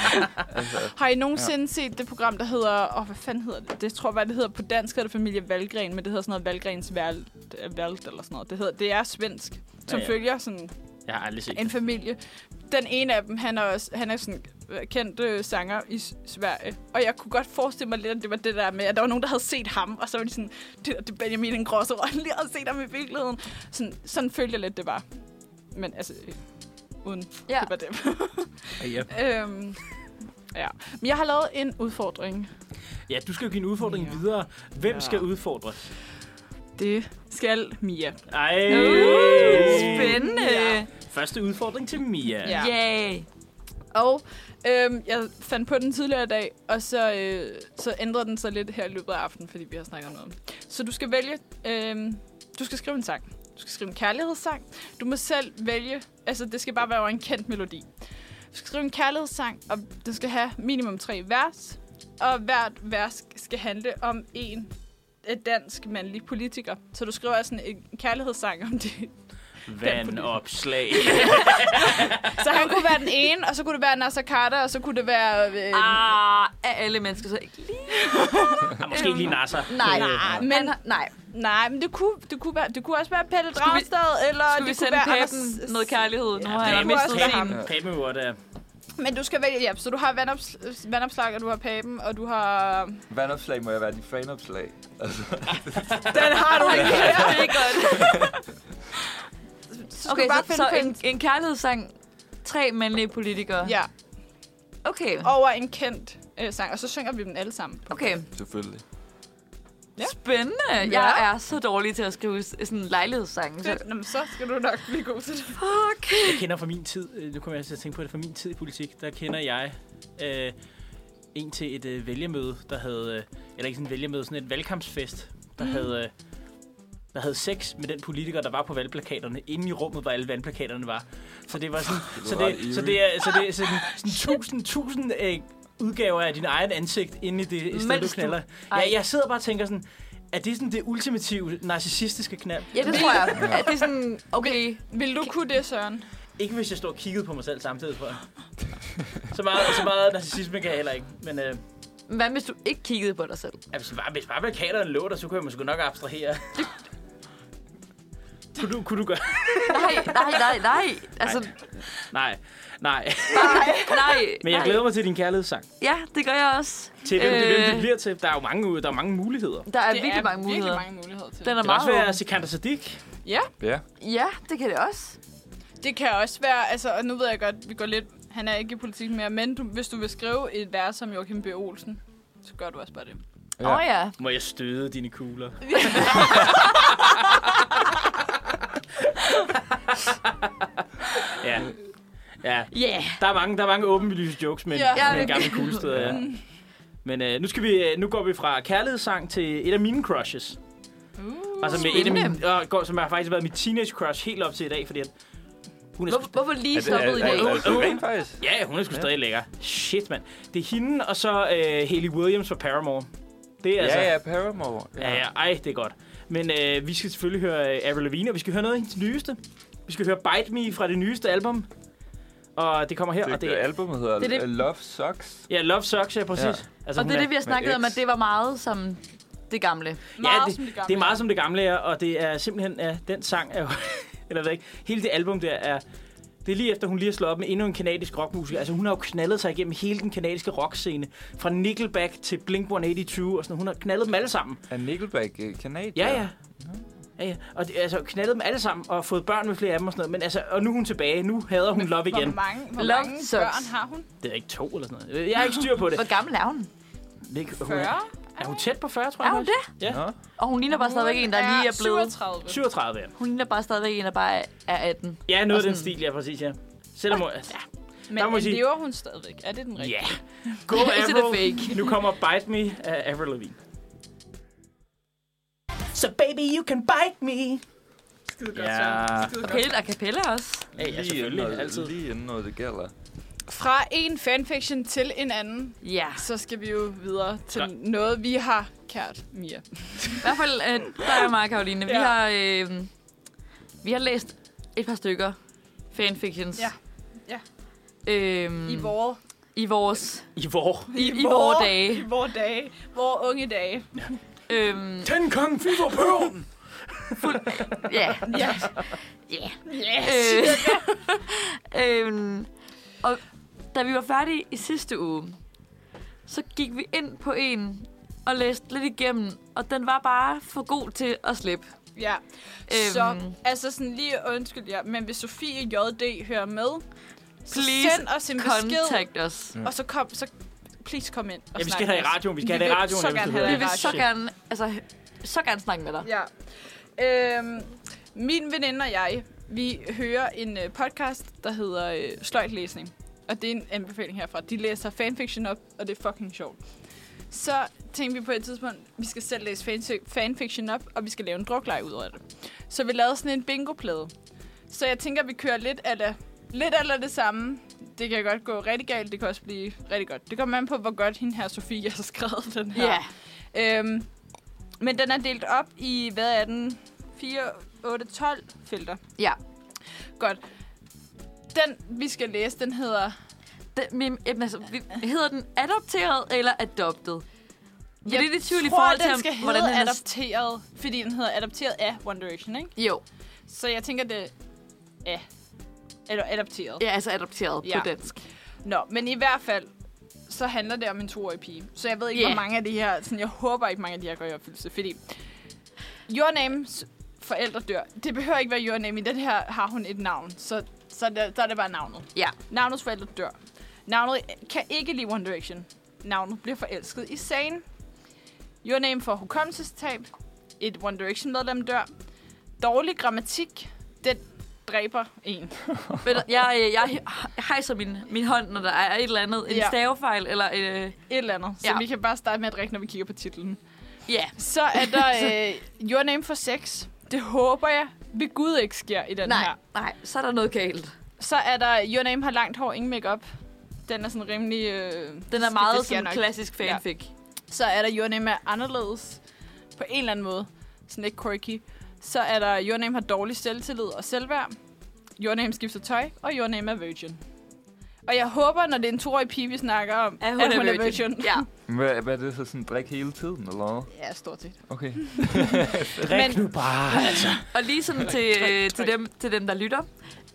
S4: Altså,
S3: Har I nogensinde ja. set det program, der hedder... Åh, oh, hvad fanden hedder det? Det tror jeg, hvad det hedder på dansk, hedder det familie Valgren, men det hedder sådan noget Valgrens Vælt, Vælt eller sådan noget. Det, hedder, det er svensk, som
S1: Ja,
S3: ja,
S1: ja.
S3: ja. følger sådan
S1: Jeg har aldrig set
S3: en
S1: det.
S3: familie. Den ene af dem, han er, også, han er sådan øh, kendt øh, sanger i S- Sverige. Og jeg kunne godt forestille mig lidt, at det var det der med, at der var nogen, der havde set ham, og så var de sådan, det, det er Benjamin Ingrosso, og han lige havde set ham i virkeligheden. Sådan, sådan følte jeg lidt, det var. Men altså, øh, uden
S2: Ja.
S3: ja. det var det.
S1: Ja.
S3: øhm, ja. Men jeg har lavet en udfordring.
S1: ja, du skal jo give en udfordring
S3: Ja.
S1: videre. Hvem
S3: Ja.
S1: skal udfordres?
S3: Det skal Mia.
S1: Ej!
S2: Uh, spændende.
S3: Ja.
S1: Første udfordring til Mia.
S3: Ja.
S2: Yay.
S3: Og øhm, jeg fandt på den tidligere i dag, og så, øh, så ændrede den sig lidt her i løbet af aftenen, fordi vi har snakket om noget. om det. Så du skal vælge... Øhm, du skal skrive en sang. Du skal skrive en kærlighedssang. Du må selv vælge... Altså, det skal bare være over en kendt melodi. Du skal skrive en kærlighedssang, og den skal have minimum tre vers. Og hvert vers skal handle om en øh, dansk mandlig politiker. Så du skriver altså en en kærlighedssang om det,
S1: Vandopslag.
S3: Så han kunne være den ene, og så kunne det være Nasser Carter, og så kunne det være... Øh,
S2: Ah, af alle mennesker så ikke lige.
S1: Ah, måske ikke lige Nasser.
S2: Nej,
S1: Øh,
S2: men
S3: men-
S2: nej.
S3: nej, men det kunne, det, kunne være, det kunne også være Pelle
S2: vi-
S3: Dragsted, eller
S2: Skulle vi
S3: det kunne
S2: sende
S3: være
S2: Pappen noget kærlighed? Nu har
S1: det
S2: jeg
S1: kunne
S2: mistet
S3: også være
S2: sin.
S4: ham.
S1: Pape Ward er...
S3: Men du skal vælge, ja, så du har vandops, vandopslag, og du har Papen, og du har...
S4: vandopslag må jeg være dit fanopslag. Altså,
S3: Den har du ikke her.
S2: Det er godt.
S3: Så skal
S2: Okay,
S3: du bare
S2: så,
S3: finde
S2: så
S3: på en...
S2: en, en kærlighedssang. Tre mandlige politikere.
S3: Ja,
S2: Okay,
S3: over en kendt øh, sang, og så synger vi dem alle sammen.
S2: okay.
S4: selvfølgelig.
S3: Ja.
S2: Spændende.
S3: Ja.
S2: Jeg er så dårlig til at skrive s- sådan en lejlighedssange. Så.
S3: Fedt. Nå, men så skal du nok blive god til det.
S2: Fuck.
S1: Jeg kender fra min tid, øh, nu kommer jeg til at tænke på det, fra min tid i politik, der kender jeg øh, en til et øh, vælgermøde, der havde, øh, eller ikke sådan et vælgermøde, sådan et valgkampsfest, der mm. havde... Øh, der havde sex med den politiker, der var på valgplakaterne, inde i rummet, hvor alle valgplakaterne var. Så det var sådan, så
S4: ret
S1: det, så det er, så det er sådan, sådan tusind, tusind øh, udgaver af din egen ansigt inde i det sted, du
S2: Mens du-
S1: knaller.
S2: Ej.
S1: Ja, jeg sidder bare og tænker sådan, er det sådan det ultimative narcissistiske knald?
S2: Ja, det tror jeg. Ja. Det er sådan, okay.
S3: Vil du kunne det, Søren?
S1: Ikke hvis jeg står og kiggede på mig selv samtidig, tror jeg. så meget, så meget narcissisme kan jeg heller ikke. Men øh,
S2: Hvad hvis du ikke kiggede på dig selv?
S1: ja, hvis, bare, hvis bare plakaterne lå der, så kunne jeg måske nok abstrahere. kunne, du, kunne du gøre...
S2: Nej, nej, nej, nej. Altså,
S1: Nej, nej.
S2: nej.
S1: Men jeg
S2: nej.
S1: glæder mig til din kærlighedssang.
S2: Ja, det gør jeg også.
S1: Til hvem, det, hvem det
S2: Øh.
S1: bliver til. Der er jo mange, ude- der er mange muligheder. Det
S2: Der er
S3: det
S2: virkelig
S3: er
S2: mange muligheder.
S3: virkelig mange muligheder til.
S2: Den er
S1: kan også
S2: meget
S1: være
S2: åben.
S1: Sikander Sadik.
S4: Ja.
S2: Ja, det kan det også.
S3: Det kan også være, altså, og nu ved jeg godt, vi går lidt, han er ikke i politik mere, men du, hvis du vil skrive et vers som Joachim B. Olsen, så gør du også bare det.
S2: Åh ja. Oh, ja.
S1: Må jeg støde dine kugler? ja. Ja,
S2: Yeah.
S1: Der er mange, der er mange åbenlyse jokes med,
S3: Ja.
S1: ja. med
S2: Ja.
S1: gamle kuglesteder, ja. Men øh, nu, skal vi, øh, nu går vi fra kærlighedssang til et af mine crushes. Uh, altså med et af mine, og går, som har faktisk været mit teenage crush helt op til i dag, fordi at hun er,
S2: Hvor,
S1: sgu-
S2: hvorfor lige stoppet i dag?
S4: er, er, er, det rent faktisk?
S1: ja, hun er sgu stadig lækker. Shit, mand. Det er hende, og så øh, Haley Williams fra Paramore. Det er altså...
S4: Ja, ja, Paramore.
S1: Ja, ja, ej, det er godt. Men øh, vi skal selvfølgelig høre øh, Avril Lavigne, og vi skal høre noget af hendes nyeste. Vi skal høre Bite Me fra det nyeste album. Og det kommer her, og
S4: Det,
S1: det er...
S4: albumet hedder
S2: Det er det-
S4: øh, Love Sucks.
S1: Ja, Love Sucks, ja, præcis. Ja. Altså,
S2: Og
S1: hun
S2: det er det, vi har
S4: med
S2: snakket om,
S4: X.
S2: at det var meget som det gamle.
S1: Ja,
S3: Meget
S1: det,
S3: som det gamle.
S1: det er meget som det gamle er, og det er simpelthen, at den sang er jo, eller hvad ikke, hele det album der er, det er lige efter, hun lige har slået op med endnu en kanadisk rockmusiker. Altså, hun har jo knaldet sig igennem hele den kanadiske rockscene. Fra Nickelback til Blink-182 og sådan noget. Hun har knaldet dem alle sammen.
S4: Er Nickelback øh, kanadier?
S1: Ja, ja. Ja, ja. Og det, altså, knaldet dem alle sammen og fået børn med flere af dem og sådan noget. Men altså, og nu er hun tilbage. Nu hader hun Love igen.
S3: Hvor mange, hvor
S2: Love
S3: mange
S2: sucks.
S3: børn har hun?
S1: Det er ikke to eller sådan noget. Jeg har ikke styr på det.
S2: Hvor gammel er hun?
S1: Det er ikke- Hun
S3: 40?
S1: er, er hun tæt på 40, tror
S2: Er
S1: jeg?
S2: hun
S1: faktisk?
S2: det?
S4: Nå,
S2: Og hun ligner bare stadigvæk en, der lige er blevet...
S3: 37.
S1: 37, ja.
S2: Hun ligner bare stadigvæk en, der bare er- er 18.
S1: Ja, noget af
S2: Og
S1: den
S2: sådan-
S1: stil, ja, præcis, ja. Selvom, hun- ja, Der
S3: Men
S1: må jeg sige-
S3: lever hun stadigvæk? Er det den rigtige?
S1: Ja. Yeah. Go
S2: Is it a
S1: Avril.
S2: fake?
S1: nu kommer Bite Me af Avril Lavigne. So baby, you can bite me.
S3: Skide godt,
S1: Ja.
S3: Søren. Skide
S2: Helt a cappella også.
S1: Hey, ja,
S4: lige, inden
S1: selvfølgelig.
S4: noget,
S1: Altid.
S4: lige inden noget, det gælder.
S3: Fra en fanfiction til en anden,
S2: Ja.
S3: så skal vi jo videre til
S1: Ja.
S3: noget, vi har kært, Mia.
S2: I hvert fald, øh, der er mig og Karoline. Vi,
S3: Ja.
S2: har, øh, vi har læst et par stykker fanfictions.
S3: Ja. Ja.
S2: Øhm,
S3: I vores...
S2: I vores...
S1: I hvor?
S2: I, i vores dage.
S3: I vores dage. Vores unge dage.
S2: Øhm,
S7: Ten Kong Fever Pearl!
S2: ja.
S3: Ja.
S2: Ja.
S3: Yes.
S2: Øh, øhm, og da vi var færdige i sidste uge, så gik vi ind på en og læste lidt igennem, og den var bare for god til at slippe.
S3: Ja.
S2: Øhm.
S3: Så, altså sådan lige undskyld jer, men hvis Sofie JD hører med, så
S2: Please
S3: send os en besked,
S2: Contact os.
S3: og så kom, så please kom ind og
S1: Ja, vi
S3: snak
S1: skal
S3: med
S1: have i
S3: os.
S1: radioen. Vi skal have
S3: Vi
S1: det i
S3: vil
S1: radioen.
S3: så
S1: ja, hvis
S3: gerne
S1: du
S3: have
S2: Vi
S1: hører
S3: det i
S2: vil så
S3: Shit.
S2: gerne, altså, så gerne snakke med dig.
S3: Ja. Øhm, min veninde og jeg, vi hører en øh, podcast, der hedder øh, Sløjtlæsning. Og det er en anbefaling herfra. De læser fanfiction op, og det er fucking sjovt. Så tænkte vi på et tidspunkt, vi skal selv læse fanfi- fanfiction op, og vi skal lave en drukleje ud af det. Så vi lavede sådan en bingoplade. Så jeg tænker, vi kører lidt eller lidt eller det samme. Det kan godt gå rigtig galt, det kan også blive rigtig godt. Det kommer an på, hvor godt hende her Sofie har skrevet den her.
S2: Ja.
S3: Øhm, men den er delt op i, hvad er den? 4, 8, 12 felter.
S2: Ja.
S3: Godt. Den, vi skal læse, den hedder...
S2: Det, men, jamen, altså, vi, hedder den adopteret eller adopted? Jeg er lidt i tvivl i
S3: tror,
S2: forhold
S3: den
S2: til,
S3: skal
S2: hvordan
S3: hedde
S2: den er...
S3: adopteret, fordi den hedder adopteret af One Direction, ikke?
S2: Jo,
S3: Så jeg tænker, det er... af. Eller adopteret.
S2: ja, altså adopteret
S3: Ja.
S2: på dansk.
S3: Nå, men i hvert fald, så handler det om en toårig pige. Så jeg ved ikke,
S2: Ja.
S3: hvor mange af de her... Sådan, jeg håber ikke, mange af de her går i opfyldelse, fordi... Your names forældre dør. Det behøver ikke være your name. I den her har hun et navn, så, så, der, så er det bare navnet.
S2: Ja.
S3: Navnets forældre dør. Navnet kan ikke lide One Direction. Navnet bliver forelsket i sagen. Your name får hukommelsestab. Et One Direction-medlem dør. Dårlig grammatik. Den dræber en.
S2: Men jeg, øh, jeg he- hejser min, min hånd, når der er et eller andet. En
S3: Ja.
S2: stavefejl, eller... Øh,
S3: Et eller andet. Så
S2: Ja.
S3: vi kan bare starte med at drikke, når vi kigger på titlen.
S2: ja,
S3: Så er der øh, Your Name for Sex. Det håber jeg ved Gud ikke sker i den
S2: nej,
S3: her.
S2: nej, så er der noget galt.
S3: Så er der Your Name har langt hår, ingen makeup. Den er sådan rimelig... Øh,
S2: Den er meget
S3: det sker
S2: sådan
S3: nok.
S2: klassisk fanfic.
S3: Så er der Your Name er anderledes på en eller anden måde. Sådan lidt quirky. Så er der Your Name har dårlig selvtillid og selvværd. Your Name skifter tøj, og Your Name er virgin. Og jeg håber, når det er en toårig pige, vi snakker om,
S2: Ja. At hun, er virgin. Ja.
S4: Hvad, hvad er det så sådan, drik hele tiden, eller hvad?
S3: ja, stort set.
S4: Okay.
S1: Drik nu bare. Altså.
S2: Og lige sådan til, øh, til, dem, til dem, der lytter.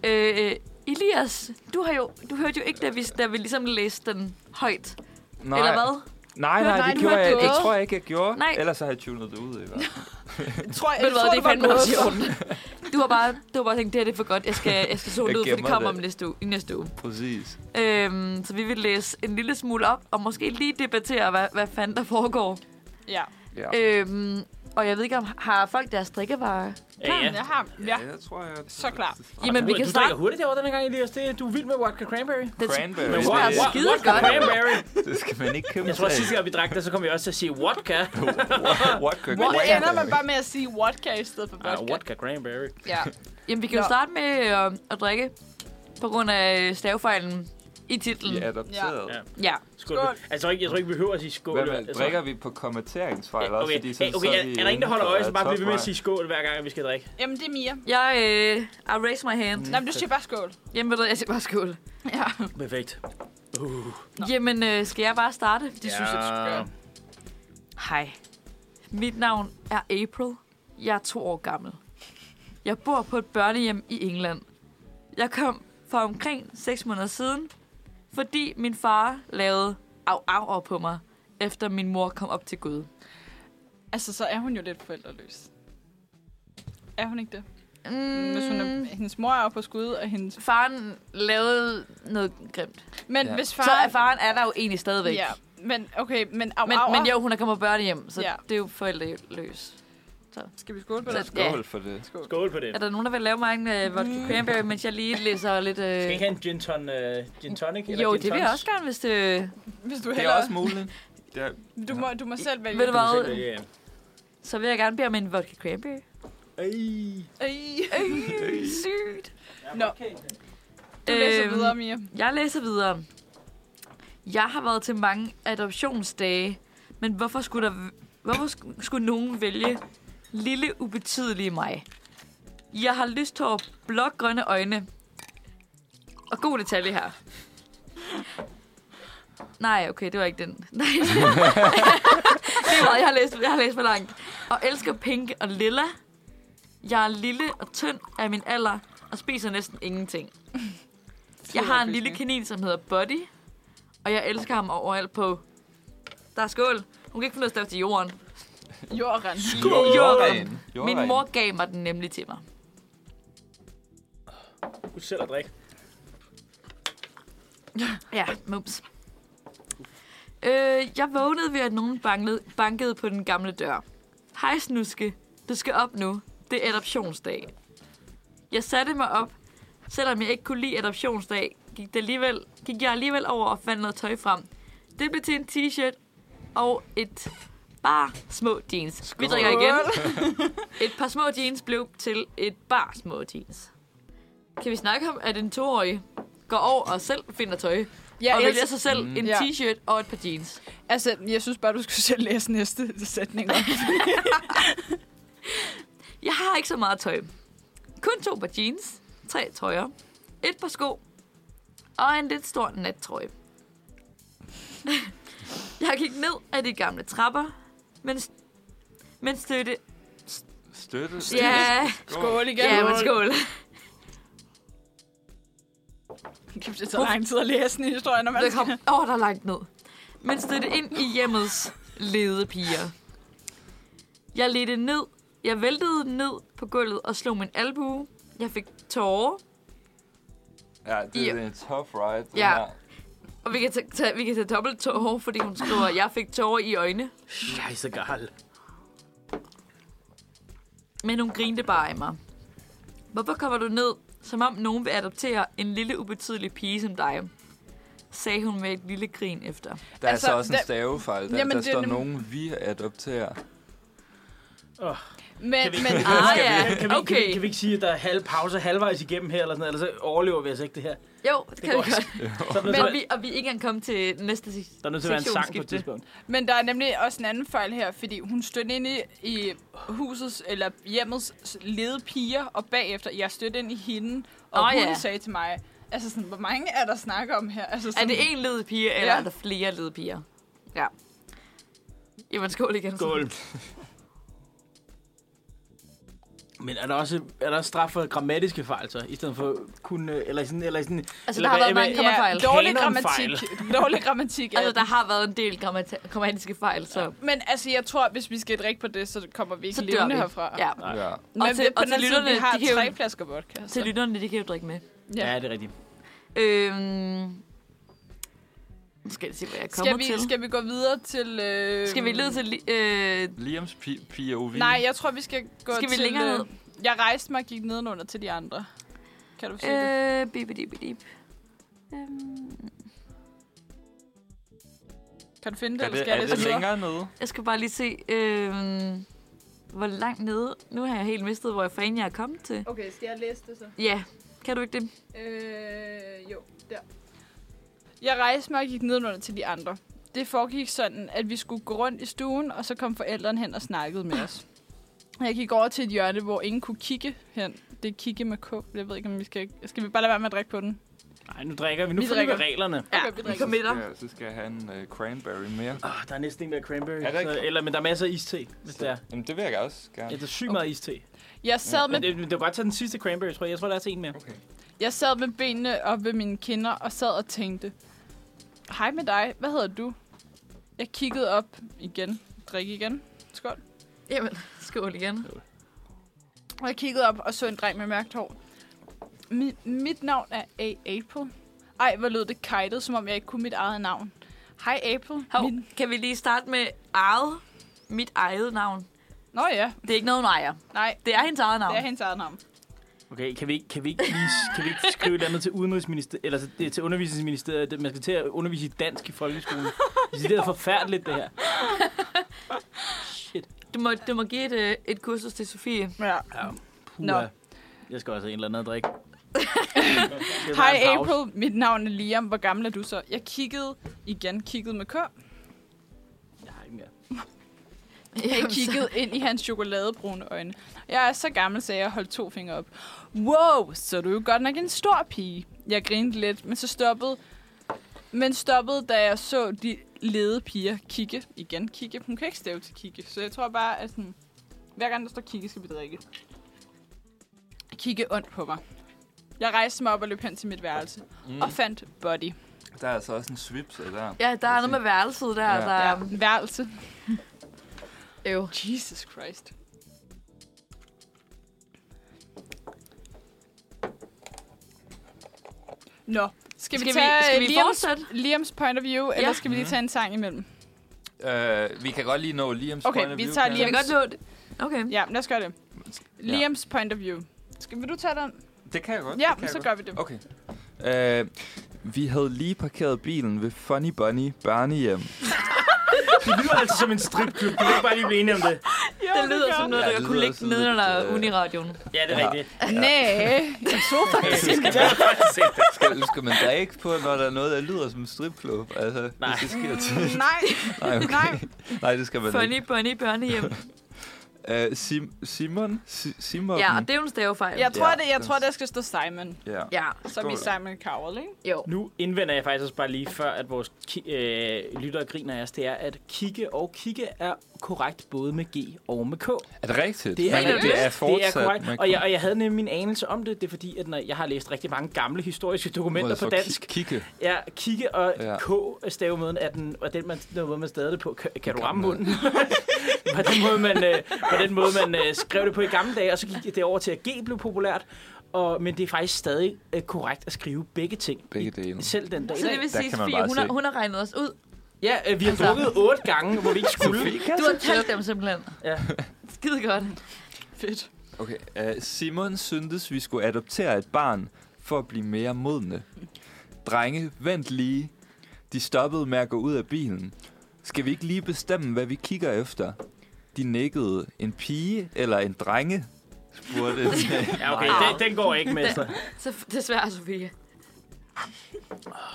S2: Øh, Elias, du, har jo, du hørte jo ikke, da vi, da vi ligesom læste den højt.
S4: Nej,
S2: Eller hvad?
S4: Nej, nej,
S3: Nej,
S4: det,
S3: nu
S4: gjorde
S3: har
S4: jeg,
S3: du
S4: det
S3: gået.
S4: tror jeg ikke, jeg gjorde.
S2: Nej.
S4: Ellers så har jeg tunet det ud i hvert fald.
S3: Tror, jeg,
S2: Ved du hvad, det er fandme også i
S3: sjovt.
S2: orden. Du har bare, du har bare tænkt, det her det er for godt, jeg skal, jeg skal zone
S4: Jeg
S2: det ud, for det
S4: gemmer
S2: kommer
S4: det.
S2: om næste uge, i næste uge.
S4: Præcis.
S2: Øhm, så vi vil læse en lille smule op, og måske lige debattere, hvad, hvad fanden der foregår.
S3: Ja.
S4: Ja.
S2: Øhm, og jeg ved ikke, om har folk deres drikkevarer?
S1: Ja, ja.
S3: Jeg har, ja.
S4: jeg tror, jeg...
S3: Så klar.
S2: Jamen, vi
S1: du,
S2: kan
S1: du
S2: starte.
S1: drikker hurtigt derovre den her gang, Elias. Det, du er vild med vodka cranberry.
S2: Den,
S4: Cranberry.
S1: Men
S4: det-
S1: wow,
S4: det-
S1: wow,
S2: skide
S1: vodka
S2: godt.
S1: cranberry.
S4: Det skal man ikke kæmpe
S1: Jeg tror, sidste gang vi drak det, så kom jeg også til at sige vodka.
S4: What could
S3: Men det ender man bare med at sige vodka i stedet for
S1: Ah,
S3: vodka.
S1: vodka cranberry.
S3: Ja.
S2: Jamen, vi kan jo
S3: Nå.
S2: starte med øh, at drikke på grund af stavefejlen i titlen.
S4: Vi er
S2: Ja.
S4: adopteret.
S1: Ja.
S2: ja.
S1: Skål.
S3: Skål.
S1: Altså, jeg tror ikke, jeg tror ikke, vi behøver at sige skål. Altså,
S4: Hvad med,
S1: Jeg tror-
S4: drikker vi på kommenteringsfejl også?
S1: Okay,
S4: Fordi
S1: hey,
S4: sådan,
S1: okay,
S4: så
S1: er,
S4: vi
S1: er der ingen, der holder
S4: inden
S1: øje,
S4: for
S1: så bare bliver vi med at
S4: topvej.
S1: sige skål, hver gang vi skal drikke?
S3: Jamen, det er Mia.
S2: Jeg, øh, I raise my hand.
S3: Nej, men du siger bare skål.
S2: Jamen, ved du, jeg siger bare skål.
S3: Ja.
S1: Perfekt.
S2: Jamen, øh, skal jeg bare starte? Det ja. synes jeg, du skal
S1: Ja.
S2: gøre. Hej. Mit navn er April. Jeg er to år gammel. Jeg bor på et børnehjem i England. Jeg kom for omkring 6 måneder siden, fordi min far lavede af af på mig, efter min mor kom op til Gud.
S3: Altså, så er hun jo lidt forældreløs. Er hun ikke det?
S2: Mm,
S3: Hvis hun er, hendes mor er oppe på skud, og hendes...
S2: faren lavede noget grimt.
S3: Men
S4: Ja.
S3: ja. hvis far...
S2: Far... Så er faren er der jo egentlig stadigvæk.
S3: Ja, men okay, men au,
S2: Men,
S3: au, au.
S2: men jo, hun er kommet på børnehjem, så ja.
S3: Ja.
S2: det er jo forældreløs.
S3: Skal vi skåle på
S2: Så-
S3: det?
S2: Ja.
S4: Skål for det.
S3: Skål.
S1: Skål på det.
S2: Er der nogen, der vil lave mig en øh, vodka
S3: Mm.
S2: cranberry, mens jeg lige læser lidt... Øh...
S1: Skal I ikke have en gin, ton, uh, gin tonic? Eller
S2: Jo,
S1: gin
S2: det vil jeg også gerne, hvis øh, det...
S3: Hvis du
S4: Det er
S3: heller...
S4: også muligt. Det er,
S3: Du må, du må selv vælge.
S2: Ved du hvad?
S1: Ja, ja.
S2: Så vil jeg gerne bede om en vodka
S1: øh,
S2: cranberry.
S1: Ej.
S3: Ej.
S2: Sygt.
S3: Nå. Du læser
S2: Øhm,
S3: videre, Mia.
S2: Jeg læser videre. Jeg har været til mange adoptionsdage, men hvorfor skulle, der, hvorfor sk- skulle nogen vælge lille, ubetydelige mig? Jeg har lyst hår, blågrønne øjne. Og god detalje her. Nej, okay, det var ikke den. Nej. det er meget, jeg har læst, jeg har læst for langt. Og elsker pink og lilla. Jeg er lille og tynd af min alder, og spiser næsten ingenting. Jeg har en lille kanin, som hedder Buddy, og jeg elsker ham overalt på... Der er skål. Hun kan ikke finde ud af at stave til jorden.
S3: Jorden.
S4: Jorden.
S2: Min mor gav mig den nemlig til mig.
S1: Du selv at drikke.
S2: Ja, mums. Øh, jeg vågnede ved, at nogen bankede, bankede på den gamle dør. Hej, snuske. Du skal op nu. Det er adoptionsdag. Jeg satte mig op. Selvom jeg ikke kunne lide adoptionsdag, gik, det alligevel, gik jeg alligevel over og fandt noget tøj frem. Det blev til en t-shirt og et bare små jeans. Skål. Vi drikker igen. Et par små jeans blev til et bare små jeans. Kan vi snakke om, at en toårig går over og selv finder tøj?
S3: Ja,
S2: og vælger
S3: ellers-
S2: sig selv en
S3: Ja.
S2: t-shirt og et par jeans.
S3: Altså, jeg synes bare, du skulle selv læse næste sætning. op.
S2: Jeg har ikke så meget tøj. Kun to par jeans, tre trøjer, et par sko og en lidt stor nattrøje. Jeg gik ned ad de gamle trapper, men, men stødte...
S4: Støtte.
S2: Ja,
S3: Skål igen.
S2: ja, men skål.
S3: Kæft, det tager lang tid at læse den historie, når man
S2: Der kom over der er langt ned. Men stødte ind i hjemmets ledepiger. Jeg ledte ned. Jeg væltede ned på gulvet og slog min albue. Jeg fik tårer.
S4: Ja, det er
S2: Ja.
S4: en tough ride. det
S2: Ja.
S4: her.
S2: Og vi kan tage, tage, vi kan tage dobbelt tårer, fordi hun skriver, at jeg fik tårer i øjnene.
S1: Scheissegal.
S2: Men hun grinte bare af mig. Hvorfor kommer du ned, som om nogen vil adoptere en lille ubetydelig pige som dig? sagde hun med et lille grin efter.
S4: Der er
S3: Altså,
S4: så også en
S3: der-
S4: stavefejl. Der,
S3: Jamen,
S4: der
S3: det er
S4: står
S3: nem-
S4: nogen, vi adopterer.
S3: Men,
S1: vi-
S3: men,
S2: Ah
S1: Kan
S2: ja,
S1: vi, okay. kan, vi,
S2: okay.
S1: kan vi ikke sige, at der er halv pause halvvejs igennem her, eller sådan noget, ellers så overlever vi altså ikke det her.
S2: Jo, det kan
S1: går
S2: vi godt.
S1: Så er der nødt til,
S2: Men
S1: at-
S2: vi, og vi er ikke engang kommet til næste
S1: der er nødt til at være en sang på et
S2: sektionsskifte.
S1: tidspunkt.
S3: men der er nemlig også en anden fejl her, fordi hun stødte ind i, i husets eller hjemmets lede piger, og bagefter, jeg stødte ind i hende, og
S2: Åh,
S3: oh, hun
S2: ja.
S3: sagde til mig, altså sådan, hvor mange er der snakker om her? Altså
S2: Er
S3: sådan,
S2: det en led pige, eller
S3: Ja.
S2: er der flere led piger? Ja. Jamen, skål igen.
S1: Skål. Men er der også er der også straf for grammatiske fejl, så? I stedet for kun... øh, Eller sådan, eller sådan,
S2: Altså,
S1: eller
S2: der har
S1: hvad-
S2: været mange
S1: hvad-
S2: kommer fejl.
S3: dårlig
S1: Kanonfejl.
S3: grammatik. Dårlig grammatik. er
S2: Altså, der
S3: den.
S2: har været en del grammata- grammatiske fejl, så,
S3: Men altså, jeg tror, hvis vi skal drikke på det, så kommer vi ikke
S2: så dør
S3: levende
S2: vi.
S3: herfra.
S2: Ja.
S4: Ja.
S3: Men
S2: Og til-
S3: på
S2: og
S3: den
S2: til
S3: anden side, vi
S2: lytterne,
S3: har
S2: de kan jo-
S3: tre flasker vodka.
S2: Til
S3: Så.
S2: lytterne, de kan jo drikke med.
S1: Ja, det er rigtigt.
S2: Øhm, nu skal jeg se, hvad jeg kommer
S3: Skal vi,
S2: til.
S3: skal vi gå videre til... Øh...
S2: skal vi lede til... li- Øh,
S4: Liams P- POV.
S3: Nej, jeg tror, vi skal gå
S2: Skal vi
S3: til...
S2: længere ned?
S3: øh, Jeg rejste mig og gik nedenunder til de andre. Kan du se øh... det?
S2: øh, bip, bip, bip. Øhm,
S3: Kan du finde det,
S4: er
S3: eller
S4: det,
S3: skal jeg
S4: er det
S3: læse videre?
S4: længere nede?
S2: jeg skal bare lige se, øh, hvor langt nede... Nu har jeg helt mistet, hvor jeg fanden jeg er kommet til.
S3: Okay, skal jeg læse det så?
S2: Ja, kan du ikke det?
S3: Øh, jo, der. Jeg rejste mig og gik nedenunder til de andre. Det foregik sådan, at vi skulle gå rundt i stuen, og så kom forældrene hen og snakkede med os. Jeg gik over til et hjørne, hvor ingen kunne kigge hen. Det er kigge med K. Jeg ved ikke, om vi skal... Skal vi bare lade være med at drikke på den?
S1: Nej, nu drikker vi. Nu
S3: Vi
S1: følger vi
S3: drikker.
S1: reglerne.
S3: Okay, vi drikker.
S2: kom med dig.
S4: Ja, så skal jeg have en uh, cranberry mere.
S1: Oh, der er næsten ikke mere cranberry.
S4: Er der ikke?
S1: Så, eller, men der er masser af iste, hvis det er.
S4: Jamen, det vil jeg også
S1: Ja,
S4: gerne.
S1: der er sygt meget iste.
S3: Jeg sad,
S1: Men
S3: med,
S1: det, det var godt tage den sidste cranberry, tror jeg. Jeg tror, der er til en mere.
S3: jeg sad med benene op ved mine kinder og sad og tænkte. Hej med dig. Hvad hedder du? Jeg kiggede op igen. Drik igen. Skål.
S2: Jamen, skål igen.
S3: Og jeg kiggede op og så en dreng med mørkt hår. Mi- mit navn er A. April. Ej, hvor lød det kajtet, som om jeg ikke kunne mit eget navn. Hej April.
S2: Hov,
S3: Mit...
S2: kan vi lige starte med eget? Mit eget navn.
S3: Nå ja,
S2: Det er ikke noget, hun ejer.
S3: nej.
S2: Det er hendes eget navn.
S3: Det er hendes eget navn.
S1: Okay, kan vi, ikke- kan vi ikke, lige, kan vi ikke skrive et eller andet til, udenrigsminister, eller til, det- til undervisningsministeriet? at Man skal til at undervise i dansk i folkeskolen. Det er forfærdeligt, det her. Shit.
S2: Du må, du må give et, øh, et kursus til Sofie.
S3: Ja.
S1: Ja, puha.
S3: Nå.
S1: Jeg skal også have en eller anden at drikke. Det er bare
S3: Hej
S1: en pause.
S3: April, mit navn er Liam. Hvor gammel er du så? Jeg kiggede igen, kiggede med K.
S1: Jeg har ikke mere.
S3: Jeg
S2: Altså.
S3: kiggede ind i hans chokoladebrune øjne. Jeg er så gammel, sagde jeg og holdt to fingre op. Wow, så er du jo godt nok en stor pige. Jeg grinede lidt, men så stoppede, men stoppede, da jeg så de lede piger kigge. Igen kigge. Hun kan ikke stave til kigge, så jeg tror bare, at sådan, hver gang der står kigge, skal vi drikke. Kigge ondt på mig. Jeg rejste mig op og løb hen til mit værelse. Mm. Og fandt Buddy.
S4: Der er altså også en svipse der.
S2: Ja, der er noget med værelset der,
S4: Ja.
S2: ja. der
S3: Ja.
S2: er
S3: Værelse.
S2: øv.
S3: Jesus Christ. Nå,
S2: Skal
S3: skal vi
S2: vi-
S3: tage
S2: skal vi
S3: øh, Liams,
S2: fortsætte?
S3: Liams point of view, ja. eller skal vi lige
S4: Mhm.
S3: tage en sang imellem?
S4: Øh, vi kan godt lige nå Liams
S3: Okay,
S4: point of
S3: vi
S4: view,
S3: tager
S4: kan-
S2: Kan vi
S3: Liams.
S2: godt nå det? Okay.
S3: Ja, lad os gøre det. Liams point of view. Skal, vil du tage den?
S4: Det kan jeg godt. det kan
S3: Ja,
S4: jeg
S3: så
S4: godt.
S3: gør vi det.
S4: Okay. Øh, vi havde lige parkeret bilen ved Funny Bunny børnehjem.
S1: Det lyder altså som en stripklub. Kan vi ikke bare lige blive enige om det?
S3: Ja,
S2: Det lyder som noget,
S4: Ja,
S2: der
S4: det
S2: ja, kunne
S4: lyder
S2: ligge
S4: sådan
S2: nede
S4: lidt,
S2: under
S4: øh,
S2: Uniradioen.
S1: Ja, det er
S4: Ja.
S1: rigtigt.
S3: Nej, jeg så faktisk ikke det.
S4: Skal, skal man drikke på, når der er noget, der lyder som en stripklub? Altså,
S1: Nej.
S4: Hvis det sker til.
S3: Nej,
S4: Nej, okay.
S3: nej.
S4: Nej, det skal man
S2: Funny Bunny Børnehjem.
S4: ikke. Øh, Sim, Simon? Si, Simon?
S2: ja, og det er jo en stavefejl.
S3: Jeg tror,
S4: Ja,
S3: det, jeg
S4: den-
S3: tror, der skal stå Simon.
S4: ja.
S2: Ja,
S3: Så er vi
S4: Skål.
S3: Simon Cowell, ikke?
S2: jo.
S1: Nu indvender jeg faktisk også bare lige før, at vores ki- øh, lyttere griner af os, det er, at kigge og kigge er korrekt både med G og med K.
S4: Er det rigtigt?
S1: Det er
S4: Men
S1: rigtigt.
S4: det er fortsat.
S1: det er korrekt.
S4: man
S1: Og
S4: kan-
S1: jeg, og jeg havde nemlig min anelse om det, det er fordi, at når jeg har læst rigtig mange gamle historiske
S4: Må
S1: dokumenter
S4: jeg
S1: på
S4: så
S1: dansk,
S4: ki- Kigge.
S1: Ja, kigge og
S4: Ja.
S1: ja. K-stavemåden er den, og den man, den måde, man stavede det på. Kan, kan du ramme munden? på, den måde, man, øh, på den måde, man øh, skrev det på i gamle dage, og så gik det over til, at G blev populært. Og, men det er faktisk stadig øh, korrekt at skrive begge ting.
S4: Begge
S1: I-
S4: dele.
S1: Selv den dag. i
S2: Så det
S1: dag.
S2: vil sige,
S4: kan man
S2: Sofie,
S4: bare
S2: hun, har,
S4: se.
S2: hun har regnet os ud.
S1: Ja, øh, vi har
S2: Altså.
S1: drukket otte gange, hvor vi ikke skulle.
S2: Du har talt dem simpelthen.
S1: Ja.
S2: Skide godt.
S3: Fedt.
S4: Okay. Uh, Simon syntes, vi skulle adoptere et barn for at blive mere modne. Drenge, vent lige. De stoppede med at gå ud af bilen. Skal vi ikke lige bestemme, hvad vi kigger efter? De nikkede. En pige eller en drenge? Spurgte
S1: Ja, okay,
S2: Wow.
S1: den, den går ikke, mester.
S2: Så f- desværre, Sofie.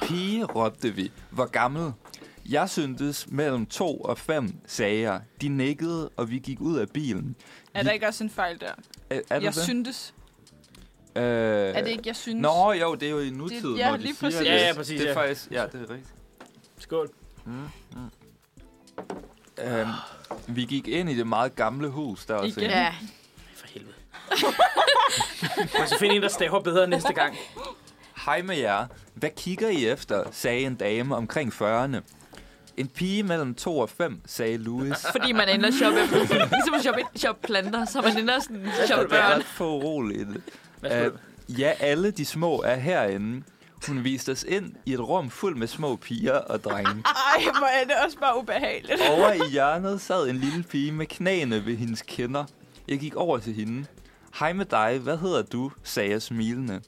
S4: Pige, råbte vi. Hvor gammel? Jeg syntes mellem to og fem, sagde jeg. De nikkede, og vi gik ud af bilen.
S3: Er der ikke også en fejl der?
S4: Er, er
S3: Jeg
S4: det det?
S3: syntes.
S4: Øh,
S3: Er det ikke, jeg synes?
S4: Nå, jo, det er jo i nutiden,
S3: ja,
S4: når de
S3: lige
S4: siger
S3: præcis.
S4: det.
S1: Ja, ja, præcis,
S4: Det er
S1: ja.
S4: faktisk, ja, det er rigtigt.
S1: Skål.
S4: Øhm, vi gik ind i det meget gamle hus, der også
S3: Igen.
S4: inde.
S2: Ja.
S1: For helvede. Må jeg så finde en, der staver bedre næste gang.
S4: Hej med jer. Hvad kigger I efter, sagde en dame omkring 40'erne. En pige mellem 2 og 5, sagde Louis.
S2: Fordi man ender at shoppe efter. Ligesom at shoppe, shoppe planter, så man ender sådan at shoppe børn.
S4: ret for uroligt.
S1: Værsgo.
S4: Øh, ja, alle de små er herinde. Hun viste os ind i et rum fuld med små piger og drenge.
S3: Ej, hvor er det også bare ubehageligt.
S4: Over i hjørnet sad en lille pige med knæene ved hendes kinder. Jeg gik over til hende. Hej med dig, hvad hedder du? sagde jeg smilende.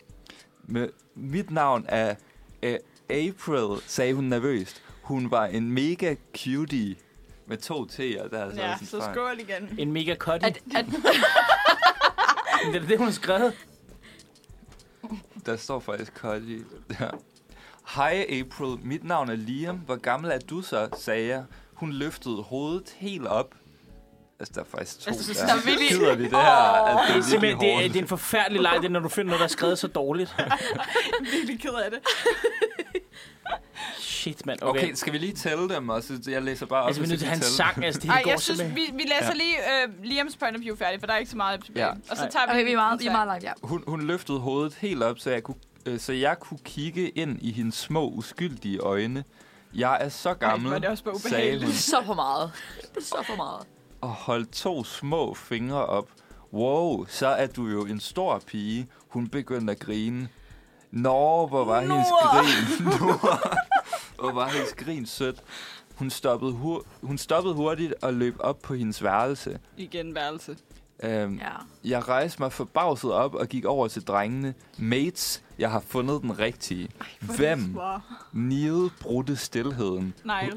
S4: Med, mit navn er øh, April, sagde hun nervøst. Hun var en mega cutie med to T'er. Der er altså
S3: Ja,
S4: også en
S3: så
S4: fejl.
S3: skål igen.
S1: En mega cutty.
S2: At, at,
S1: Det er det, hun har skrevet.
S4: Der står faktisk Collie. Ja. Hej April, mit navn er Liam. Hvor gammel er du så? sagde jeg. Hun løftede hovedet helt op. Altså, der er faktisk to
S3: Altså,
S4: der.
S2: der er virkelig-
S4: Gider vi det her? Oh. Altså,
S1: Det er
S4: det er virkelig
S1: simpelthen det er,
S4: hårdt.
S1: det er en forfærdelig leg, det er, når du finder noget, der er skrevet så dårligt.
S3: virkelig ked af det.
S1: Shit, mand. Okay.
S4: Okay.
S1: okay.
S4: skal vi lige tælle dem? Og så jeg læser bare op,
S1: Altså, vi er nødt til at have en sang, altså, det
S3: Ej,
S1: hele går
S3: jeg synes,
S1: simpelthen.
S3: vi, vi læser lige øh, Liams point of view færdig, for der er ikke så meget tilbage.
S4: Ja.
S3: Ja. Og så tager vi...
S2: okay, vi er meget, vi er meget langt, ja.
S4: Hun, hun løftede hovedet helt op, så jeg, kunne, øh, så jeg kunne kigge ind i hendes små, uskyldige øjne. Jeg er så gammel,
S3: hvor er det også bare
S4: sagde hun,
S3: ubehageligt.
S2: Så for meget. Så for meget.
S4: og holdt to små fingre op. Wow, så er du jo en stor pige. Hun begyndte at grine. Nå, hvor var hendes
S3: Nora!
S4: grin. Nora. hvor var hendes grin sødt. Hun stoppede, hur- hun stoppede hurtigt og løb op på hendes værelse.
S3: Igen værelse.
S4: Øhm,
S2: Ja.
S4: Jeg rejste mig forbavset op og gik over til drengene. Mates, jeg har fundet den rigtige. Hvem?
S3: Wow.
S4: Neil brudte stilheden.
S3: Nej.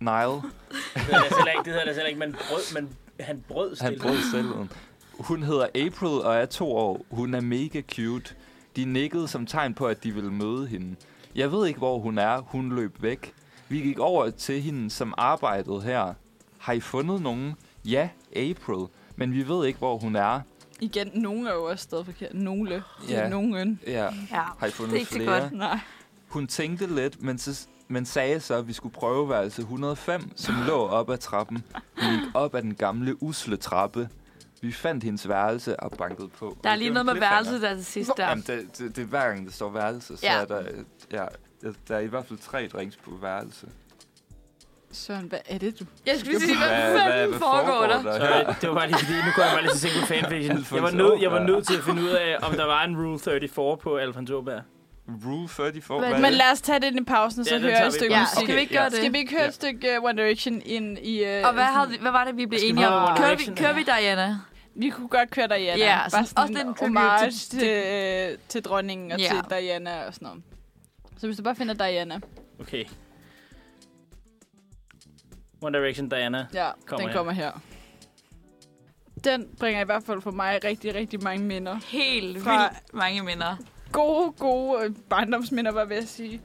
S4: Nile,
S1: Det hedder det heller ikke, det hedder det heller ikke, men brød, men han brød
S4: han
S1: stille.
S4: brød stilheden. Hun hedder April og er to år. Hun er mega cute. De nikkede som tegn på, at de ville møde hende. Jeg ved ikke, hvor hun er. Hun løb væk. Vi gik over til hende, som arbejdede her. Har I fundet nogen? Ja, April. Men vi ved ikke, hvor hun er.
S3: Igen, nogen er jo også stadig forkert. Nogle.
S4: Ja.
S3: Ja. Nogen.
S4: Ja,
S2: Ja,
S4: har I
S2: det er
S4: fundet
S2: ikke så
S4: flere?
S2: godt.
S3: Nej.
S4: Hun tænkte lidt, men, så, men sagde så, at vi skulle prøveværelse 105, som lå op ad trappen. Hun gik op ad den gamle usle trappe. Vi fandt hendes værelse og bankede på.
S2: Der er
S4: Det
S2: lige
S4: var
S2: noget med
S4: en cliffhanger.
S2: værelset der til sidst der.
S4: Jamen, det, det, det er hver gang, der står værelse, så
S2: Ja.
S4: ja. er der, ja, der- der er i hvert fald tre drinks på værelse.
S3: Søren, hvad er det, du?
S2: Jeg skulle lige sige, hvad fanden foregår der?
S4: her?
S1: Sorry, øh, det var bare lige fordi, nu kunne jeg bare lige til single fanfiction. Jeg var,
S4: Alfonso
S1: nød, jeg var
S4: Åberg.
S1: nødt til at finde ud af, om der var en Rule 34 på Alfonso Åberg.
S4: Rule 34,
S2: Men-
S4: hvad er
S3: Men
S4: det?
S3: lad os tage det ind i pausen, og så
S1: Ja,
S3: ja,
S1: den
S3: høre
S1: tager
S3: et
S1: vi.
S3: stykke
S2: Ja,
S3: musik.
S2: skal vi ikke gøre det?
S3: Skal vi ikke høre
S1: Ja.
S3: et stykke uh, One Direction ind i... Uh,
S2: Og hvad, havde, vi- hvad var det, vi blev
S1: Skal vi
S2: enige
S1: have
S2: om?
S1: One
S2: Kører vi,
S1: Direction?
S2: kører vi Diana?
S3: Vi kunne godt køre Diana.
S2: Ja,
S3: Bare
S2: sådan- også lidt en tribute
S3: homage
S2: til-
S3: til, til, øh, til dronningen og
S2: Ja.
S3: til Diana og sådan noget. Så hvis du bare finder Diana.
S1: Okay. One Direction Diana.
S3: Ja,
S1: Kommer
S3: kommer den
S1: her.
S3: her. kommer her. Den bringer i hvert fald for mig rigtig, rigtig mange minder.
S2: Helt
S3: Fra-
S2: vildt mange minder.
S3: Gode, gode øh, barndomsminder, var jeg ved at sige.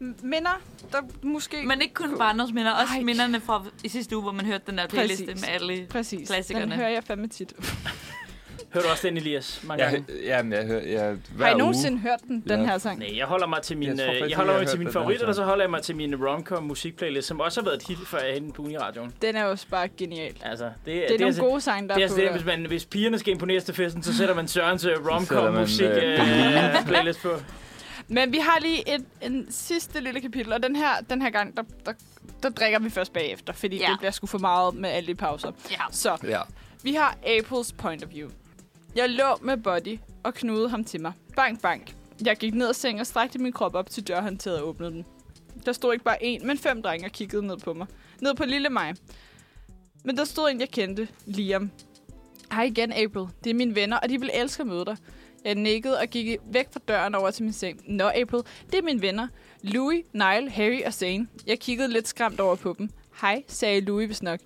S3: M- Minder, der måske...
S2: Men ikke kun barndomsminder, også
S3: Ej.
S2: minderne fra i sidste uge, hvor man hørte den der playliste
S3: Præcis.
S2: med alle.
S3: Præcis.
S2: klassikerne.
S3: Den hører jeg fandme tit.
S1: Hørte du også den, Elias? Mange gange.
S4: Jeg, jamen, jeg hører... Jeg, hver
S3: Har I
S4: uge-
S3: nogensinde hørt den, den
S4: Ja.
S3: her sang?
S1: Nej, jeg holder mig til
S4: Jeg
S1: mine,
S4: tror
S1: jeg
S4: faktisk
S1: jeg holder
S4: ikke,
S1: mig
S4: jeg
S1: til
S4: har
S1: mine
S4: hørt den her
S1: favoritter,
S4: sang.
S1: og så holder jeg mig til mine romcom musikplaylist, som også har været et hit for hende på Uniradioen.
S3: Den er også bare genial. Det
S1: Altså, det,
S3: er,
S1: det
S3: nogle
S1: altså-
S3: gode sange, der
S1: det er
S3: er på.
S1: altså det,
S3: der.
S1: hvis, man, hvis pigerne skal imponeres til festen, så sætter man Sørens øh,
S4: sætter
S1: romcom
S4: man,
S1: musik
S4: øh,
S1: øh, playlist på.
S3: Men vi har lige et, en sidste lille kapitel, og den her, den her gang, der, der, der drikker vi først bagefter, fordi
S2: Ja.
S3: ja. det bliver sgu for meget med alle de pauser.
S2: Ja.
S3: Så,
S4: Ja.
S3: vi har Aprils point of view. Jeg lå med Buddy og knudede ham til mig. Bank, bank. Jeg gik ned af sengen og strakte min krop op til dørhåndtaget og åbnede den. Der stod ikke bare en, men fem drenge og kiggede ned på mig. Ned på lille mig. Men der stod en, jeg kendte, Liam. Hej igen, April. Det er mine venner, og de vil elske at møde dig. Jeg nikkede og gik væk fra døren over til min seng. Nå, April, det er mine venner. Louis, Nile, Harry og Zane. Jeg kiggede lidt skræmt over på dem. Hej, sagde Louis vist nok.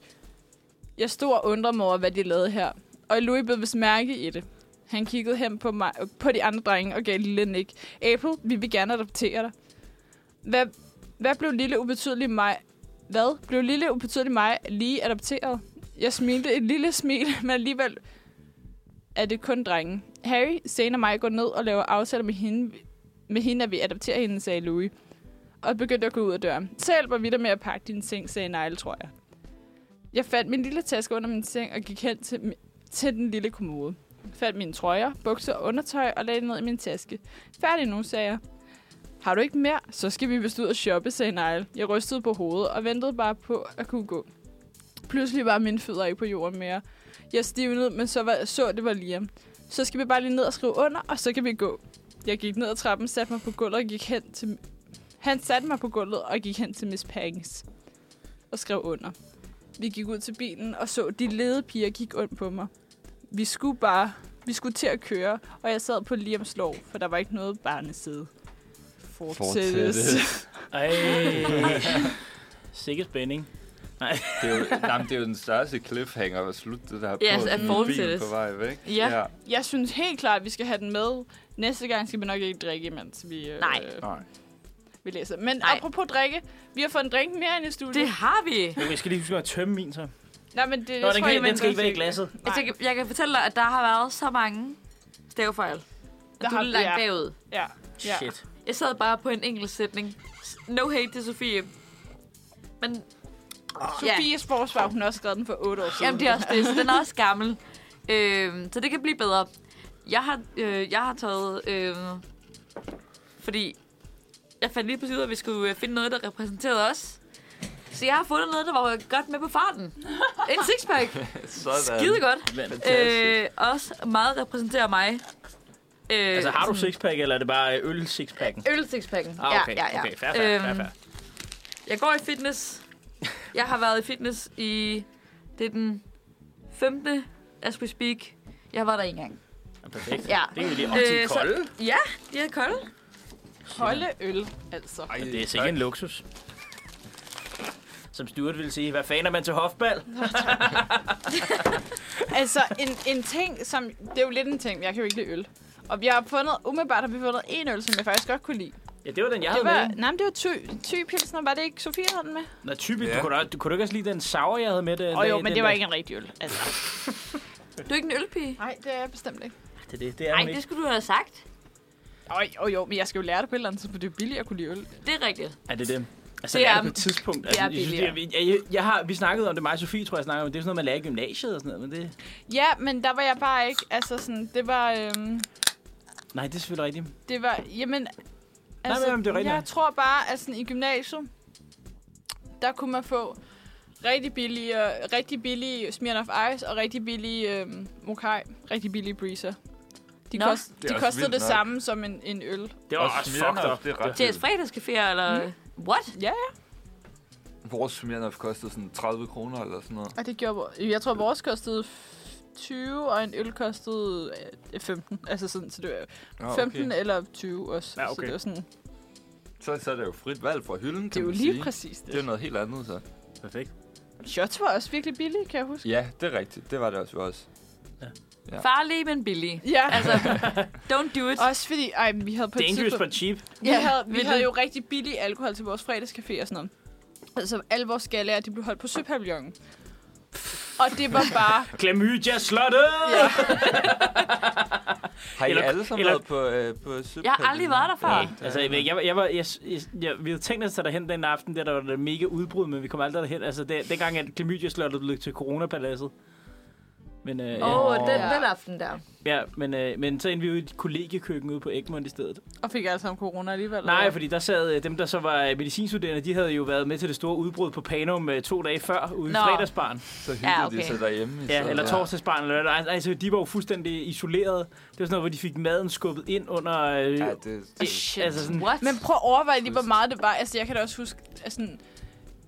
S3: Jeg stod og undrede mig over, hvad de lavede her. Og Louis blev vist mærke i det. Han kiggede hen på, mig, på de andre drenge og gav et lille nik. April, vi vil gerne adoptere dig. Hvad, hvad blev lille ubetydelig mig... Hvad blev lille ubetydelig mig lige adopteret? Jeg smilte et lille smil, men alligevel er det kun drenge. Harry, Zane og mig går ned og laver aftaler med hende, med hende at vi adopterer hende, sagde Louis. Og begyndte at gå ud af døren. Så hjælper vi dig med at pakke dine ting, sagde Nile, tror jeg. Jeg fandt min lille taske under min seng og gik hen til, mi- til den lille kommode. Fandt mine trøjer, bukser og undertøj og lagde det ned i min taske. Færdig nu, sagde jeg. Har du ikke mere? Så skal vi vist ud og shoppe, sagde Nile. Jeg rystede på hovedet og ventede bare på at kunne gå. Pludselig var mine fødder ikke på jorden mere. Jeg stivnede, men så, var, så det var Liam. Så skal vi bare lige ned og skrive under, og så kan vi gå. Jeg gik ned ad trappen, satte mig på gulvet og gik hen til... Han satte mig på gulvet og gik hen til Miss Pangs og skrev under. Vi gik ud til bilen og så, de lede piger gik ondt på mig. Vi skulle bare... Vi skulle til at køre, og jeg sad på Liams lov, for der var ikke noget barneside.
S4: Fortsættes.
S1: Ej. Sikke spænding.
S4: Det er, jo, nej, men det er jo den største cliffhanger at slutte det der på.
S2: Ja, så at
S4: sådan en bil
S2: fortsættes.
S4: på vej væk.
S2: Ja.
S3: Jeg synes helt klart, at vi skal have den med. Næste gang skal vi nok ikke drikke, mens vi, øh,
S2: Nej.
S4: Nej.
S3: vi læser. Men
S2: Nej.
S3: Nej. apropos drikke, vi har fået en drink mere ind i studiet.
S2: Det har vi.
S1: Men jeg skal lige huske at tømme min, så.
S3: Nej, men det,
S1: Nå,
S3: jeg
S1: den,
S3: tror,
S1: kan,
S3: jeg
S1: den skal ikke
S3: venter
S1: være i
S3: til-
S1: glasset.
S2: Altså, jeg, kan- jeg kan fortælle dig, at der har været så mange stavefejl. Der
S3: Der
S2: du er
S3: har-
S2: langt
S3: ja.
S2: bagud.
S3: Ja. ja.
S1: Shit.
S2: Jeg sad bare på en enkelt sætning. S- No hate til Sofie. Men ja.
S3: Sofies forsvar, hun har også skrevet den for 8 år siden.
S2: Jamen, det er også det. Så den er også gammel. Øhm, så det kan blive bedre. Jeg har, øh, jeg har taget... Øh, fordi jeg fandt lige pludselig ud af, at vi skulle øh, finde noget, der repræsenterede os. Så jeg har fundet noget, der var godt med på farten. En sixpack.
S4: Sådan.
S2: Skide godt.
S4: Fantastisk.
S2: Øh, også meget repræsenterer mig. Øh,
S1: Altså, har du sixpack, eller er det bare øh, øl-sixpacken?
S2: Øl sixpacken.
S1: Ah, okay, okay, fair, fair, fair, fair.
S2: Jeg går i fitness. Jeg har været i fitness i... Det er den 15. as we speak. Jeg var der en gang.
S1: Ja, Perfekt.
S2: Ja.
S1: Det er jo lige op til
S2: Øh, så-
S1: kolde.
S2: Ja, de er kolde.
S3: Kolde øl, altså.
S4: Ej,
S1: Men det er sikkert en luksus. Som Stuart ville sige, hvad fanden er man til hofbal?
S3: altså, en, en ting, som... Det er jo lidt en ting, men jeg kan jo ikke lide øl. Og vi har fundet, umiddelbart har vi fundet en øl, som jeg faktisk godt kunne lide.
S1: Ja, det var den, jeg
S3: Det
S1: havde
S3: var,
S1: med. ikke?
S3: nej, men det var ty, ty pilsner. Var det ikke Sofie, der havde den med?
S1: Nå, typisk.
S4: Ja.
S1: Du, kunne da, du kunne da ikke også lide den sour, jeg havde med. Åh
S3: Åh oh, jo, men det var ikke en rigtig øl. Altså.
S2: Du er ikke en ølpige?
S3: Nej, det er jeg bestemt ikke.
S1: Det, er det, det er
S2: Nej,
S1: hun
S2: det
S1: ikke.
S2: skulle du have sagt.
S3: Åh oh, jo, men jeg skal jo lære det på et eller andet tidspunkt. Det er jo billigt at kunne lide øl.
S2: Det er rigtigt.
S1: Er det det? Altså,
S2: Det
S1: det er,
S2: er-
S1: det på et tidspunkt.
S2: det
S1: Altså,
S2: er
S1: jeg synes, det er jeg, jeg, jeg, har, vi snakkede om det, mig og Sofie, tror jeg, snakkede om det. Det er sådan noget, man lærer i gymnasiet og sådan noget. Men det,
S3: Ja, men der var jeg bare ikke... Altså sådan, det var... Øhm,
S1: nej, det er selvfølgelig rigtigt.
S3: det var... Jamen... altså,
S1: men det er rigtigt
S3: jeg
S1: nok.
S3: tror bare, at sådan, i gymnasiet, der kunne man få rigtig billige, øh, rigtig billige Smirnoff Ice og rigtig billige øhm, Mokai. Rigtig billige Breezer. De,
S2: Nå.
S3: kost,
S4: er
S3: de
S4: også
S3: kostede
S4: vildt
S3: det
S4: nok.
S3: samme som en, en øl.
S1: Det var også fucked up.
S4: Det er ret
S2: Til et
S4: vildt.
S2: fredagscafé, eller... What?
S3: Ja,
S4: Vores Smirnoff kostede sådan 30 kroner eller sådan noget.
S3: Og det gjorde vores. Jeg tror, vores kostede f- 20, og en øl kostede øh, 15. Altså sådan, så det var
S4: Nå,
S3: 15 eller 20 også.
S1: Ja,
S3: Så
S1: okay.
S3: det var sådan, det
S4: Så, så er det jo frit valg fra hylden, kan
S3: er jo
S4: man
S3: lige
S4: sige.
S3: præcis det.
S4: Det er jo noget helt andet, så.
S1: Perfekt.
S3: Shots var også virkelig billige, kan jeg huske.
S4: Ja, det er rigtigt. Det var det også for os. Ja.
S2: Farlige, men billige.
S3: Ja,
S2: Altså, don't do it.
S3: også fordi, ej, vi havde på et
S1: Dangerous
S3: tidspunkt,
S1: but cheap.
S3: vi, havde, vi
S2: vildt.
S3: havde jo rigtig billig alkohol til vores fredagscafé og sådan noget. Altså, alle vores galaer, de blev holdt på Søpavillonen. Og det var bare...
S1: Klamydia slottet!
S3: ja.
S4: Har I
S1: Eller-
S4: alle sammen
S1: eller-
S4: været på, øh, på Søb?
S2: Jeg har aldrig været der før.
S1: Nej, altså, jeg, ved ikke, jeg, var- jeg, var, jeg, jeg, jeg, vi havde tænkt os at tage derhen den aften, der, der var det mega udbrud, men vi kom aldrig derhen. Altså, det, dengang, at Klamydia-slottet blev til Coronapaladset. Men, øh,
S2: Åh,
S1: ja.
S2: oh, den,
S3: Ja.
S2: den aften der.
S1: ja, men, øh, men så endte vi jo i et kollegiekøkken ude på Egmont i stedet.
S3: Og fik alle sammen corona alligevel.
S1: Nej,
S3: eller?
S1: fordi der sad øh, dem, der så var øh, medicinstuderende, de havde jo været med til det store udbrud på Panum øh, to dage før, ude i
S2: Nå.
S1: fredagsbaren.
S4: Så hyggede
S2: Ja,
S4: ja,
S2: okay.
S4: okay. de sig derhjemme. i
S1: Ja,
S4: stedet.
S1: eller torsdagsbaren. Eller, hvad. altså, de var jo fuldstændig isoleret. Det var sådan noget, hvor de fik maden skubbet ind under... Øh,
S4: Ja, det, det,
S2: Shit.
S1: altså sådan-
S2: What?
S3: Men prøv at overveje lige, hvor meget det var. Altså, jeg kan da også huske, at sådan,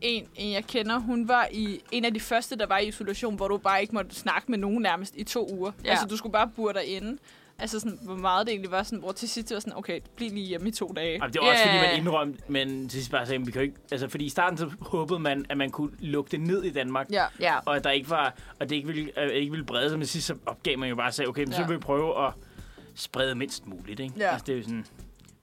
S3: en, en, jeg kender, hun var i en af de første, der var i isolation, hvor du bare ikke måtte snakke med nogen nærmest i to uger.
S2: Ja.
S3: Ja. Altså, du skulle bare burde derinde. Altså, sådan, hvor meget det egentlig var, sådan, hvor til sidst det var sådan, okay, bliv lige hjemme i to dage.
S1: Jamen, det var yeah. også,
S2: Ja,
S1: fordi
S2: ja,
S1: man
S2: ja.
S1: indrømte, men til sidst bare sagde, vi kan jo ikke... Altså, fordi i starten så håbede man, at man kunne lukke det ned i Danmark.
S3: Ja.
S2: Ja.
S1: Og at der ikke var... Og det ikke ville, øh, ikke ville brede sig, men til sidst så opgav man jo bare og sagde, okay, men så
S3: Ja.
S1: vil vi prøve at sprede mindst muligt, ikke?
S3: Ja.
S1: Altså, det er jo sådan...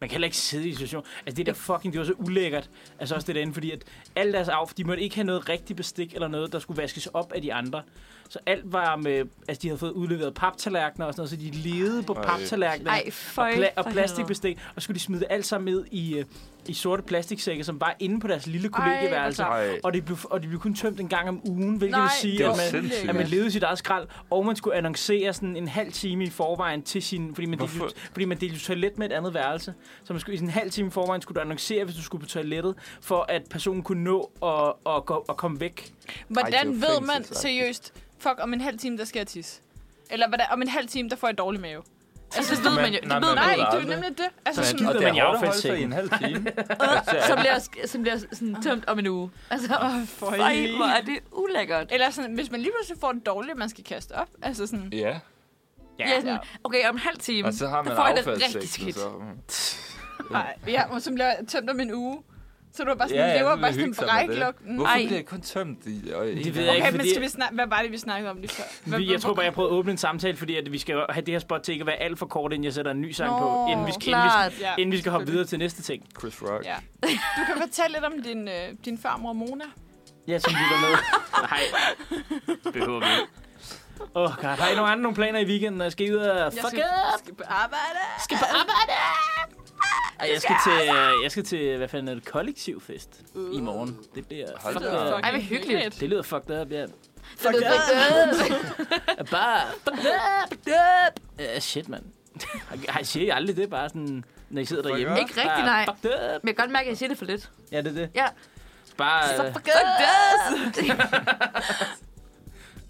S1: Man kan heller ikke sidde i situation. Altså, det der fucking, det var så ulækkert. Altså, også det derinde, fordi at alle deres af, de måtte ikke have noget rigtig bestik eller noget, der skulle vaskes op af de andre. Så alt var med, altså, de havde fået udleveret paptallerkener og sådan noget, så de levede på
S4: Ej.
S1: paptallerkener
S2: Ej,
S1: og,
S2: føj.
S1: pla- og
S2: for
S1: plastikbestik, og skulle de smide det alt sammen ned i, øh, i sorte plastiksække, som var inde på deres lille kollegieværelse.
S3: hvor
S4: ej,
S1: Og det, blev, og det blev kun tømt en gang om ugen, hvilket
S3: Nej,
S1: vil sige,
S4: det
S1: at
S4: var
S1: man,
S4: sindssygt.
S1: at man levede sit eget skrald, og man skulle annoncere sådan en helvede. halv time i forvejen til sin... Fordi man, delte, jo-
S4: Hvorfor?
S1: fordi man delte jo toilet med et andet værelse. Så man skulle, i sin halv time i forvejen skulle du annoncere, hvis du skulle på toilettet, for at personen kunne nå at, at, gå- at komme væk.
S4: Ej,
S3: Hvordan
S4: det er jo altså.
S3: ved man
S4: fængselsagtigt.
S3: seriøst, fuck, om en halv time, der skal jeg tisse? Eller hvordan, om en halv time, der får jeg dårlig mave? Altså, det ved man jo.
S4: nej,
S3: Det ved
S4: man
S3: Nej,
S4: ved
S3: det er jo
S4: aldrig.
S3: nemlig det. Altså,
S1: Så
S3: sådan,
S1: skidt.
S4: og
S1: Gider
S4: det
S1: man i
S4: er hårdt at holde sig i
S1: affaldssækken?
S4: en halv time.
S2: Som bliver, som bliver sådan tømt om en uge. Altså, oh,
S3: føj.
S2: føj, hvor er det ulækkert.
S3: eller sådan, hvis man lige pludselig får en dårlig, man skal kaste op. Altså sådan,
S4: Ja,
S2: Ja, ja. Sådan, okay, om en halv time,
S4: og så har man
S2: der får jeg det rigtig
S4: affaldssækken.
S2: skidt.
S4: Så, mm.
S3: Nej, ja, og så bliver jeg tømt om en uge. Så er du bare sådan,
S4: Ja,
S3: ja,
S4: ja,
S3: ja,
S4: så
S3: Altså, lever
S4: vil
S3: bare sådan
S4: jeg
S3: en
S4: hygge sig med det.
S3: bræklok. Mm.
S4: Hvorfor
S2: Ej.
S4: bliver det kun tømt i og en
S1: Det ved
S4: gang?
S1: jeg ikke.
S3: Okay, men
S1: fordi-
S3: skal vi snak- hvad var det, vi snakkede om lige før? Hvad,
S1: Vi, jeg tror bare, jeg prøvede at åbne en samtale, fordi at vi skal jo have det her spot til ikke at være alt for kort, inden jeg sætter en ny sang på,
S3: Nå,
S1: inden vi skal, inden vi skal,
S2: Klart.
S3: Ja,
S1: inden vi skal hoppe
S3: selvfølgelig.
S1: videre til næste ting.
S4: Chris Rock.
S3: Ja. Du kan fortælle lidt om din, øh, din farmor Mona.
S1: Ja, som lytter med. Hej. Behøver vi ikke. Åh, oh god. Har I nogen andre nogle planer i weekenden? Jeg skal I ud og...
S3: Jeg
S1: Fuck
S3: skal,
S1: it!
S3: skal på arbejde.
S1: Skal på arbejde! Ej, jeg skal til, jeg skal til hvad fanden er det, kollektivfest i morgen. Det bliver...
S4: Hold
S1: Fuck
S4: da
S1: up.
S4: op.
S2: Ej, hvor hyggeligt.
S1: Det lyder fucked up, ja.
S3: Fuck
S1: Bare... Fucked up, fucked up. Uh, shit, mand. Ej, siger I aldrig det? Bare sådan, når I sidder derhjemme?
S4: up.
S2: Ikke rigtig,
S1: Bare,
S2: nej.
S1: Fucked up.
S2: Men jeg kan godt mærke, at jeg siger det for lidt.
S1: Ja, det er det.
S2: Ja.
S1: Bare... øh,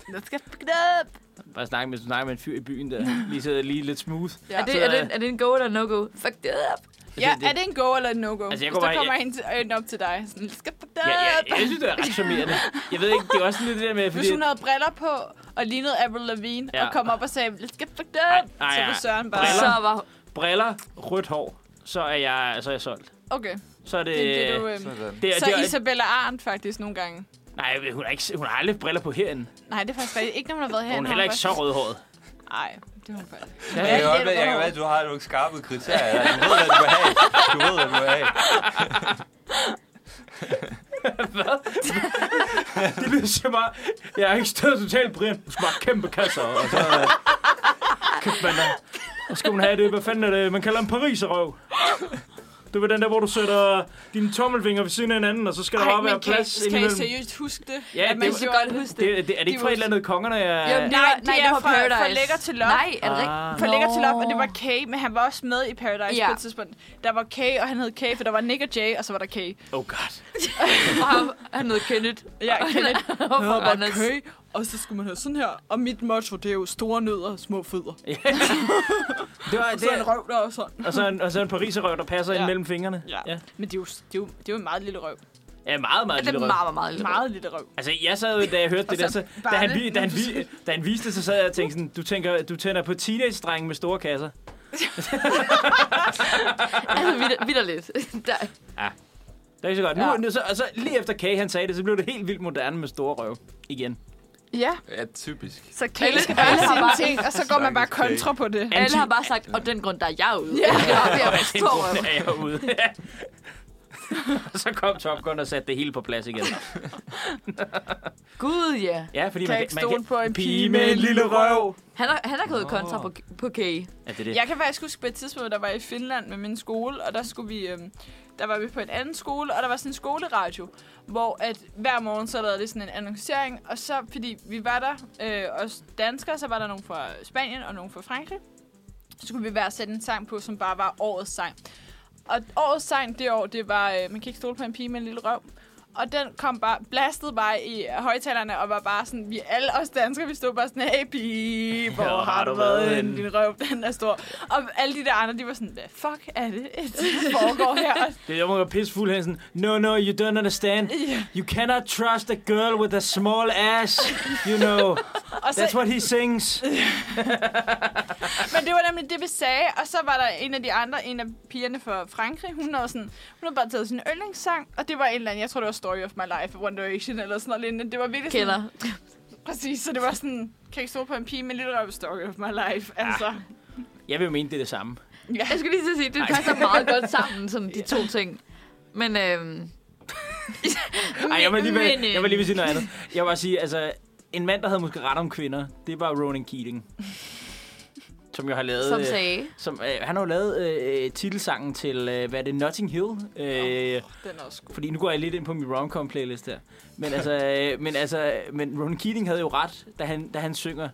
S3: Let's get fucked up.
S1: Bare snakke med, snakke med en fyr i byen der. Lige sidder lige lidt smooth.
S3: Ja.
S2: Er det, er, det, er det en go eller no-go? Fuck det up.
S3: Ja,
S1: det-
S3: er det en go eller en
S1: Altså,
S3: no-go? Altså,
S1: jeg
S3: jeg
S1: går
S3: Hvis der
S1: bare-
S3: kommer
S1: jeg-
S3: en, til- en op til dig, sådan, let's get fucked up.
S1: Ja, ja, jeg synes, det er ret charmerende. Jeg ved ikke, det er også lidt det der med, fordi...
S3: Hvis hun havde briller på og lignede Avril Lavigne
S1: Ja.
S3: og kom op og sagde, let's get fucked
S1: Ej,
S3: up,
S1: ej,
S3: så
S1: ej.
S3: var Søren bare,
S1: Briller.
S2: Så var
S1: briller, rødt hår, så er jeg, så er jeg solgt.
S3: okay,
S1: Så er det...
S3: det er det, du... øhm,
S4: Sådan.
S1: Øh, det, er-
S3: Så
S1: det, er-
S3: Isabella Arndt faktisk nogle gange.
S1: Nej, hun har, ikke, hun har aldrig briller på herinde.
S3: Nej, det er faktisk rigtigt. Ikke når man har været
S1: Og
S3: herinde.
S1: hun er
S3: har
S1: heller ikke
S3: faktisk-
S1: så rødhåret.
S3: Nej, det var hun faktisk. ikke.
S4: Jeg kan godt være, jeg kan være, at du har nogle skarpe kriterier. Du ved, hvad du vil have. Du ved, hvad du vil have.
S1: Det lyder så bare... Jeg har ikke stået totalt Brian. Hun smagte kæmpe kasser, og så... øh, Kæft, mand. der. Og skal hun have det? Hvad fanden er det? Man kalder en pariserøv. Det var den der, hvor du sætter dine tommelvinger ved siden af hinanden, og så skal der
S3: Ej,
S1: bare være
S3: men kan,
S1: plads
S3: I- kan I
S1: indimellem.
S3: seriøst huske det?
S1: Ja,
S3: At
S1: det
S3: man
S1: var-
S3: gjorde
S2: godt huske
S1: Det, det, er det ikke fra et eller andet kongerne?
S2: Jamen,
S1: Jeg...
S2: det var,
S3: det
S2: nej,
S3: er
S2: det var
S3: fra- fra
S2: Paradise.
S3: Lækker til Love.
S2: Nej, er det rigtigt?
S1: Ah.
S3: For lækker til op, og det
S2: Nå.
S3: var Kay, men han var også med i Paradise
S2: Ja.
S3: på et tidspunkt. Der var Kay, og han hed Kay, for der var Nick og Jay, og så var der Kay.
S1: Oh god.
S2: Og ham- han hed Kenneth.
S3: Ja, Kenneth.
S2: Og
S3: Og
S2: fra
S3: var
S2: Anders.
S3: Kay, og så skulle man høre sådan her. Og mit motto, det er jo store nødder, små fødder.
S1: Det var,
S3: Og så en
S1: det,
S3: røv der og sådan.
S1: og så en, og så en pariserøv, der passer
S3: Ja.
S1: ind mellem fingrene.
S3: Ja.
S1: ja.
S3: Men det er jo, det er jo, det er jo en meget lille røv.
S1: Ja, meget, meget
S2: Det
S1: lille
S2: er
S1: røv.
S2: meget, meget lille.
S3: Meget lille røv.
S1: Altså, jeg sad jo, da jeg hørte det der,
S3: så
S1: så, da, han,
S3: barnet,
S1: vi- da, han,
S3: når
S1: vi- da han viste det, så sad jeg og tænkte sådan, du, tænker, du tænder på teenage-drenge med store kasser.
S2: Altså, vidt, vidt lidt. Der,
S1: Det er ikke så godt. Nu,
S2: Ja.
S1: nu, så, og så lige efter Kay, han sagde det, så blev det helt vildt moderne med store røv. Igen.
S3: Ja,
S4: Ja, typisk.
S3: så Kay
S2: Alle-
S3: skal bare
S2: alle har
S3: sige
S2: bare-
S3: en ting, og så går man bare
S4: Stakkels Kay.
S3: kontra på det.
S2: alle har bare sagt, og den grund, der er jeg ude. Ja, jeg er ved at
S1: Den
S2: forstå.
S1: grund er jeg ude. Ja. så kom Top Gun og satte det hele på plads igen.
S2: Gud, ja.
S1: Ja, fordi
S3: Kan
S1: man,
S3: ikke stole på en pige med en lille røv.
S2: Han er, han er gået kontra på, på Kay.
S1: Ja, det er det.
S3: Jeg kan faktisk huske på et tidspunkt, der var jeg i Finland med min skole, og der skulle vi... Øhm, der var vi på en anden skole, og der var sådan en skoleradio, hvor at hver morgen så lavede det sådan en annoncering, og så, fordi vi var der, øh, os danskere, så var der nogen fra Spanien og nogen fra Frankrig, så skulle vi hver sætte en sang på, som bare var årets sang. Og årets sang det år, det var, øh, man kan ikke stole på en pige med en lille røv. Og den kom bare, blastede bare i højtalerne, og var bare sådan, vi alle os danskere, vi stod bare sådan, hey pige, hvor
S1: Ja,
S3: har du været henne? Din røv, den er stor. Og alle de der andre, de var sådan, hvad fuck er det, der foregår her?
S1: Det er jo meget pissefuld hen sådan, no, no, you don't understand. You cannot trust a girl with a small ass. You know,
S3: Og så,
S1: that's what he sings.
S3: men det var nemlig det, vi sagde. Og så var der en af de andre, en af pigerne fra Frankrig, hun havde, sådan, hun havde bare taget sin yndlingssang, og det var en eller anden, jeg tror det var Story of My Life, One Direction eller sådan noget lignende. Det var virkelig
S2: Kender.
S3: sådan, præcis, så det var sådan, kan ikke stole på en pige med en lille røv Story of My Life, altså.
S1: Jeg vil jo mene, det er det samme.
S3: Ja.
S2: Jeg skulle lige til at sige, det passer meget godt sammen, sådan de to ting. Men øhm,
S1: Ej, jeg vil lige,
S2: Men, øh,
S1: jeg vil lige vil sige noget andet. Jeg vil bare sige, altså, en mand, der havde måske ret om kvinder, det var Ronan Keating. Som jo har lavet...
S2: som
S1: øh,
S2: sagde,
S1: som, øh, han har jo lavet øh, øh, titelsangen til, øh, hvad er det, Notting Hill? Øh,
S3: Den er også god.
S1: Fordi nu går jeg lidt ind på min romcom playlist her. Men altså, øh, men altså, men Ronan Keating havde jo ret, da han, da han synger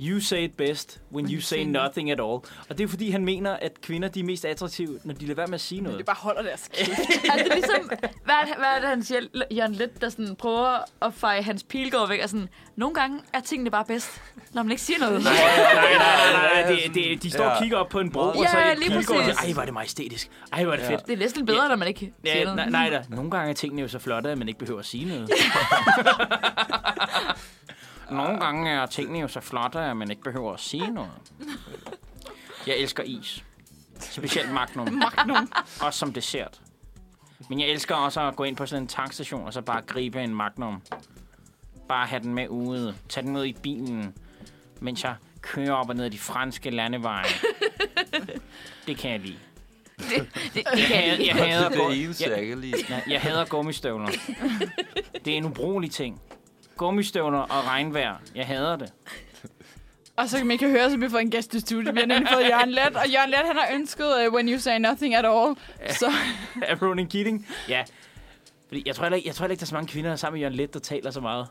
S1: You say it best when you say nothing at all. Og det er jo fordi, han mener, at kvinder de er mest attraktive, når de lader være med at sige noget.
S3: Det bare holder deres kæft.
S2: altså ligesom, hvad, er det- hvad er det, han siger, Jørgen Let, der sådan prøver at feje hans pilgård væk, og sådan, nogle gange er tingene bare bedst, når man ikke siger noget.
S1: Nej, nej, nej, nej, nej. Det, det, de står og
S4: Ja.
S1: kigger op på en bro, og
S2: Ja,
S1: så
S2: lige
S1: kigger og siger,
S2: præcis.
S1: Ej, var det majestætisk. Ej, var det
S4: Ja.
S1: fedt.
S2: Det er næsten bedre, når man ikke siger
S1: Ja,
S2: noget.
S1: nej, nej da. Nogle gange er tingene jo så flotte, at man ikke behøver at sige noget. Nogle gange er tingene jo så flotte, at man ikke behøver at sige noget. Jeg elsker is. Specielt Magnum. Magnum. Også som dessert. Men jeg elsker også at gå ind på sådan en tankstation, og så bare gribe en Magnum. Bare have den med ude. Tag den med i bilen, mens jeg kører op og ned ad de franske landeveje. Det kan jeg lide.
S2: Det, det kan jeg
S1: Jeg,
S2: ikke.
S1: jeg hader
S4: Det er
S1: gummi-
S4: det eneste,
S1: jeg-
S4: jeg kan lide.
S1: Nej, jeg hader gummistøvler. Det er en ubrugelig ting. Gummistøvler og regnvejr. Jeg hader det.
S3: og så kan man ikke høre, så vi får en gæst i studiet. Vi har nemlig fået Jørgen Let, og Jørgen Let, han har ønsket uh, When You Say Nothing At All. Så
S1: Er Ronan Keating? Ja. Fordi jeg tror heller ikke, jeg tror heller ikke der er så mange kvinder sammen med Jørgen Let, der taler så meget.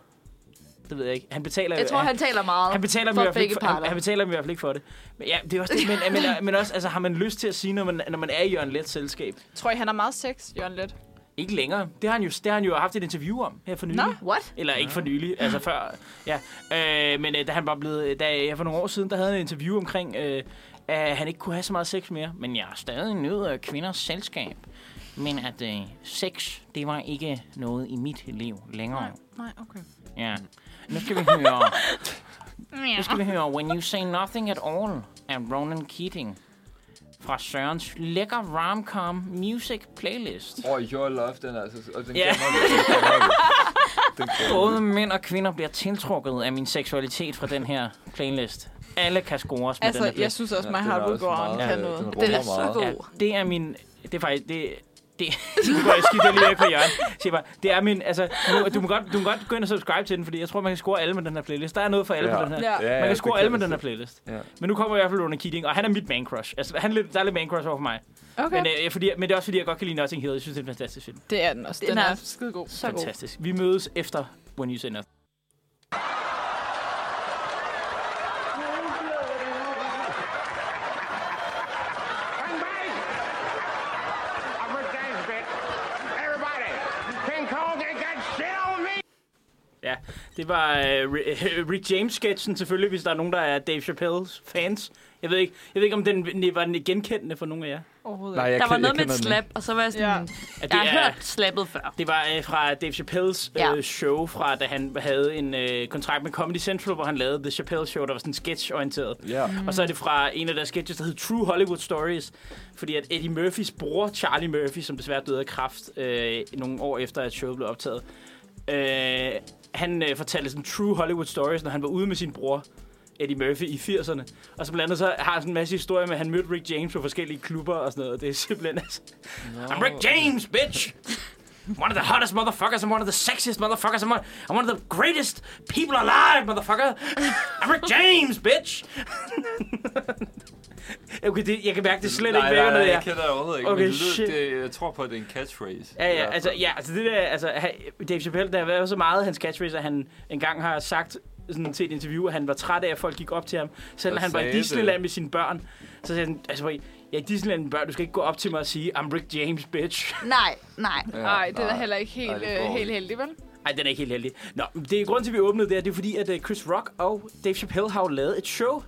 S1: Det ved jeg ikke. Han betaler
S2: Jeg
S1: jo-
S2: tror, han taler meget
S1: han betaler dem i
S2: for
S1: hvert fald
S2: begge
S1: ikke for, han,
S2: parter.
S1: han betaler dem i hvert fald ikke for det. Men, ja, det er også det, men, men, men også, altså, har man lyst til at sige, når man, når man er i Jørgen Lets selskab?
S3: tror jeg, han har meget sex, Jørgen Let.
S1: Ikke længere. Det har han jo, det har han jo haft et interview om her for nylig.
S3: Nå.
S2: What?
S1: Eller ikke for nylig, altså før. Ja. Øh, men øh, da han var blevet, da jeg for nogle år siden, der havde han en interview omkring, øh, at han ikke kunne have så meget sex mere. Men jeg er stadig nødt af kvinders selskab. Men at øh, sex, det var ikke noget i mit liv længere.
S3: Nej, okay.
S1: Ja. Nu skal vi høre... nu skal vi høre When You Say Nothing At All af Ronan Keating fra Sørens lækker romcom music playlist.
S4: Åh, oh, your love, den er altså... Og den
S1: Ja.
S4: yeah. kan holde. Den
S1: Både mænd og kvinder bliver tiltrukket af min seksualitet fra den her playlist. Alle kan scores med
S3: Altså,
S1: den her
S3: jeg synes også, My Heart Will Go On kan noget.
S2: Den er så god.
S1: Ja, det er min... Det er faktisk... Det, det, nu går jeg skidt jeg lige væk fra Jørgen. Siger bare, det er min... Altså, nu, du, må godt, du må godt gå ind og subscribe til den, fordi jeg tror, man kan score alle med den her playlist. Der er noget for alle på den her.
S3: Ja.
S1: Man kan score alle med den her playlist.
S4: Ja.
S1: Men nu kommer i hvert fald Ronan Keating, og han er mit man crush. Altså, han er lidt, der er lidt man crush over for mig.
S3: Okay.
S1: Men, øh, fordi, men det er også fordi, jeg godt kan lide Notting Hill. Jeg synes, det er en fantastisk film.
S3: Det er den også. Den
S2: Den
S3: er
S2: er
S3: skide god.
S2: Så god.
S1: Fantastisk. Vi mødes efter When You Say Nothing. Ja, det var øh, Ri- Rick James-sketchen selvfølgelig, hvis der er nogen, der er Dave Chappelle's fans. Jeg ved ikke, jeg ved ikke om den var genkendende for nogen af jer.
S3: Overhovedet
S4: Nej, jeg
S2: Der var
S4: kan-
S2: noget
S4: jeg
S2: med et
S4: kender den
S2: slap, og så var jeg sådan,
S3: Ja.
S2: ja.
S1: At
S2: jeg
S1: det
S2: har
S1: er-
S2: hørt slappet før.
S1: Det var øh, fra Dave Chappelle's øh,
S2: Ja.
S1: show, fra da han havde en øh, kontrakt med Comedy Central, hvor han lavede The Chappelle Show, der var sådan sketch-orienteret.
S4: ikke. Ja.
S1: Og så er det fra en af deres sketches, der hedder True Hollywood Stories. Fordi at Eddie Murphys bror, Charlie Murphy, som desværre døde af kræft øh, nogle år efter, at showet blev optaget, øh, han øh, fortalte sådan True Hollywood Stories, når han var ude med sin bror. Eddie Murphy i 80'erne. Og så blandt andet så har han sådan en masse historier med, at han mødte Rick James på forskellige klubber og sådan noget. Og det er simpelthen altså... I'm Rick James, bitch! One of the hottest motherfuckers, I'm one of the sexiest motherfuckers, I'm one, I'm one of the greatest people alive, motherfucker! I'm Rick James, bitch! okay, det, jeg kan mærke, det er slet
S4: nej,
S1: ikke vækker
S4: nej,
S1: noget,
S4: jeg
S1: jeg...
S4: kender det overhovedet ikke,
S1: Okay,
S4: men det,
S1: shit.
S4: lyder- det, jeg tror på, at det er en catchphrase.
S1: Ja,
S4: I
S1: ja,
S4: hvert
S1: altså,
S4: fald.
S1: ja, altså det der, altså, han- Dave Chappelle, der har været så meget af hans catchphrase, at han engang har sagt sådan til et interview, at han var træt af, at folk gik op til ham, selvom
S4: Og
S1: han var i
S4: sagde det.
S1: Disneyland med sine børn. Så sagde han, altså, prøv at- jeg er i Disneyland med børn, du skal ikke gå op til mig og sige, I'm Rick James, bitch.
S2: Nej, nej.
S4: Ja,
S3: Nej, den er heller ikke helt,
S4: Nej, det
S3: øh,
S4: går
S3: helt
S4: ikke.
S3: heldig, vel?
S1: Ej, den er ikke helt heldig. Nå, men det er grunden til, at vi åbnede det her, det er fordi, at øh, Chris Rock og Dave Chappelle har jo lavet et show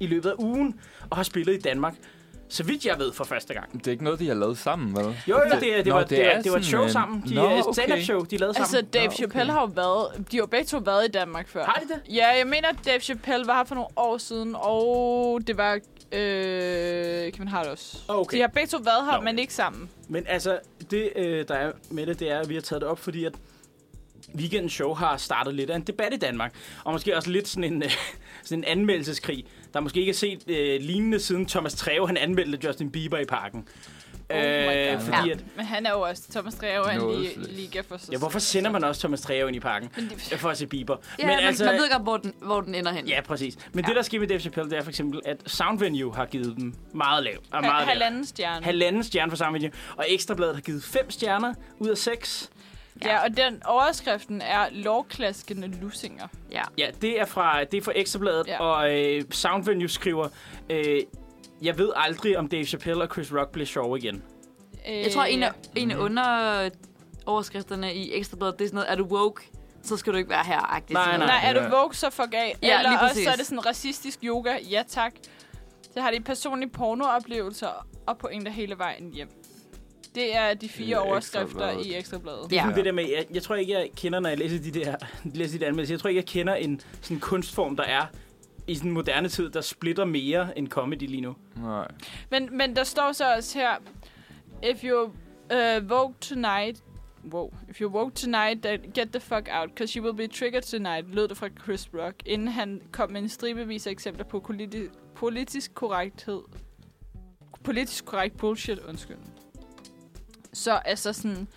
S1: i løbet af ugen, og har spillet i Danmark. Så vidt jeg ved for første gang.
S4: Det er ikke noget, de har lavet sammen, vel?
S1: Jo, jo, det, det,
S4: Nå,
S1: var, det,
S4: er
S1: det, det var et
S4: sådan
S1: show
S4: en-
S1: sammen. De,
S4: Nå,
S1: øh, stand-up
S4: okay.
S1: show, de lavede
S3: Altså,
S1: sammen.
S3: Dave
S4: Nå, okay.
S3: Chappelle har jo været... De har jo begge to været i Danmark før.
S1: Har de det?
S3: Ja, jeg mener, at Dave Chappelle var her for nogle år siden, og det var øh, Kevin Hart også.
S1: Okay.
S3: De har begge to været her,
S1: Nå.
S3: men ikke sammen.
S1: Men altså, det øh, der er med det, det er, at vi har taget det op, fordi at Weekendens show har startet lidt af en debat i Danmark. Og måske også lidt sådan en, øh, sådan en anmeldelseskrig, der måske ikke er set øh, lignende siden Thomas Treve, han anmeldte Justin Bieber i parken. Øh,
S3: Oh my God.
S1: fordi
S2: Ja.
S1: at,
S3: Men han er jo også... Thomas Dreve er en li-
S4: Nådesløs.
S3: liga for sig
S1: ja, hvorfor sender man også Thomas Treve ind i parken? øh,
S3: det-
S1: For at se Bieber.
S2: Ja, men altså, man ved godt, hvor den, hvor den ender hen.
S1: Ja, præcis. Men ja. det, der sker med Dave Chappelle, det er for eksempel, at Soundvenue har givet dem meget lav. Og
S3: selv.
S1: meget lav.
S3: Halvanden stjerne.
S1: Halvanden stjerne for Soundvenue. Og Ekstrabladet har givet fem stjerner ud af seks.
S3: ja, og den overskriften er lovklaskende lusinger.
S2: ja.
S1: Ja, det er fra det er fra Ekstrabladet,
S3: Ja.
S1: ja. og øh, Soundvenue skriver, øh, jeg ved aldrig, om Dave Chappelle og Chris Rock bliver sjove igen.
S3: Øh,
S2: Jeg tror, en af, en
S1: Mm-hmm.
S2: af under overskrifterne i Ekstrabladet, det er sådan noget, er du woke, så skal du ikke være her. -agtigt.
S1: Nej,
S2: Sådan noget.
S3: Nej, er
S4: Ja.
S3: du woke, så fuck af.
S2: Ja,
S3: Eller
S2: lige
S3: også
S2: præcis.
S3: så er det sådan racistisk yoga. Ja, tak. Det har de personlige pornooplevelser og pointer hele vejen hjem. Det er de
S4: I
S3: fire
S4: Ekstra
S3: overskrifter
S4: Bladet.
S3: i Ekstrabladet.
S1: Det er
S2: Ja.
S1: ja. det der med, jeg, jeg tror ikke, jeg kender, når jeg læser de der læser de der anmeldelser, jeg tror ikke, jeg kender en sådan kunstform, der er i sådan en moderne tid, der splitter mere end comedy lige nu.
S4: Nej.
S3: Men, men der står så også her, if you uh, woke tonight, wow, if you woke tonight, then get the fuck out, cause you will be triggered tonight, lød det fra Chris Rock, inden han kom med en stribevis af eksempler på politi- politisk korrekthed. Politisk korrekt bullshit, undskyld. Så altså sådan,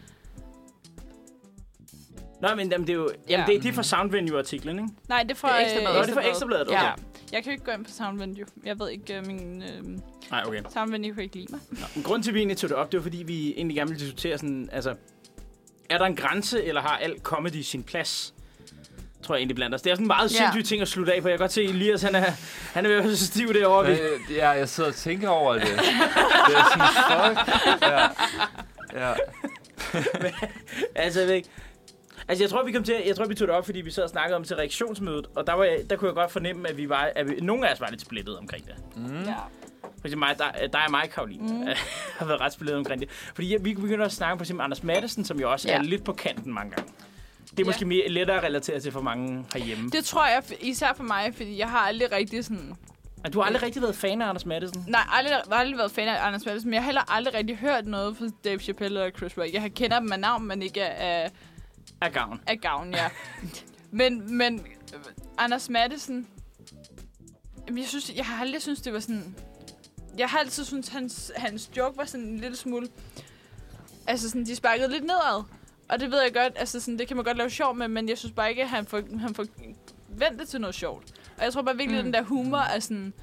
S1: Nå, men jamen, det er jo jamen,
S3: Ja.
S1: ja. det, det er fra Soundvenue-artiklen, ikke?
S3: nej, det er fra...
S2: Det er Ekstra Bladet.
S1: Nå, det er
S3: Ekstra
S1: fra Ekstrabladet,
S3: Bladet.
S1: okay.
S2: Ja.
S1: Ja.
S3: Jeg kan jo ikke gå ind på Soundvenue. Jeg ved ikke, uh, min uh,
S1: Nej, okay.
S3: Soundvenue kan ikke lide mig.
S1: Men grunden til, at vi egentlig tog det op, det var, fordi vi egentlig gerne ville diskutere sådan, altså, er der en grænse, eller har alt comedy sin plads? Tror jeg egentlig blandt os. Det er sådan en meget
S2: Ja.
S1: sindssyg ting at slutte af på. Jeg kan godt se, at Elias, han er, han er ved at være så stiv derovre. Vi-
S4: Men, ja, jeg sidder og tænker over det. det er sådan, fuck. Ja. Ja.
S1: Altså, jeg ved ikke. Altså, jeg tror, vi kom til, jeg tror, vi tog det op, fordi vi sad og snakkede om til reaktionsmødet, og der, var jeg, der kunne jeg godt fornemme, at, vi var, at vi, nogle af os var lidt splittet omkring det.
S3: Mm. Ja.
S1: For eksempel mig, der, der er mig, Karoline, mm. har været ret spillet omkring det. Fordi jeg, vi begynder at snakke om for eksempel Anders Madsen, som jo også
S2: Ja.
S1: er lidt på kanten mange gange. Det er måske mere, lettere at relatere til for mange herhjemme.
S3: Det tror jeg, f- især for mig, fordi jeg har aldrig rigtig sådan...
S1: Og du har aldrig rigtig været fan af Anders Madsen?
S3: Nej, aldrig, aldrig været fan af Anders Matthesen, men jeg har heller aldrig rigtig hørt noget fra Dave Chappelle og Chris Rock. Jeg kender dem af navn, men ikke af
S1: af gavn.
S3: af gavn, ja. men, men øh, Anders Madsen, Jamen, jeg, synes, jeg har aldrig synes det var sådan... Jeg har altid synes hans, hans joke var sådan en lille smule... Altså, sådan, de sparkede lidt nedad. Og det ved jeg godt, altså sådan, det kan man godt lave sjov med, men jeg synes bare ikke, at han får, han får vendt det til noget sjovt. Og jeg tror bare virkelig, mm. den der humor er sådan...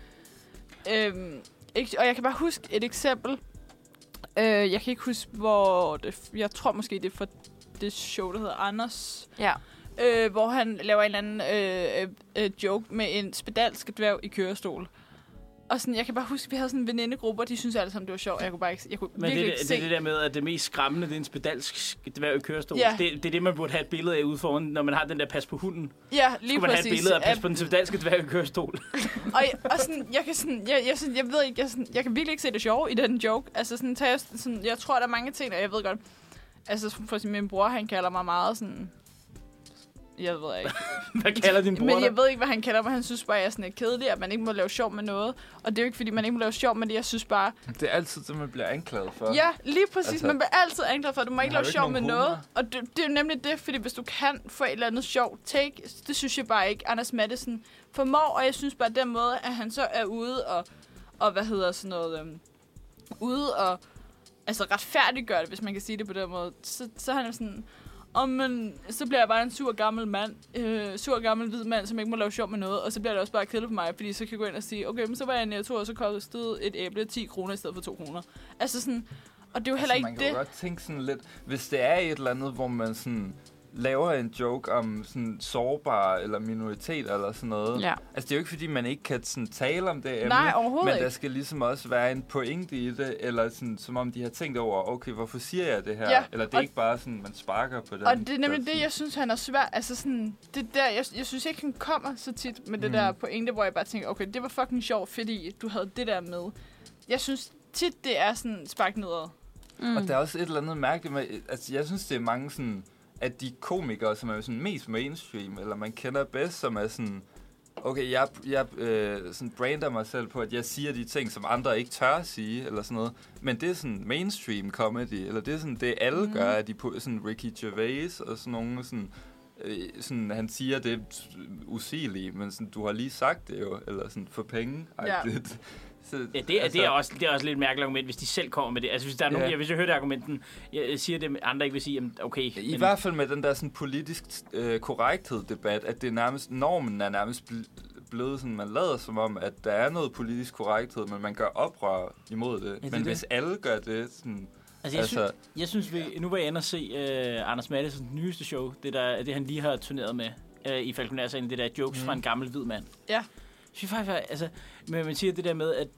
S3: Øhm, ikke, og jeg kan bare huske et eksempel. Øh, jeg kan ikke huske, hvor... Det, jeg tror måske, det er for det show, der hedder Anders
S2: Ja.
S3: øh, hvor han laver en eller anden øh, øh, øh, joke med en spedalsk dværg i kørestol. Og sådan, jeg kan bare huske, at vi havde sådan en venindegruppe, og de synes alle sammen, det var sjovt. Jeg kunne bare ikke, jeg kunne
S1: Men
S3: virkelig
S1: det,
S3: ikke
S1: det,
S3: se.
S1: det, det der med, at det mest skræmmende, det er en spedalsk dværg i kørestol.
S3: Ja.
S1: Det, det er det, man burde have et billede af ude foran, når man har den der pas på hunden.
S3: ja, lige
S1: Skulle man
S3: præcis.
S1: have et billede af pas
S3: Ja,
S1: på den spedalske dværg i kørestol.
S3: og, og sådan, jeg kan sådan, jeg, jeg, sådan, jeg ved ikke, jeg, sådan, jeg kan virkelig ikke se det sjove i den joke. Altså sådan, tager jeg, sådan, jeg tror, der er mange ting, og jeg ved godt, altså for eksempel min bror, han kalder mig meget sådan, jeg ved ikke.
S1: Hvad kalder din bror
S3: Men
S1: dig?
S3: jeg ved ikke, hvad han kalder mig. Han synes bare, at jeg sådan er kedelig, at man ikke må lave sjov med noget. Og det er jo ikke, fordi man ikke må lave sjov med det. Jeg synes bare,
S4: Det er altid det, man bliver anklaget for.
S3: Ja, lige præcis.
S4: Altså-
S3: Altså, man bliver altid anklaget for, at du må ikke
S4: har
S3: lave
S4: jo ikke
S3: sjov med
S4: nogen
S3: noget.
S4: humor.
S3: Og det, det er jo nemlig det, fordi hvis du kan få et eller andet sjovt take, det synes jeg bare ikke, Anders Madsen formår. Og jeg synes bare, den måde, at han så er ude og, og hvad hedder sådan noget, øhm, ude og altså retfærdiggør det, hvis man kan sige det på den måde, så, så er han jo sådan, og men, så bliver jeg bare en sur gammel mand, øh, sur gammel hvid mand, som ikke må lave sjov med noget, og så bliver det også bare kedeligt for mig, fordi så kan jeg gå ind og sige, okay, men så var jeg i Netto, og så kostede et æble 10 kroner i stedet for 2 kroner. Altså sådan, og det er jo heller
S4: altså,
S3: ikke
S4: man kan
S3: det.
S4: jo godt tænke sådan lidt, hvis det er et eller andet, hvor man sådan laver en joke om sådan sårbare eller minoriteter eller sådan noget.
S2: Ja.
S4: Altså, det er jo ikke, fordi man ikke kan sådan tale om det emne.
S3: Nej, overhovedet
S4: Men der
S3: ikke.
S4: skal ligesom også være en pointe i det, eller sådan, som om de har tænkt over, okay, hvorfor siger jeg det her?
S3: Ja,
S4: eller det er
S3: og-
S4: ikke bare sådan, man sparker på den.
S3: Og det er nemlig
S4: der
S3: det, jeg synes, han er svær. Altså sådan, det der, jeg, jeg synes ikke, han kommer så tit med det
S4: Mm.
S3: der pointe, hvor jeg bare tænker, okay, det var fucking sjovt, fordi du havde det der med. Jeg synes tit, det er sådan spark nedad.
S4: Mm. Og der er også et eller andet mærkeligt med, altså jeg synes, det er mange sådan, at de komikere, som er sådan mest mainstream, eller man kender bedst, som er sådan, okay, jeg, jeg øh, sådan brander mig selv på, at jeg siger de ting, som andre ikke tør at sige, eller sådan noget. Men det er sådan mainstream comedy, eller det er sådan det, alle mm. gør, at de på sådan Ricky Gervais og sådan nogle sådan, øh, sådan, han siger det usigelige, men sådan, du har lige sagt det jo, eller sådan for penge.
S3: Ja.
S4: Så,
S1: Ja, det, altså, det, er også, det er også lidt mærkeligt argument, hvis de selv kommer med det. Altså, hvis, der er nogen,
S4: Ja.
S1: jeg, hvis jeg hører det argumenten, jeg jeg siger det, men andre ikke vil sige, jamen, okay.
S4: I
S1: men-
S4: hvert fald med den der sådan politisk øh, korrekthed debat, at det er nærmest, normen er nærmest bl- blevet sådan, man lader som om, at der er noget politisk korrekthed, men man gør oprør imod det.
S1: det
S4: men
S1: er det.
S4: hvis alle gør det, sådan,
S1: Altså, jeg, altså,
S4: Altså-
S1: synes, jeg synes, vi, nu var jeg inde og se uh, Anders Mattesens nyeste show, det, der, det han lige har turneret med uh, i Falconer-sagen, det der jokes mm. fra en gammel hvid mand.
S3: Ja.
S1: Jeg synes faktisk, at- altså, men man siger det der med, at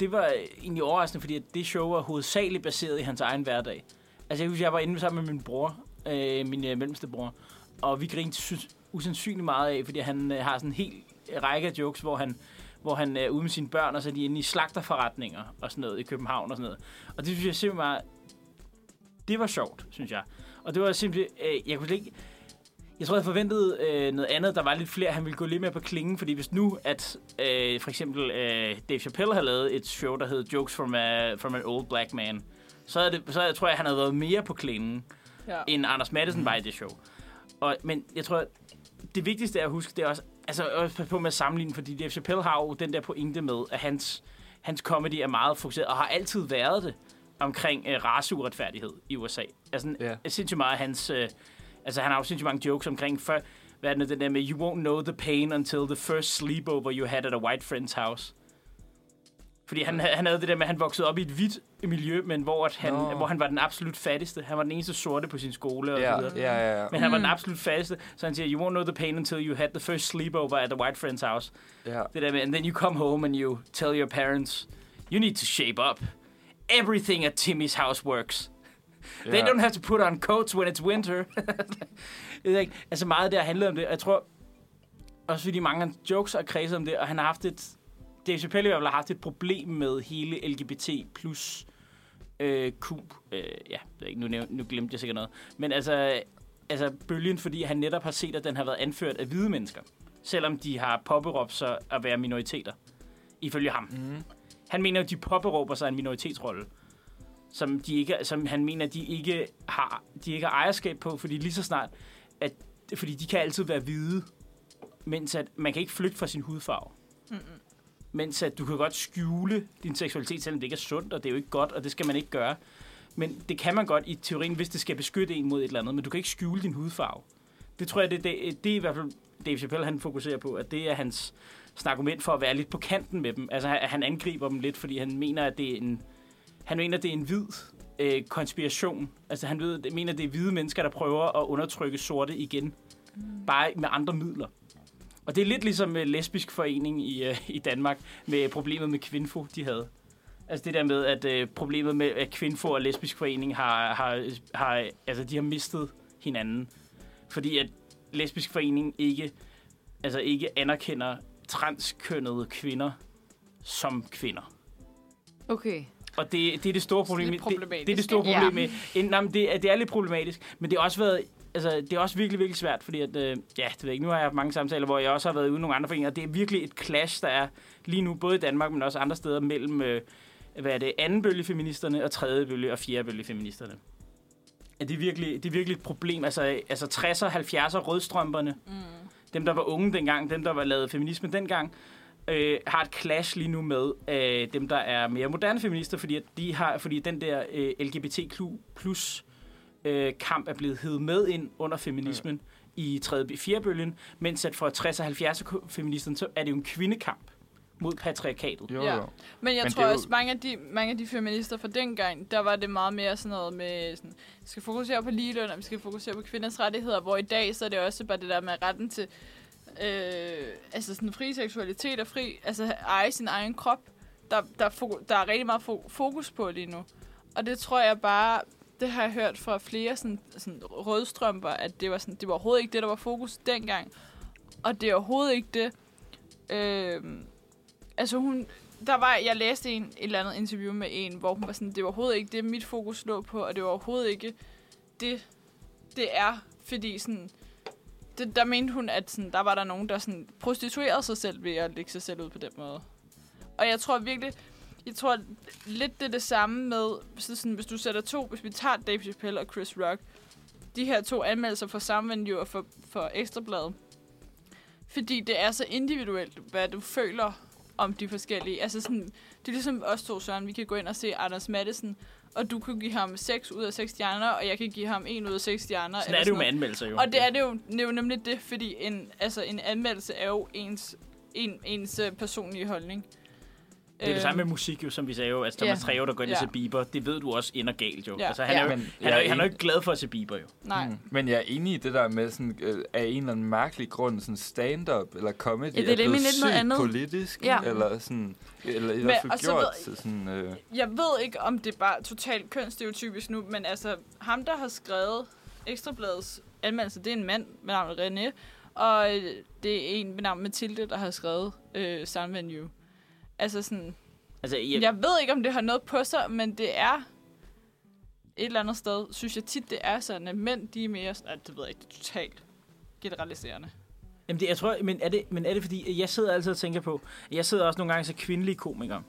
S1: det var egentlig overraskende, fordi at det show var hovedsageligt baseret i hans egen hverdag. Altså, jeg husker, jeg var inde sammen med min bror, øh, min øh, mellemste bror, og vi grinte sy- usandsynligt meget af, fordi han øh, har sådan en hel række af jokes, hvor han hvor han er ude med sine børn, og så er de inde i slagterforretninger og sådan noget i København og sådan noget. Og det synes jeg simpelthen var, det var sjovt, synes jeg. Og det var simpelthen, øh, jeg kunne slet ikke, jeg tror, jeg forventede øh, noget andet. Der var lidt flere, han ville gå lidt mere på klingen, fordi hvis nu, at øh, for eksempel øh, Dave Chappelle havde lavet et show, der hed Jokes from, a, from an Old Black Man, så, er det, så jeg tror jeg, han havde været mere på klingen,
S3: Ja.
S1: end Anders Madsen var i det show. Og, men jeg tror, det vigtigste er at huske, det er også, altså også passe på med at sammenligne, fordi Dave Chappelle har jo den der pointe med, at hans, hans comedy er meget fokuseret, og har altid været det, omkring øh, raceuretfærdighed i USA. Altså,
S4: Ja.
S1: yeah. sindssygt meget af hans... Øh, altså, han har jo sindssygt mange jokes omkring, før, hvad er det nu, den der med, you won't know the pain until the first sleepover you had at a white friend's house. Fordi han, han havde det der med, at han voksede op i et hvidt miljø, men hvor, at han,
S4: Nå.
S1: hvor han var den absolut fattigste. Han var den eneste sorte på sin skole og så
S4: ja,
S1: videre.
S4: ja, ja, ja.
S1: Men han var den absolut fattigste, så han siger, you won't know the pain until you had the first sleepover at the white friend's house.
S4: ja.
S1: Det der med, and then you come home and you tell your parents, you need to shape up. Everything at Timmy's house works. Yeah. They
S4: Ja.
S1: don't have to put on coats when it's winter. Jeg ved ikke, altså meget der handlede om det. og Jeg tror også, fordi mange af hans jokes har kredset om det, og han har haft et... Dave Chappelle i hvert fald har haft et problem med hele LGBT plus øh, Q. Øh, ja, det er ikke, nu, næv- nu glemte jeg sikkert noget. Men altså, altså bølgen, fordi han netop har set, at den har været anført af hvide mennesker. Selvom de har påberåbt sig at være minoriteter. Ifølge ham. Mm. Han mener, at de påberåber sig en minoritetsrolle. Som, de ikke, som han mener, de ikke har de ikke har ejerskab på, fordi lige så snart at, fordi de kan altid være hvide, mens at man kan ikke flygte fra sin hudfarve. Mm-mm. Mens at du kan godt skjule din seksualitet, selvom det ikke er sundt, og det er jo ikke godt, og det skal man ikke gøre. Men det kan man godt i teorien, hvis det skal beskytte en mod et eller andet, men du kan ikke skjule din hudfarve. Det tror jeg, det, det, det er i hvert fald Dave Chappelle, han fokuserer på, at det er hans sådan argument for at være lidt på kanten med dem. Altså, han- han angriber dem lidt, fordi han mener, at det er en, han mener, det er en hvid øh, konspiration. Altså, han ved, det- mener, det er hvide mennesker, der prøver at undertrykke sorte igen. Bare med andre midler. Og det er lidt ligesom øh, lesbisk forening i, øh, i Danmark med problemet med kvinfo, de havde. Altså det der med, at øh, problemet med, at kvinfo og lesbisk forening har, har, har, altså, de har mistet hinanden. Fordi at lesbisk forening ikke, altså ikke anerkender transkønnede kvinder som kvinder.
S2: Okay.
S1: Og det, det er det store problem.
S3: lidt
S1: det, det er det
S3: problematisk,
S1: store
S2: ikke?
S1: problem med. Ja. Nej, men det, er- det er lidt problematisk, men det har også været altså det er også virkelig virkelig svært, fordi at øh, ja, det ved jeg ikke. Nu har jeg haft mange samtaler, hvor jeg også har været ude i nogle andre foreninger, og det er virkelig et clash der er lige nu både i Danmark, men også andre steder mellem øh, hvad er det, anden bølge feministerne og tredje bølge og fjerde bølge feministerne. Ja, det, er virkelig, det er virkelig et problem. Altså, altså 60'er, 70'er, rødstrømperne, mm. dem der var unge dengang, dem der var lavet feminisme dengang, øh, har et clash lige nu med øh, dem, der er mere moderne feminister, fordi, at de har, fordi den der øh, LGBT plus øh, kamp er blevet hevet med ind under feminismen i 3. fjerdebølgen, mens at for 60- og 70'er-feministen, så er det jo en kvindekamp mod patriarkatet.
S4: Jo,
S3: Ja.
S4: jo.
S3: Men jeg
S4: Men
S3: Men
S4: det
S3: tror
S4: er jo-
S3: også, mange af, de, mange af de feminister fra dengang, der var det meget mere sådan noget med, sådan, vi skal fokusere på ligeløn, og vi skal fokusere på kvinders rettigheder, hvor i dag, så er det også bare det der med retten til øh, altså sådan fri seksualitet og fri, altså eje sin egen krop, der, der, er fo- der er rigtig meget fo- fokus på lige nu. Og det tror jeg bare, det har jeg hørt fra flere sådan, sådan rødstrømper, at det var, sådan, det var overhovedet ikke det, der var fokus dengang. Og det er overhovedet ikke det. Øh, altså hun, der var, jeg læste en, et eller andet interview med en, hvor hun var sådan, det var overhovedet ikke det, mit fokus lå på, og det var overhovedet ikke det, det er, fordi sådan, det, der mente hun, at sådan, der var der nogen, der sådan prostituerede sig selv ved at lægge sig selv ud på den måde. Og jeg tror virkelig, jeg tror lidt det er det samme med, så sådan, hvis du sætter to, hvis vi tager Dave Chappelle og Chris Rock, de her to anmeldelser for Samvenue og for, for Ekstrabladet, fordi det er så individuelt, hvad du føler om de forskellige. Altså sådan, det er ligesom os to, Søren. Vi kan gå ind og se Anders Madsen, og du kan give ham 6 ud af 6 stjerner, og jeg kan give ham 1 ud af 6 stjerner.
S1: Sådan
S3: eller
S1: er det jo
S3: noget.
S1: med anmeldelser jo.
S3: Og det er det jo, det er jo nemlig det, fordi en, altså en anmeldelse er jo ens, en, ens øh, personlige holdning. Øhm,
S1: Det er det samme med musik, jo, som vi sagde jo. Altså,
S3: øh, ja.
S1: Thomas Treve, der går ind og
S3: Ja.
S1: ser Bieber, det ved du også ender galt, jo.
S3: Ja.
S1: Altså, han er jo,
S4: Men
S1: han er,
S4: jeg
S1: jo- han er jo
S4: enig-
S1: ikke glad for at se Bieber, jo.
S3: Nej. Mm.
S4: Men jeg er enig i det der med, sådan, øh, af en eller anden mærkelig grund, sådan stand-up eller comedy
S2: Ja, det er
S4: er blevet
S2: nemlig lidt noget
S4: sygt
S2: andet.
S4: politisk,
S2: Ja.
S4: eller sådan, eller i
S3: Men-
S4: hvert fald
S3: og så
S4: gjort
S3: ved-
S4: til sådan... Øh,
S3: Jeg ved ikke, om det er bare totalt kønsstereotypisk nu, men altså, ham der har skrevet Ekstrabladets anmeldelse, det er en mand med navn René, og øh, det er en med navn Mathilde, der har skrevet øh, Sound Venue. Altså sådan,
S1: Altså, jeg,
S3: yep.
S1: ja.
S3: jeg ved ikke, om det har noget på sig, men det er et eller andet sted, synes jeg tit, det er sådan, at mænd, de er mere, sådan- at det ved jeg ikke, det er totalt generaliserende.
S1: Jamen, det, jeg tror, men er, det, men er det fordi, at jeg sidder altid og tænker på, at jeg sidder også nogle gange så kvindelige komikere,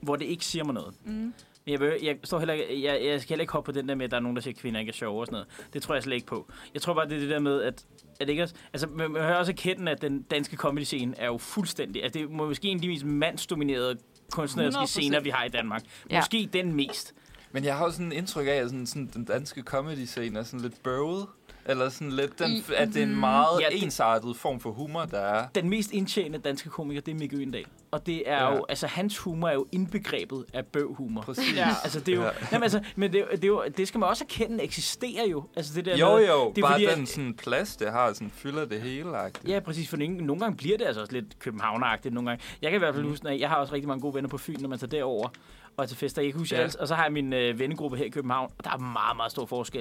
S1: hvor det ikke siger mig noget. Mm. Men jeg, behøver, jeg, står heller, ikke- jeg, jeg skal heller ikke hoppe på den der med, at der er nogen, der siger, at kvinder ikke er sjove og sådan noget. Det tror jeg slet ikke på. Jeg tror bare, det er det der med, at, at ikke også, altså, man, man hører også erkende, at den danske comedy-scene er jo fuldstændig... Altså, det er måske en af de mest mandsdominerede kunstneriske
S3: 100%.
S1: scener, vi har i Danmark.
S2: Ja.
S1: Måske den mest.
S4: Men jeg har også sådan et indtryk af, at sådan, sådan, den danske comedy-scene er sådan lidt bøvet. Eller sådan lidt, den,
S2: I- Mhm.
S4: at det er en meget
S1: Ja,
S4: ja,
S1: det-
S4: ensartet form for humor, der er.
S1: den mest indtjenende danske komiker, det er Mikke Øendal. Og det er ja.
S4: Ja.
S1: jo, altså hans humor er jo indbegrebet af bøvhumor.
S4: Præcis.
S3: Ja.
S1: Altså, det er jo, ja.
S4: Ja.
S1: jamen, altså, men det, er jo- det, er jo, det skal man også erkende eksisterer jo. Altså, det der
S4: Jo,
S1: med-
S4: jo,
S1: det er
S4: bare
S1: fordi, at-
S4: den sådan, plads, det har, sådan, fylder det hele.
S1: Ja, præcis, for nogle, nogle gange bliver det altså også lidt københavneragtigt nogle gange. Jeg kan i
S4: Mm.
S1: hvert fald huske, at jeg har også rigtig mange gode venner på Fyn, når man tager derover og til fester. Jeg kan huske
S4: Ja.
S1: ja. og så har jeg min øh, vennegruppe her i København, og der er meget, meget stor forskel.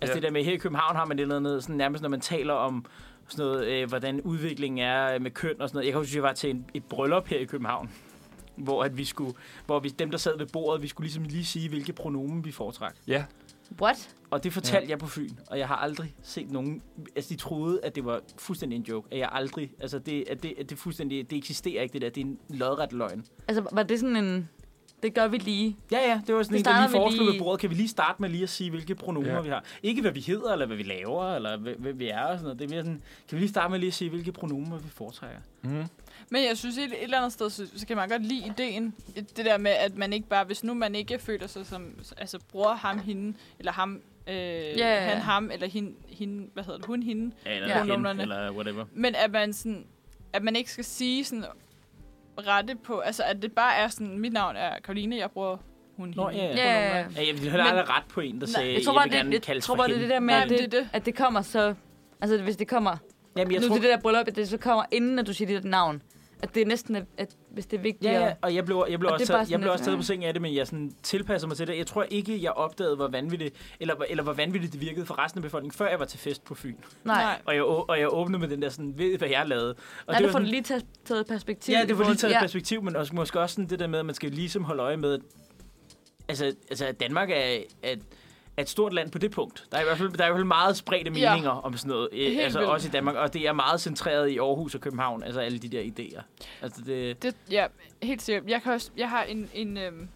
S1: Altså
S4: Ja.
S1: det der med, her i København har man det eller andet, sådan, nærmest når man taler om sådan noget, øh, hvordan udviklingen er øh, med køn og sådan noget. Jeg kan huske, at jeg var til en, et bryllup her i København, hvor, at vi skulle, hvor vi, dem, der sad ved bordet, vi skulle ligesom lige sige, hvilke pronomen vi foretrak.
S4: Ja,
S2: What?
S1: Og det fortalte ja. jeg på Fyn, og jeg har aldrig set nogen... Altså, de troede, at det var fuldstændig en joke. At jeg aldrig... Altså, det, at det, at det fuldstændig... Det eksisterer ikke, det der. Det er en lodret løgn.
S2: Altså, var det sådan en... Det gør vi lige.
S1: Ja, ja, det var sådan
S2: Det
S1: en, der lige
S2: starter vi
S1: foreslog ved
S2: lige-
S1: bordet. Kan vi lige starte med lige at sige, hvilke pronomer
S4: Ja.
S1: ja. vi har? Ikke hvad vi hedder, eller hvad vi laver, eller hvad, hvad vi er og sådan noget. Det er mere sådan, kan vi lige starte med lige at sige, hvilke pronomer vi foretrækker?
S3: Men jeg synes, et, et eller andet sted, så, så kan man godt lide ideen. Det der med, at man ikke bare, hvis nu man ikke føler sig som, altså bruger ham, hende, eller ham, øh,
S2: ja,
S3: yeah.
S2: ja.
S3: han, ham, eller hende, hende, hvad hedder det, hun, hende.
S1: Ja, eller,
S2: Ja.
S1: ja. Hen,
S3: Pronomerne.
S1: eller whatever.
S3: Men at man, sådan, at man ikke skal sige sådan rette på, altså at det bare er sådan, mit navn er Karoline, jeg bruger hun,
S1: Nå,
S3: hende.
S1: ja, ja.
S2: Ja, ja, ja.
S1: Ja, jeg ville heller
S3: Men-
S1: aldrig ret på en, der
S3: Nej,
S1: sagde,
S2: Jeg tror
S1: jeg
S2: bare,
S1: vil gerne
S2: det, jeg
S1: kaldes
S2: tror
S1: for
S2: bare, det er
S1: hen.
S2: det der med,
S3: Nej,
S2: at
S3: det
S2: det,
S3: er det.
S2: at det kommer så... Altså, hvis det kommer...
S1: Jamen, jeg
S2: nu
S1: tror,
S2: til det der bryllup, at det så kommer inden, at du siger dit navn. At det er næsten, at, at hvis det er vigtigt...
S1: Ja, ja, og jeg blev, jeg blev
S2: Og det
S1: også,
S2: er bare
S1: taget, jeg
S2: sådan
S1: blev
S2: lidt,
S1: også taget
S2: ja.
S1: på sengen af det, men jeg sådan tilpasser mig til det. Jeg tror ikke, jeg opdagede, hvor vanvittigt, eller, hvor- eller hvor vanvittigt det virkede for resten af befolkningen, før jeg var til fest på Fyn.
S2: Nej,
S3: Nej.
S1: Og jeg, å- og jeg åbnede med den der sådan, ved I, hvad jeg lavede. Og
S2: Nej det
S1: var
S2: får du
S1: sådan,
S2: lige taget, taget perspektiv.
S1: Ja, det var lige taget ja.
S2: Ja.
S1: perspektiv, men også, måske også sådan det der med, at man skal ligesom holde øje med, at altså, altså at Danmark er, er, er et stort land på det punkt. Der er i hvert fald, der er i hvert fald meget spredte
S3: Ja.
S1: meninger ja. om sådan noget,
S3: Helt
S1: Helt altså
S3: vildt.
S1: også i Danmark, og det er meget centreret i Aarhus og København, altså alle de der idéer. Altså det,
S3: Det, ja, helt sikkert. Jeg, kan også, jeg har en, en, øhm,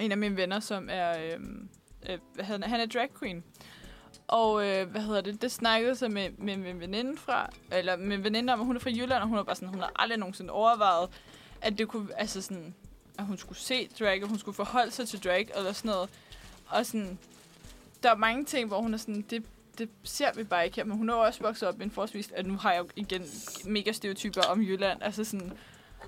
S3: en af mine venner, som er... Øhm, øh, hvad hedder han? han er drag queen. Og øh, hvad hedder det? Det snakkede jeg så med, med, med en veninde fra... Eller med en veninde om, at hun er fra Jylland, og hun er bare sådan, hun har aldrig nogensinde overvejet, at det kunne... Altså sådan, at hun skulle se drag, og hun skulle forholde sig til drag, eller sådan noget. Og sådan, der er mange ting, hvor hun er sådan, det, det ser vi bare ikke her, men hun er jo også vokset op i en forholdsvis, at nu har jeg jo igen mega stereotyper om Jylland, altså sådan,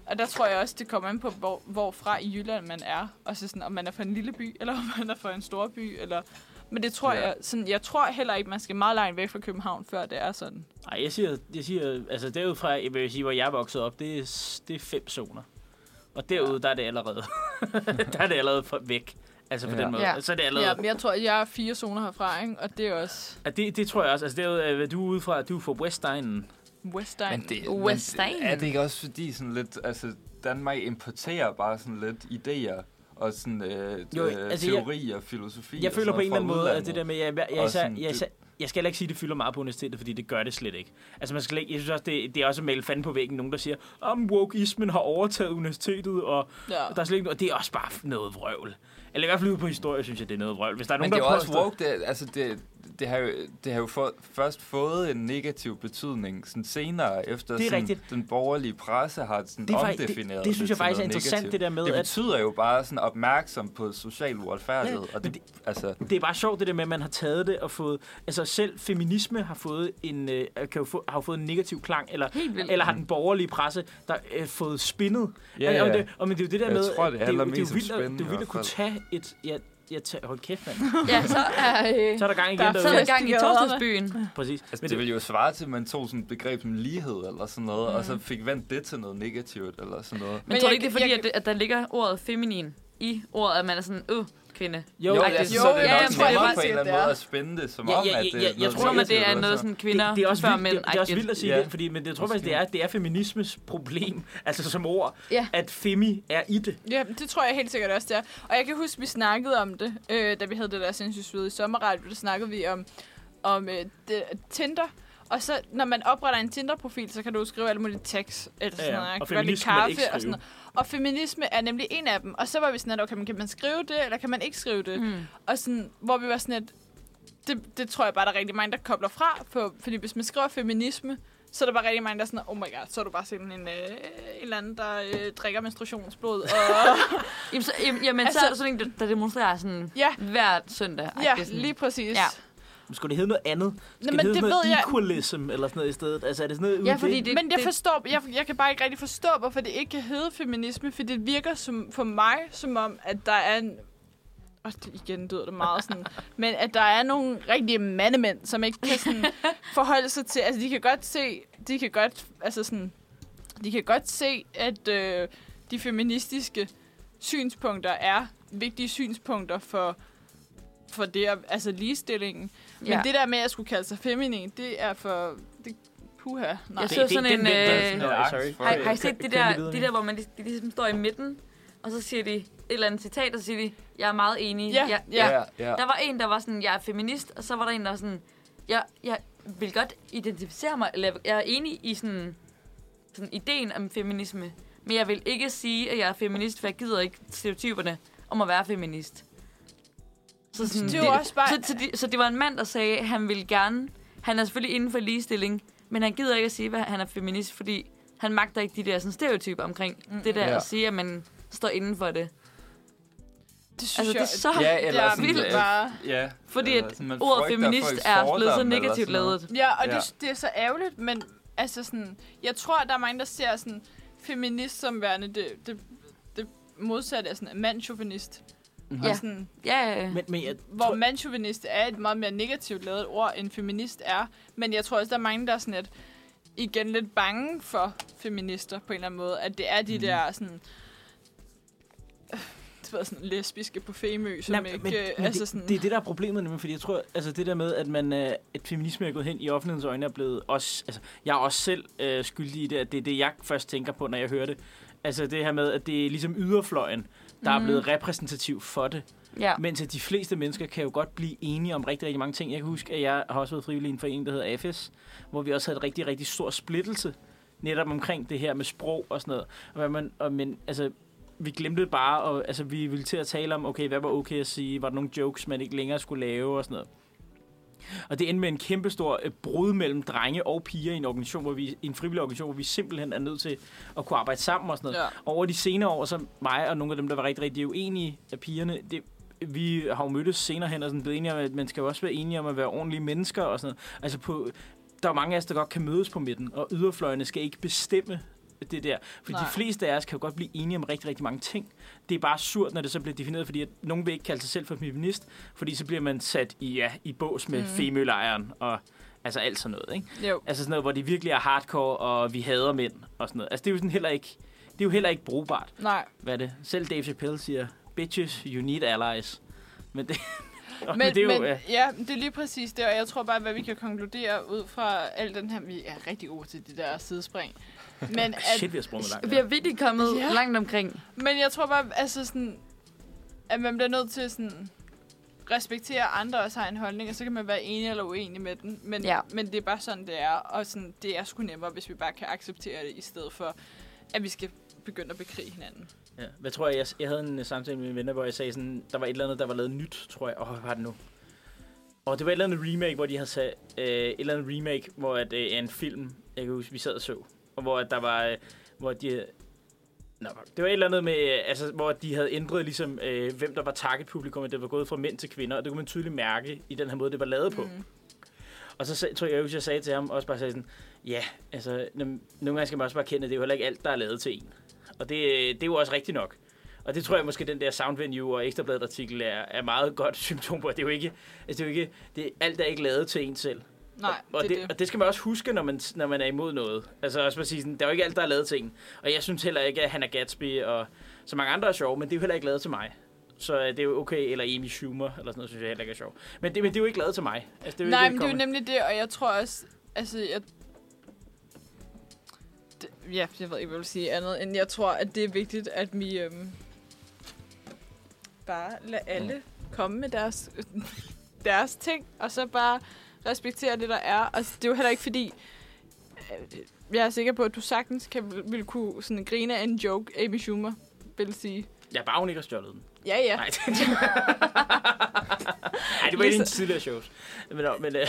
S3: og der tror jeg også, det kommer an på, hvor, hvorfra i Jylland man er. Og så sådan, om man er fra en lille by, eller om man er fra en stor by, eller... Men det tror ja.
S4: Ja.
S3: jeg, sådan, jeg tror heller ikke, man skal meget langt væk fra København, før det er sådan.
S1: ej, jeg siger, jeg siger altså derudfra, jeg vil sige, hvor jeg er vokset op, det er, s- det er fem zoner. Og derude, der er det allerede, der er det allerede fra- væk. Altså på
S4: Ja.
S1: ja. den måde.
S2: Ja.
S1: Ja. Så er det allerede
S3: Ja, men jeg tror, jeg er fire zoner herfra, ikke? og det er også
S1: Ja, det, det tror jeg også. Altså, det er, jo, øh, du er ude fra, du er fra Westegnen.
S3: Westegn. Det...
S2: West
S4: men
S2: End.
S4: er det ikke også fordi sådan lidt, altså Danmark importerer bare sådan lidt idéer og sådan øh,
S1: Jo,
S4: jo,
S1: altså,
S4: altså,
S1: jeg-
S4: teori og filosofi.
S1: Jeg
S4: og
S1: føler
S4: sådan
S1: på en eller anden
S4: noget
S1: måde,
S4: fra
S1: at det der med, jeg, jeg, jeg,
S4: Og
S1: især-
S4: sådan,
S1: jeg,
S4: det-
S1: især- jeg skal heller ikke sige, at det fylder meget på universitetet, fordi det gør det slet ikke. Altså, man skal ikke, jeg synes også, det, det er også at male fanden på væggen. Nogen, der siger, om wokeismen har overtaget universitetet, og
S3: Ja.
S1: der er slet ikke noget. Det er også bare noget vrøvl. Eller i hvert fald ude på historie, synes jeg, det er noget vrøvl. Hvis der er
S4: Men
S1: nogen,
S4: det er
S1: der
S4: jo også
S1: påstår-
S4: woke, det, er- altså det, det har jo, det har jo for, først fået en negativ betydning sådan senere, efter
S1: Det er
S4: sådan,
S1: rigtigt.
S4: den borgerlige presse har sådan
S1: Det
S4: det
S1: er
S4: er,
S1: faktisk- det-
S4: omdefineret
S1: det synes jeg
S4: til
S1: faktisk er
S4: noget
S1: interessant,
S4: negativt.
S1: det der med,
S4: Det
S1: at-
S4: betyder jo bare sådan opmærksom på social uretfærdighed,
S1: Ja,
S4: og
S1: men
S4: det, altså...
S1: det er bare sjovt, det der med, at man har taget det og fået... Altså, selv feminisme har fået en, øh, kan jo få, har jo fået en negativ klang, eller,
S2: Helt vildt.
S1: eller har den borgerlige presse, der øh, fået spindet.
S4: Ja,
S1: og, og,
S4: ja.
S1: det, og, men det er jo det der
S4: Jeg
S1: med...
S4: tror, det
S1: er jo-
S4: handler
S1: det er jo
S4: mest om
S1: vildt, at-
S4: spin
S1: Det er jo
S4: i
S1: vildt at kunne
S4: hvert
S1: tage et... Ja, jeg tager, hold kæft, mand.
S2: Ja, så er, øh,
S1: Så er der gang igen
S3: Der er
S2: så er der
S1: derude.
S3: fed-
S2: gang i
S3: Festivaler.
S2: torsdagsbyen.
S1: Præcis.
S4: Altså,
S1: Men
S4: det, det ville jo svare til, at man tog sådan et begreb som lighed eller sådan noget, mm. og så fik vendt det til noget negativt eller sådan noget.
S2: Men,
S3: Men
S2: tror
S3: jeg
S2: du ikke, det er
S3: kan-
S2: fordi,
S3: jeg
S2: at, det, at der ligger ordet feminin i ordet, at man er sådan, øh, kvinde?
S1: Jo,
S4: jo,
S1: ej,
S4: jeg
S1: det-
S4: synes,
S3: jo,
S4: så er det
S3: ja, jeg
S4: nok
S3: tror, jeg
S4: nemmere
S3: faktisk
S4: på en
S3: siger,
S4: eller anden
S3: det er.
S4: måde at spænde det, som
S1: Ja,
S4: om,
S1: ja,
S4: at det
S1: ja,
S4: er
S1: jeg
S4: noget
S1: tror,
S2: Tror man, det
S4: negativt,
S2: er
S4: og
S2: noget
S4: så-
S2: sådan kvinder
S1: det, det er også
S2: før
S1: vildt,
S2: mænd?
S1: det, det er også vildt at sige
S4: Ja. Altså,
S1: det, fordi, men jeg tror faktisk, det er, det er feminismes problem, altså som ord,
S2: Ja.
S1: at femi er i det.
S3: Ja, det tror jeg helt sikkert også, det er. Og jeg kan huske, vi snakkede om det, øh, da vi havde det der sindssygt svede i sommerradio, der snakkede vi om, om øh, det, Tinder. Og så, når man opretter en Tinder-profil, så kan du skrive alle mulige tags, eller sådan
S1: Ja, ja.
S3: noget. Jeg
S1: Og
S3: kan godt lide
S1: feminisme må man ikke
S3: og sådan
S1: skrive.
S3: noget. Og feminisme er nemlig en af dem. Og så var vi sådan, at okay, men kan man skrive det, eller kan man ikke skrive det?
S2: Mm.
S3: Og sådan, hvor vi var sådan, at det, det tror jeg bare, der er rigtig mange, der kobler fra. På, fordi hvis man skriver feminisme, så er der bare rigtig mange, der er sådan, oh my god, så er du bare simpelthen en, øh, en eller anden, der øh, drikker menstruationsblod. Og,
S2: Jamen, så, jamen, jamen altså, så
S3: Altså-
S2: er der sådan en, der- der demonstrerer sådan
S3: Ja.
S2: hver søndag. Ej,
S3: Ja,
S2: det er sådan,
S3: lige præcis.
S2: Ja.
S1: Men skulle det hedde noget andet? Skal
S3: men
S1: det hedde
S3: det
S1: sådan
S3: ved
S1: noget
S3: jeg-
S1: equalism eller sådan noget i stedet? Altså er det sådan noget
S2: ja,
S1: ude i
S2: fordi
S1: det?
S2: det,
S3: Men jeg
S2: det,
S3: forstår, jeg, jeg kan bare ikke rigtig forstå, hvorfor det ikke kan hedde feminisme, for det virker som, for mig som om, at der er en... Og det, igen lyder det meget sådan... men at der er nogle rigtige mandemænd, som ikke kan sådan forholde sig til... Altså, de kan godt se... De kan godt, altså sådan, de kan godt se, at øh, de feministiske synspunkter er vigtige synspunkter for, for det, at- altså ligestillingen. Men
S2: ja.
S3: det der med, at jeg skulle kalde sig feminin, det er for... Det, puha, nej.
S2: Jeg så sådan en, øh,
S1: Nå,
S4: Akt
S1: sorry.
S4: for-
S2: har, har I
S1: Kan-
S2: set
S1: kan
S2: det
S1: vi
S2: der,
S1: videre
S2: det
S1: nu?
S2: der, hvor man lige- de ligesom står i midten, og så siger de et eller andet citat, og så siger de, jeg er meget enig.
S3: Ja,
S2: jeg,
S3: ja.
S4: Ja, ja.
S2: Der var en, der var sådan, jeg er feminist, og så var der en, der var sådan, jeg, jeg vil godt identificere mig, eller jeg er enig i sådan, sådan ideen om feminisme. Men jeg vil ikke sige, at jeg er feminist, for jeg gider ikke stereotyperne om at være feminist. Så, sådan,
S3: Det er jo også bare...
S2: så, så, de, så Mm. det var en mand, der sagde, at han ville gerne... Han er selvfølgelig inden for ligestilling, men han gider ikke at sige, at han er feminist, fordi han magter ikke de der sådan, stereotyper omkring mm, det der
S4: Ja.
S2: at sige, at man står inden for det.
S3: det synes
S2: Altså, det er
S3: jeg,
S2: så...
S4: Ja, eller
S3: det er
S4: sådan,
S3: vildt
S4: øh,
S3: bare.
S4: Ja.
S2: Fordi
S4: Eller
S2: at
S4: sådan, man
S2: ordet
S4: frygter
S2: feminist
S4: folks
S2: er blevet så
S4: fordomme eller
S2: negativt
S4: sådan noget.
S2: lavet.
S3: Ja, og
S4: Ja.
S3: Det, det er så ærgerligt, men altså sådan, jeg tror, der er mange, der ser sådan, feminist som værende det, det, det modsatte af sådan, mandsjovinist.
S1: Mhm.
S3: Mm-hmm.
S2: Ja.
S3: Og sådan,
S2: Ja, ja.
S1: Men, men jeg
S3: hvor
S1: tror,
S3: tror... mandsjovinist er et meget mere negativt lavet ord, end feminist er. Men jeg tror også, der er mange, der er sådan lidt, igen lidt bange for feminister på en eller anden måde. At det er de mm. der sådan... øh, Det var sådan lesbiske på Femø, som
S1: Nej,
S3: ikke...
S1: men,
S3: øh,
S1: men
S3: altså
S1: det,
S3: sådan,
S1: det er det, der er problemet, nemlig, fordi jeg tror, altså det der med, at man øh, at feminisme er gået hen i offentlighedens øjne, er blevet også, altså jeg er også selv øh, skyldig i det, at det er det, jeg først tænker på, når jeg hører det. Altså det her med, at det er ligesom yderfløjen, der mm.
S3: Mhm.
S1: er blevet repræsentativ for det.
S2: ja.
S1: Mens at de fleste mennesker kan jo godt blive enige om rigtig, rigtig mange ting. Jeg kan huske, at jeg har også været frivillig i en forening, der hedder AFS, hvor vi også havde en rigtig, rigtig stor splittelse netop omkring det her med sprog og sådan noget. Og hvad man, og, men altså, vi glemte bare, og altså, vi ville til at tale om, okay, hvad var okay at sige? Var der nogle jokes, man ikke længere skulle lave og sådan noget? Og det endte med en kæmpe stor øh, brud mellem drenge og piger i en organisation, hvor vi, i en frivillig organisation, hvor vi simpelthen er nødt til at kunne arbejde sammen og sådan noget.
S3: Ja.
S1: Og Over de senere år, så mig og nogle af dem, der var rigtig, rigtig uenige af pigerne, det, vi har jo mødtes senere hen og sådan blevet enige om, at man skal jo også være enige om at være ordentlige mennesker og sådan noget. Altså på, der er jo mange af os, der godt kan mødes på midten, og yderfløjene skal ikke bestemme det der. For de
S3: Nej.
S1: fleste af os kan jo godt blive enige om rigtig, rigtig mange ting. Det er bare surt, når det så bliver defineret, fordi at nogen vil ikke kalde sig selv for feminist, fordi så bliver man sat i, ja, i bås med mm.
S3: Mhm.
S1: femølejeren og altså alt sådan noget. Ikke?
S3: jo.
S1: Altså sådan noget, hvor det virkelig er hardcore, og vi hader mænd og sådan noget. Altså det er jo sådan heller ikke, det er jo heller ikke brugbart.
S3: Nej.
S1: Hvad er det? Selv Dave Chappelle siger, bitches, you need allies. Men det, men,
S3: Men,
S1: men det er jo...
S3: men,
S1: ja.
S3: ja, det er lige præcis det, og jeg tror bare, hvad vi kan konkludere ud fra al den her... Vi er rigtig gode til det der sidespring. Men, at,
S1: Shit, vi har sprunget langt.
S2: Vi
S1: ja.
S2: er virkelig kommet
S3: Ja.
S2: ja. langt omkring.
S3: men jeg tror bare, altså sådan, at man bliver nødt til sådan respektere at andre også har en holdning, og så kan man være enig eller uenig med den. Men,
S2: Ja.
S3: men det er bare sådan, det er, og sådan, det er sgu nemmere, hvis vi bare kan acceptere det, i stedet for, at vi skal begynde at bekrige hinanden.
S1: Ja. Hvad tror jeg, jeg, jeg havde en øh, samtale med mine venner, hvor jeg sagde sådan, der var et eller andet, der var lavet nyt, tror jeg. Åh, oh, hvad var det nu? Og det var et eller andet remake, hvor de havde sat, øh, et eller andet remake, hvor at, øh, af en film, jeg kan huske, vi sad og så, og hvor at der var, øh, hvor de, Nå, fuck. det var et eller andet med, øh, altså, hvor de havde ændret ligesom, øh, hvem der var targetpublikum, at det var gået fra mænd til kvinder, og det kunne man tydeligt mærke i den her måde, det var lavet på. Mm. Og så sag- tror jeg, at jeg sagde til ham, også bare sagde sådan, ja, altså, nem- nogle gange skal man også bare kende, at det er jo heller ikke alt, der er lavet til en. Og det, øh, det er jo også rigtigt nok. Og det tror jeg måske, den der Soundvenue og Ekstrabladet artikel er, er meget godt symptom på, at det er jo ikke, altså, det er jo ikke, det, alt er ikke lavet til en selv.
S3: Nej,
S1: og, og,
S3: det, er det.
S1: og det skal man også huske, når man, når man er imod noget. Altså også for at sige, sådan, der er jo ikke alt, der er lavet til en. Og jeg synes heller ikke, at Hannah Gatsby og så mange andre er sjove, men det er jo heller ikke lavet til mig. Så øh, det er jo okay, eller Amy Schumer, eller sådan noget, synes jeg heller ikke er sjov. Men det, men det er jo ikke lavet til mig. Altså, det er jo
S3: Nej,
S1: ikke,
S3: men det er jo
S1: kommet-
S3: nemlig det, og jeg tror også, altså, jeg... Det, ja, jeg ved ikke, hvad jeg vil sige andet, end jeg tror, at det er vigtigt, at vi øhm, bare lader alle
S1: Mm.
S3: komme med deres, deres ting, og så bare respektere det, der er. Og det er jo heller ikke fordi, øh, jeg er sikker på, at du sagtens kan, vil kunne sådan grine af en joke, Amy Schumer vil sige.
S1: Ja, bare hun ikke har stjålet den.
S3: Ja, ja.
S1: Nej, det, Ej, det var ikke en
S3: Ligesom-
S1: tidligere shows. Men, nå, men, øh,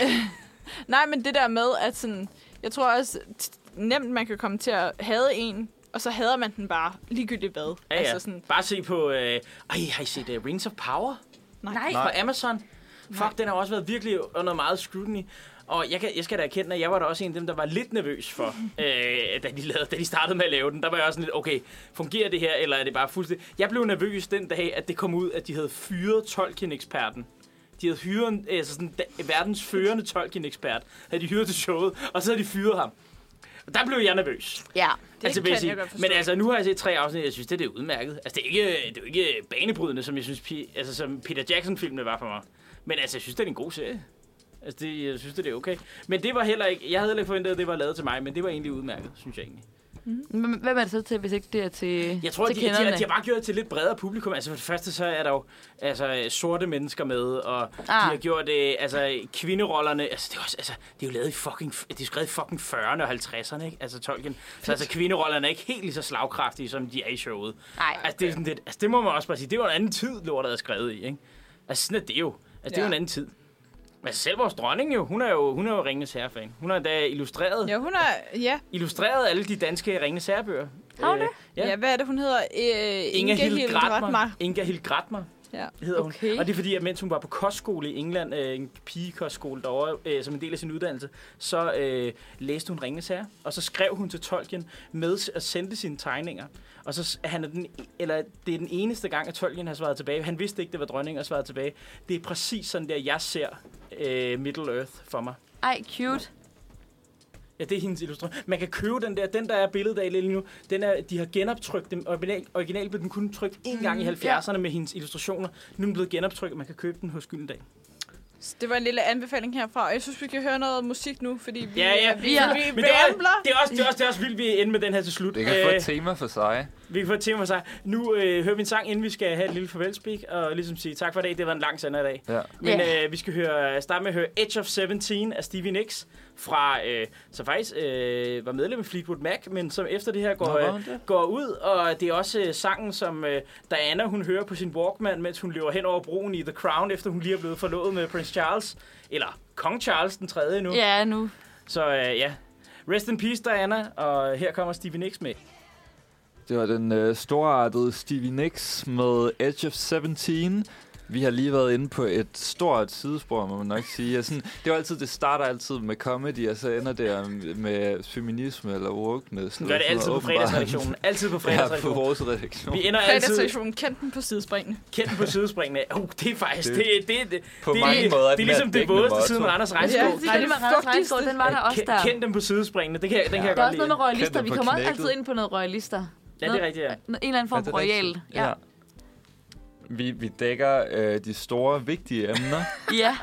S3: Nej, men det der med, at sådan, jeg tror også t- nemt, man kan komme til at hade en, og så hader man den bare, ligegyldigt hvad.
S1: ja, ja.
S3: Altså sådan,
S1: Bare se på... Øh, ej, har I set uh, Rings of Power?
S2: Nej.
S1: Nej. Fra Amazon. Fuck, den har også været virkelig under meget scrutiny. Og jeg, kan, jeg skal da erkende, at jeg var da også en af dem, der var lidt nervøs for, øh, da, de lavede, da de startede med at lave den. Der var jeg også sådan lidt, okay, fungerer det her, eller er det bare fuldstændig... Jeg blev nervøs den dag, at det kom ud, at de havde fyret Tolkien-eksperten. De havde hyret en- altså sådan, da, verdens førende Tolkien-ekspert, havde de hyret til showet, og så havde de fyret ham. Og der blev jeg nervøs.
S2: Ja.
S3: det
S1: altså, vil
S3: kan
S1: sige,
S3: jeg godt forstå.
S1: Men altså, nu har jeg set tre afsnit, og jeg synes, det, det er udmærket. Altså, det er, ikke, det er jo ikke banebrydende, som jeg synes, Pi- altså, som Peter Jackson-filmene var for mig. Men altså, jeg synes, det er en god serie. Altså, det, jeg synes, det er okay. Men det var heller ikke... Jeg havde heller ikke forventet, at det var lavet til mig, men det var egentlig udmærket, synes jeg egentlig.
S2: Men Hvem er det så til, hvis ikke det er til
S1: Jeg tror,
S2: til
S1: at de, de,
S2: kenderne?
S1: har- de har bare gjort det til lidt bredere publikum. Altså for det første, så er der jo altså, øh, sorte mennesker med, og ah. de har gjort øh, altså, kvinderollerne. Altså det, er også, altså, det er jo lavet i fucking, f- det er skrevet i fucking 40'erne og 50'erne, ikke? Altså Tolkien. Så altså, kvinderollerne er ikke helt lige så slagkraftige, som de er i showet.
S2: Nej.
S1: Altså det, er sådan lidt, altså, det må man også bare sige. Det var en anden tid, lortet er skrevet i, ikke? Altså sådan er det jo. Altså det er jo
S3: Ja.
S1: en anden tid. Altså selv vores dronning jo, hun er jo, hun er jo Ringens Herre-fan. Hun har da illustreret,
S3: Ja, hun er... Ja,
S1: illustreret alle de danske Ringens Herre-bøger.
S2: Har hun
S1: Øh,
S3: ja. ja hvad er det, hun hedder? Øh,
S1: Inga Hild
S3: Ratmar.
S1: Gratmer. Inga Hild Gratmer
S3: Ja.
S1: hedder
S2: Okay.
S1: hun. Og det er fordi, at mens hun var på kostskole i England, øh, en pigekostskole derovre, øh, som en del af sin uddannelse, så øh, læste hun Ringens Herre, og så skrev hun til Tolkien med s- og sendte sine tegninger. Og så s- han er den, e- eller det er den eneste gang, at Tolkien har svaret tilbage. Han vidste ikke, det var dronning, og svarede tilbage. Det er præcis sådan der, jeg ser øh, Middle Earth for mig.
S2: Ej, cute.
S1: Ja, det er hendes illustration. Man kan købe den der, den der er billedet af lige nu, den er, de har genoptrykt den. Original, original blev den kun trykt én gang i 70'erne med hendes illustrationer. Nu er den blevet genoptrykt, og man kan købe den hos Gyldendal.
S3: Så Det var en lille anbefaling herfra, og jeg synes, vi kan høre noget musik nu, fordi vi,
S1: Ja, ja,
S3: vi,
S2: vi er-
S3: vi,
S1: Men det er,
S3: rambler.
S1: det, er også, det, er også, det er også vildt, vi ender med den her til slut.
S4: Det kan få
S1: Øh,
S4: et tema for sig.
S1: vi kan få et tema for sig. Nu øh, hører vi en sang, inden vi skal have et lille farvelspeak, og ligesom sige tak for i dag. Det var en lang sender i dag.
S4: Ja.
S1: Men
S2: Ja.
S1: øh, vi skal høre, starte med at høre Edge of 17 af Stevie Nicks, fra, øh, som faktisk øh, var medlem af Fleetwood Mac, men som efter det her går,
S4: Nå, var hun
S1: øh,
S4: det?
S1: går ud, og det er også øh, sangen, som øh, Diana hun hører på sin Walkman, mens hun løber hen over broen i The Crown, efter hun lige er blevet forlovet med Prince Charles, eller Kong Charles den tredje nu.
S2: Ja, nu.
S1: Så øh, ja, rest in peace Diana, og her kommer Stevie Nicks med.
S4: Det var den øh, storartede Stevie Nicks med Edge of 17. Vi har lige været inde på et stort sidespor, må man nok sige. Ja, sådan, det, er jo altid, det starter altid med comedy, og så ender det øh, med feminisme eller wokeness.
S1: Hun gør det altid på fredagsredaktionen. Altid på
S4: Ja, på
S1: fredagsredaktionen.
S4: vores redaktion.
S1: Vi ender altid
S3: Fredagssektionen kendte den på sidespringen.
S1: kendt på sidespringene. Oh, det er faktisk... Det, det, det, det,
S4: På
S1: det,
S4: mange måder er
S1: det, det er
S4: den her
S1: ligesom det
S4: dækkende
S1: vådeste
S4: motto.
S1: siden Randers Regnskov.
S3: Ja,
S2: Ja, det er det med Randers Regnskov, den var der også der.
S1: Kend, kend dem på sidespringene. Det kan, jeg- den kan jeg
S2: Der er
S1: godt
S2: også noget
S1: lide.
S2: med royalister.
S4: Kend
S2: Vi
S4: dem på
S2: kommer også
S4: knækket.
S2: altid ind på noget royalister.
S1: Ja, det er rigtigt, ja.
S2: En eller anden
S4: Er
S2: form for
S4: det
S2: royal.
S4: rigtigt?
S2: Ja.
S4: Vi, vi dækker øh, de store, vigtige emner,
S2: ja.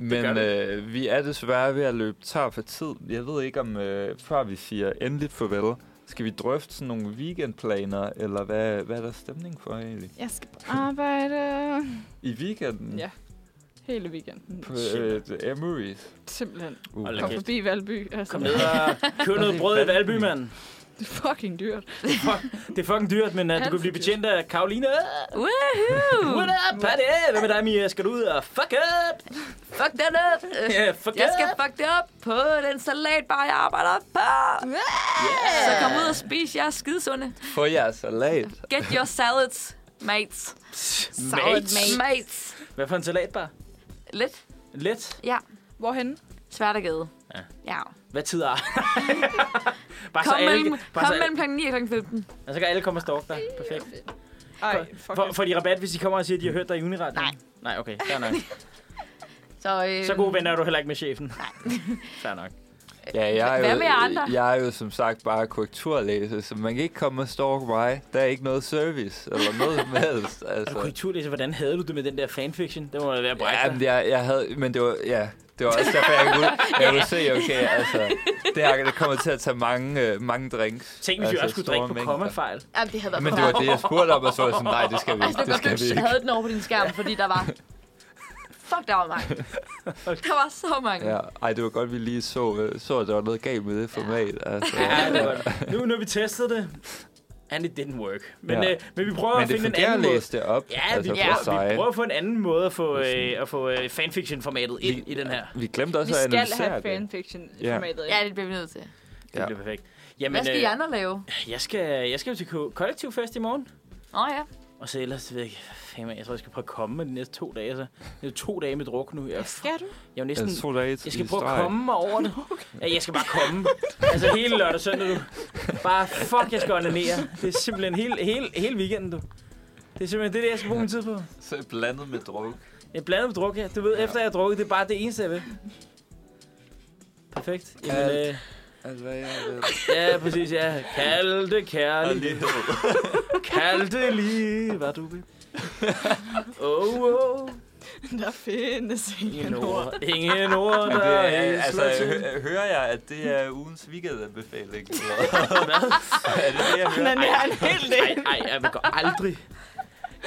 S4: men
S1: vi.
S4: øh, vi er desværre ved at løbe tør for tid. Jeg ved ikke, om øh, før vi siger endeligt farvel, skal vi drøfte sådan nogle weekendplaner, eller hvad, hvad er der stemning for egentlig?
S3: Jeg skal på arbejde
S4: I weekenden?
S3: Ja. hele weekenden.
S4: På øh, The Emery's.
S3: Simpelthen.
S4: Uh.
S1: Hold da
S3: Kom
S1: kæft.
S3: forbi Valby. Altså,
S1: Kom ned og køb noget brød i Valby, mand.
S3: Det er fucking dyrt.
S1: Fuck, Det er fucking dyrt, men uh, du
S3: Alt
S1: kunne blive
S3: for dyrt.
S1: betjent af Karoline.
S2: Woohoo!
S1: What up, party? Hvad med dig, Mia? Skal du ud og fuck up?
S2: Fuck den up!
S1: Ja, yeah, fuck
S2: Jeg skal
S1: up.
S2: fuck det op på den salatbar, jeg arbejder på. Så kom ud og spis jeres skidesunde.
S4: Få jeres salat.
S2: Get your salads, mates.
S1: Mates.
S2: Mates.
S1: Hvad for en salatbar?
S2: Lidt.
S1: Let.
S2: Ja.
S3: Hvorhen?
S2: Sværtegade.
S1: Ja.
S2: Ja.
S1: Hvad tid er? bare
S2: Kom mellem,
S1: bare
S2: kom
S1: så,
S2: mellem kl. 9 og kl. 15.
S1: Og så kan alle komme og stalke dig. Perfekt.
S3: Ej, fuck.
S1: For, får de rabat, hvis de kommer og siger, at de har hørt dig i Unirat?
S2: Nej.
S1: Nej, okay. Fair nok.
S2: Så, øh,
S1: Så gode venner er du heller ikke med chefen. Nej. Fair nok.
S4: Ja, jeg er,
S2: Hvad
S4: jo,
S2: med jer andre?
S4: jeg er jo som sagt bare korrekturlæser, så man kan ikke komme og stalke mig. Der er ikke noget service eller noget som helst.
S1: Er du
S4: Altså.
S1: korrekturlæser? Hvordan havde du det med den der fanfiction? Det må da være brækket.
S4: Ja, men jeg, jeg havde, men det var, ja, det var også derfor, jeg kunne, jeg kunne se, okay, altså, det her det kommer til at tage mange, øh, mange drinks.
S1: Tænk, hvis vi
S4: altså,
S1: også skulle drikke
S4: store
S1: på
S4: mængder.
S1: kommafejl.
S2: Jamen, det havde været
S4: Men det
S2: for
S4: var det, jeg spurgte om, og så var jeg sådan, nej, det skal vi
S2: Altså,
S4: ikke,
S2: det
S4: det
S2: var
S4: skal vi
S2: godt, du
S4: ikke.
S2: havde den over på din skærm, fordi der var... Fuck, der var mange. Der var så mange.
S4: Ja, ej, det var godt, vi lige så, øh, så at der var noget galt med det format. Altså.
S1: Ja, det var Nu, når vi testede det, and it didn't work. Men,
S4: Ja.
S1: øh, men vi prøver
S4: Men
S1: at
S4: det
S1: finde en
S4: fungerer at
S1: anden måde.
S4: læse det op.
S1: Ja,
S4: altså,
S1: vi,
S4: på
S1: prøver, vi
S4: sig.
S1: prøver at få en anden måde at få, øh, at få øh, fanfiction-formatet ind i den her.
S4: Vi glemte
S3: Vi
S4: også at
S3: skal
S4: analysere
S3: have
S4: det.
S3: fanfiction-formatet.
S2: Ja, det bliver vi nødt til.
S1: Det
S4: Ja.
S1: bliver perfekt. Jamen,
S2: Hvad skal I andre lave?
S1: øh, jeg, skal, jeg skal jo til ko- kollektivfest i morgen.
S2: Åh oh, ja.
S1: Og så ellers ved jeg ikke, fanden, jeg tror, jeg skal prøve at komme de næste to dage. Altså. Det er to dage med druk nu. Jeg,
S3: Skal du?
S1: jeg er jo næsten...
S4: Altså, to dage til
S1: Jeg skal
S4: i
S1: prøve at
S4: streg.
S1: komme mig over det. Ja, jeg skal bare komme. Altså hele lørdag og søndag, du. Bare fuck, jeg skal onanere. Det er simpelthen hele, hele, hele weekenden, du. Det er simpelthen det, er det, jeg skal bruge min tid på.
S4: Så blandet med druk.
S1: Jeg er blandet med druk, ja. Du ved, efter jeg har drukket, det er bare det eneste, jeg vil. Perfekt. Jamen,
S4: Alt.
S1: øh,
S4: Altså, hvad er det?
S1: ja, præcis, ja. Kald det kærlighed. Kald det lige, hvad du vil. Oh, oh.
S3: Der findes ingen
S1: Ingen
S3: ord.
S1: ord. Ingen ord,
S4: Men
S1: der
S4: det er,
S1: er
S4: altså,
S1: altså,
S4: hø- hører jeg, at det er ugens weekendanbefaling? eller hvad? er det det, jeg hører?
S3: Men det er en helt del.
S1: Nej, jeg vil gå aldrig...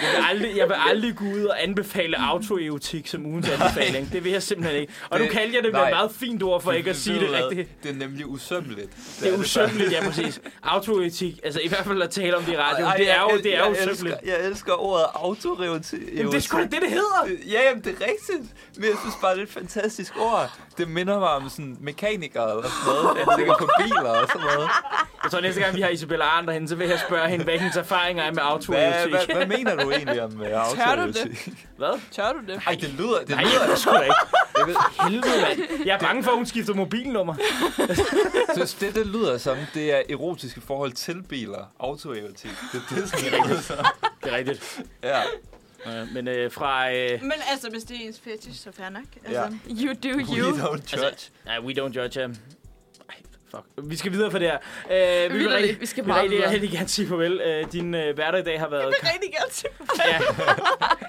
S1: Jeg vil, aldrig, jeg vil aldrig gå ud og anbefale autoerotik som ugens anbefaling. Det vil jeg simpelthen ikke. Og nu
S4: Det-
S1: kalder jeg det med
S4: nej.
S1: et meget fint ord for ikke at sige det
S4: Ved du hvad?
S1: rigtigt.
S4: Det er nemlig usømmeligt.
S1: Det er usømmeligt, ja præcis. Autoerotik, altså i hvert fald at tale om det i radioen, det er jo, det er jo usømmeligt.
S4: Jeg, jeg elsker ordet autoreotik.
S1: Jamen det er sgu da det, det hedder!
S4: Ja, jamen, det er rigtigt. Men jeg synes bare, det er et fantastisk ord. Det minder mig om sådan mekanikere eller sådan noget. Jeg tænker på biler og sådan noget.
S1: Jeg tror næste gang, vi har Isabella Arndt derhen, så vil jeg spørge hende, hvad hendes erfaringer er med
S4: Hvad,
S1: autoerotik.
S4: hvad, hvad mener du egentlig om uh, autoreotik?
S1: Hvad?
S3: Tør du det?
S4: Ej, det lyder... Det
S1: Nej,
S4: lyder
S1: jeg ved sgu da ikke.
S4: jeg ved,
S1: Helvede, mand. Jeg er bange for, at hun skifter mobilnummer.
S4: synes, det, det lyder som, det er erotiske forhold til biler. Autoerotik. Det, det er sådan, det lyder som.
S1: Det er rigtigt.
S4: Ja.
S1: Ja, men øh, fra... Øh,
S3: Men altså, hvis det er ens fetish, så fair nok. Altså,
S4: Ja.
S2: You do
S4: We
S2: you.
S4: don't judge.
S1: altså, nej, we don't judge him. Ej, fuck. Vi skal videre fra det her. Øh,
S2: Vitterligt,
S1: rigtig-
S2: vi skal
S1: vil
S2: meget
S1: rigtig, jeg
S2: videre.
S1: rigtig gerne sige farvel. Øh, din øh, hverdag i dag har været...
S3: rigtig gerne til.
S1: Ja.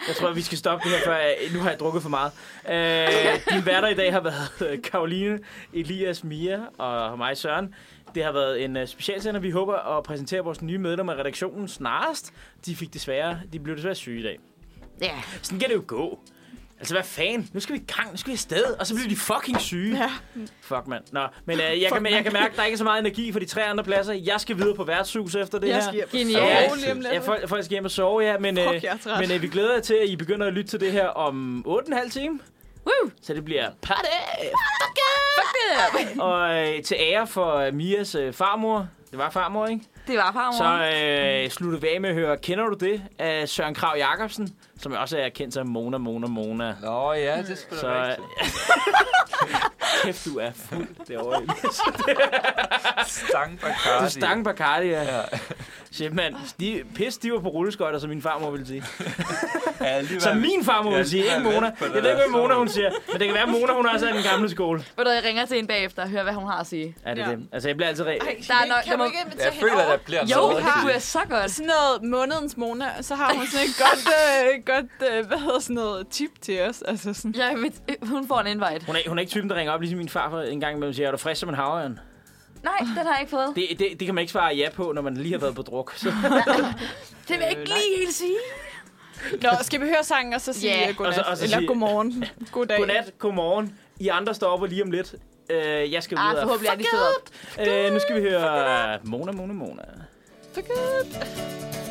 S1: Jeg tror, vi skal stoppe det her, for jeg, nu har jeg drukket for meget. Øh, din værter i dag har været øh, Karoline, Elias, Mia og mig, Søren. Det har været en øh, specialsender. Vi håber at præsentere vores nye medlemmer af redaktionen snarest. De fik desværre, de blev desværre syge i dag.
S2: Ja.
S1: Sådan kan det jo gå. Altså, hvad fanden? Nu skal vi i gang, nu skal vi afsted, og så bliver de fucking syge. Ja. Fuck, mand. Nå, men øh, jeg, kan, jeg kan mærke, at der ikke er så meget energi for de tre andre plasser. Jeg skal videre på værtshus efter det her.
S3: Jeg skal hjem og
S2: Genialt.
S3: sove lige om lidt.
S1: Ja, folk, folk skal hjem og sove, ja, men,
S3: Fuck, jeg er træt.
S1: men øh, vi glæder jer til, at I begynder at lytte til det her om 8,5 time.
S2: Woo!
S1: Så det bliver party!
S2: Fuck det!
S1: Og øh, til ære for øh, Mias øh, farmor, det var farmor, ikke?
S2: Det var farmor.
S1: Så øh, slutter vi af med at høre, kender du det? Af Søren Krav Jacobsen, som også er kendt som Mona, Mona, Mona.
S4: Nå ja, det er sgu
S1: Så
S4: da rigtigt.
S1: kæft, du er fuld derovre. Elias.
S4: Stang
S1: Du
S4: Bacardi.
S1: stang Bacardi, ja.
S4: Ja.
S1: Shit, mand. De, pis, de var på rulleskøjter, som min farmor ville sige.
S4: Ja, alligevel.
S1: Som min farmor
S4: Ja,
S1: vil sige,
S4: lige
S1: ikke
S4: være
S1: Mona.
S4: lidt på
S1: Jeg
S4: det
S1: ved ikke, hvad
S4: der
S1: Mona
S4: skole.
S1: hun siger, men det kan være, at Mona hun også er den gamle skole.
S2: Ved du, jeg ringer til en bagefter og hører, hvad hun har at sige.
S1: Er det
S3: Ja.
S1: det? Altså, jeg bliver altid re-
S3: Ej,
S2: Der er nok-
S3: kan
S2: der
S3: du
S2: må-
S3: ikke invitere
S4: Jeg
S3: hende
S4: føler,
S3: over?
S4: der bliver
S2: Jo,
S4: noget.
S2: det kunne jeg så godt.
S3: sådan noget månedens Mona, så har hun sådan et godt, øh, godt øh, hvad hedder sådan noget, tip til os. Altså sådan,
S2: Ja, mit, øh, hun får en invite.
S1: Hun er, hun er ikke typen, der ringer op, ligesom min farfar en gang imellem siger, er du frisk som en havørn?
S2: Nej, den har jeg ikke fået.
S1: Det, det, det kan man ikke svare ja på, når man lige har været på druk. Så.
S2: Det vil jeg
S1: øh,
S2: ikke lige helt sige.
S3: Nå, skal vi høre sangen, og så sige
S2: Ja.
S3: yeah. godnat,
S1: Og så- og så
S3: eller
S1: sige-
S3: godmorgen, goddag.
S1: Godnat, godmorgen. I andre står op og lige om lidt. Øh, jeg skal
S2: Ah,
S1: ud og...
S2: forhåbentlig er de stået op.
S1: Øh, nu skal vi høre Mona, Mona, Mona.
S3: Forget.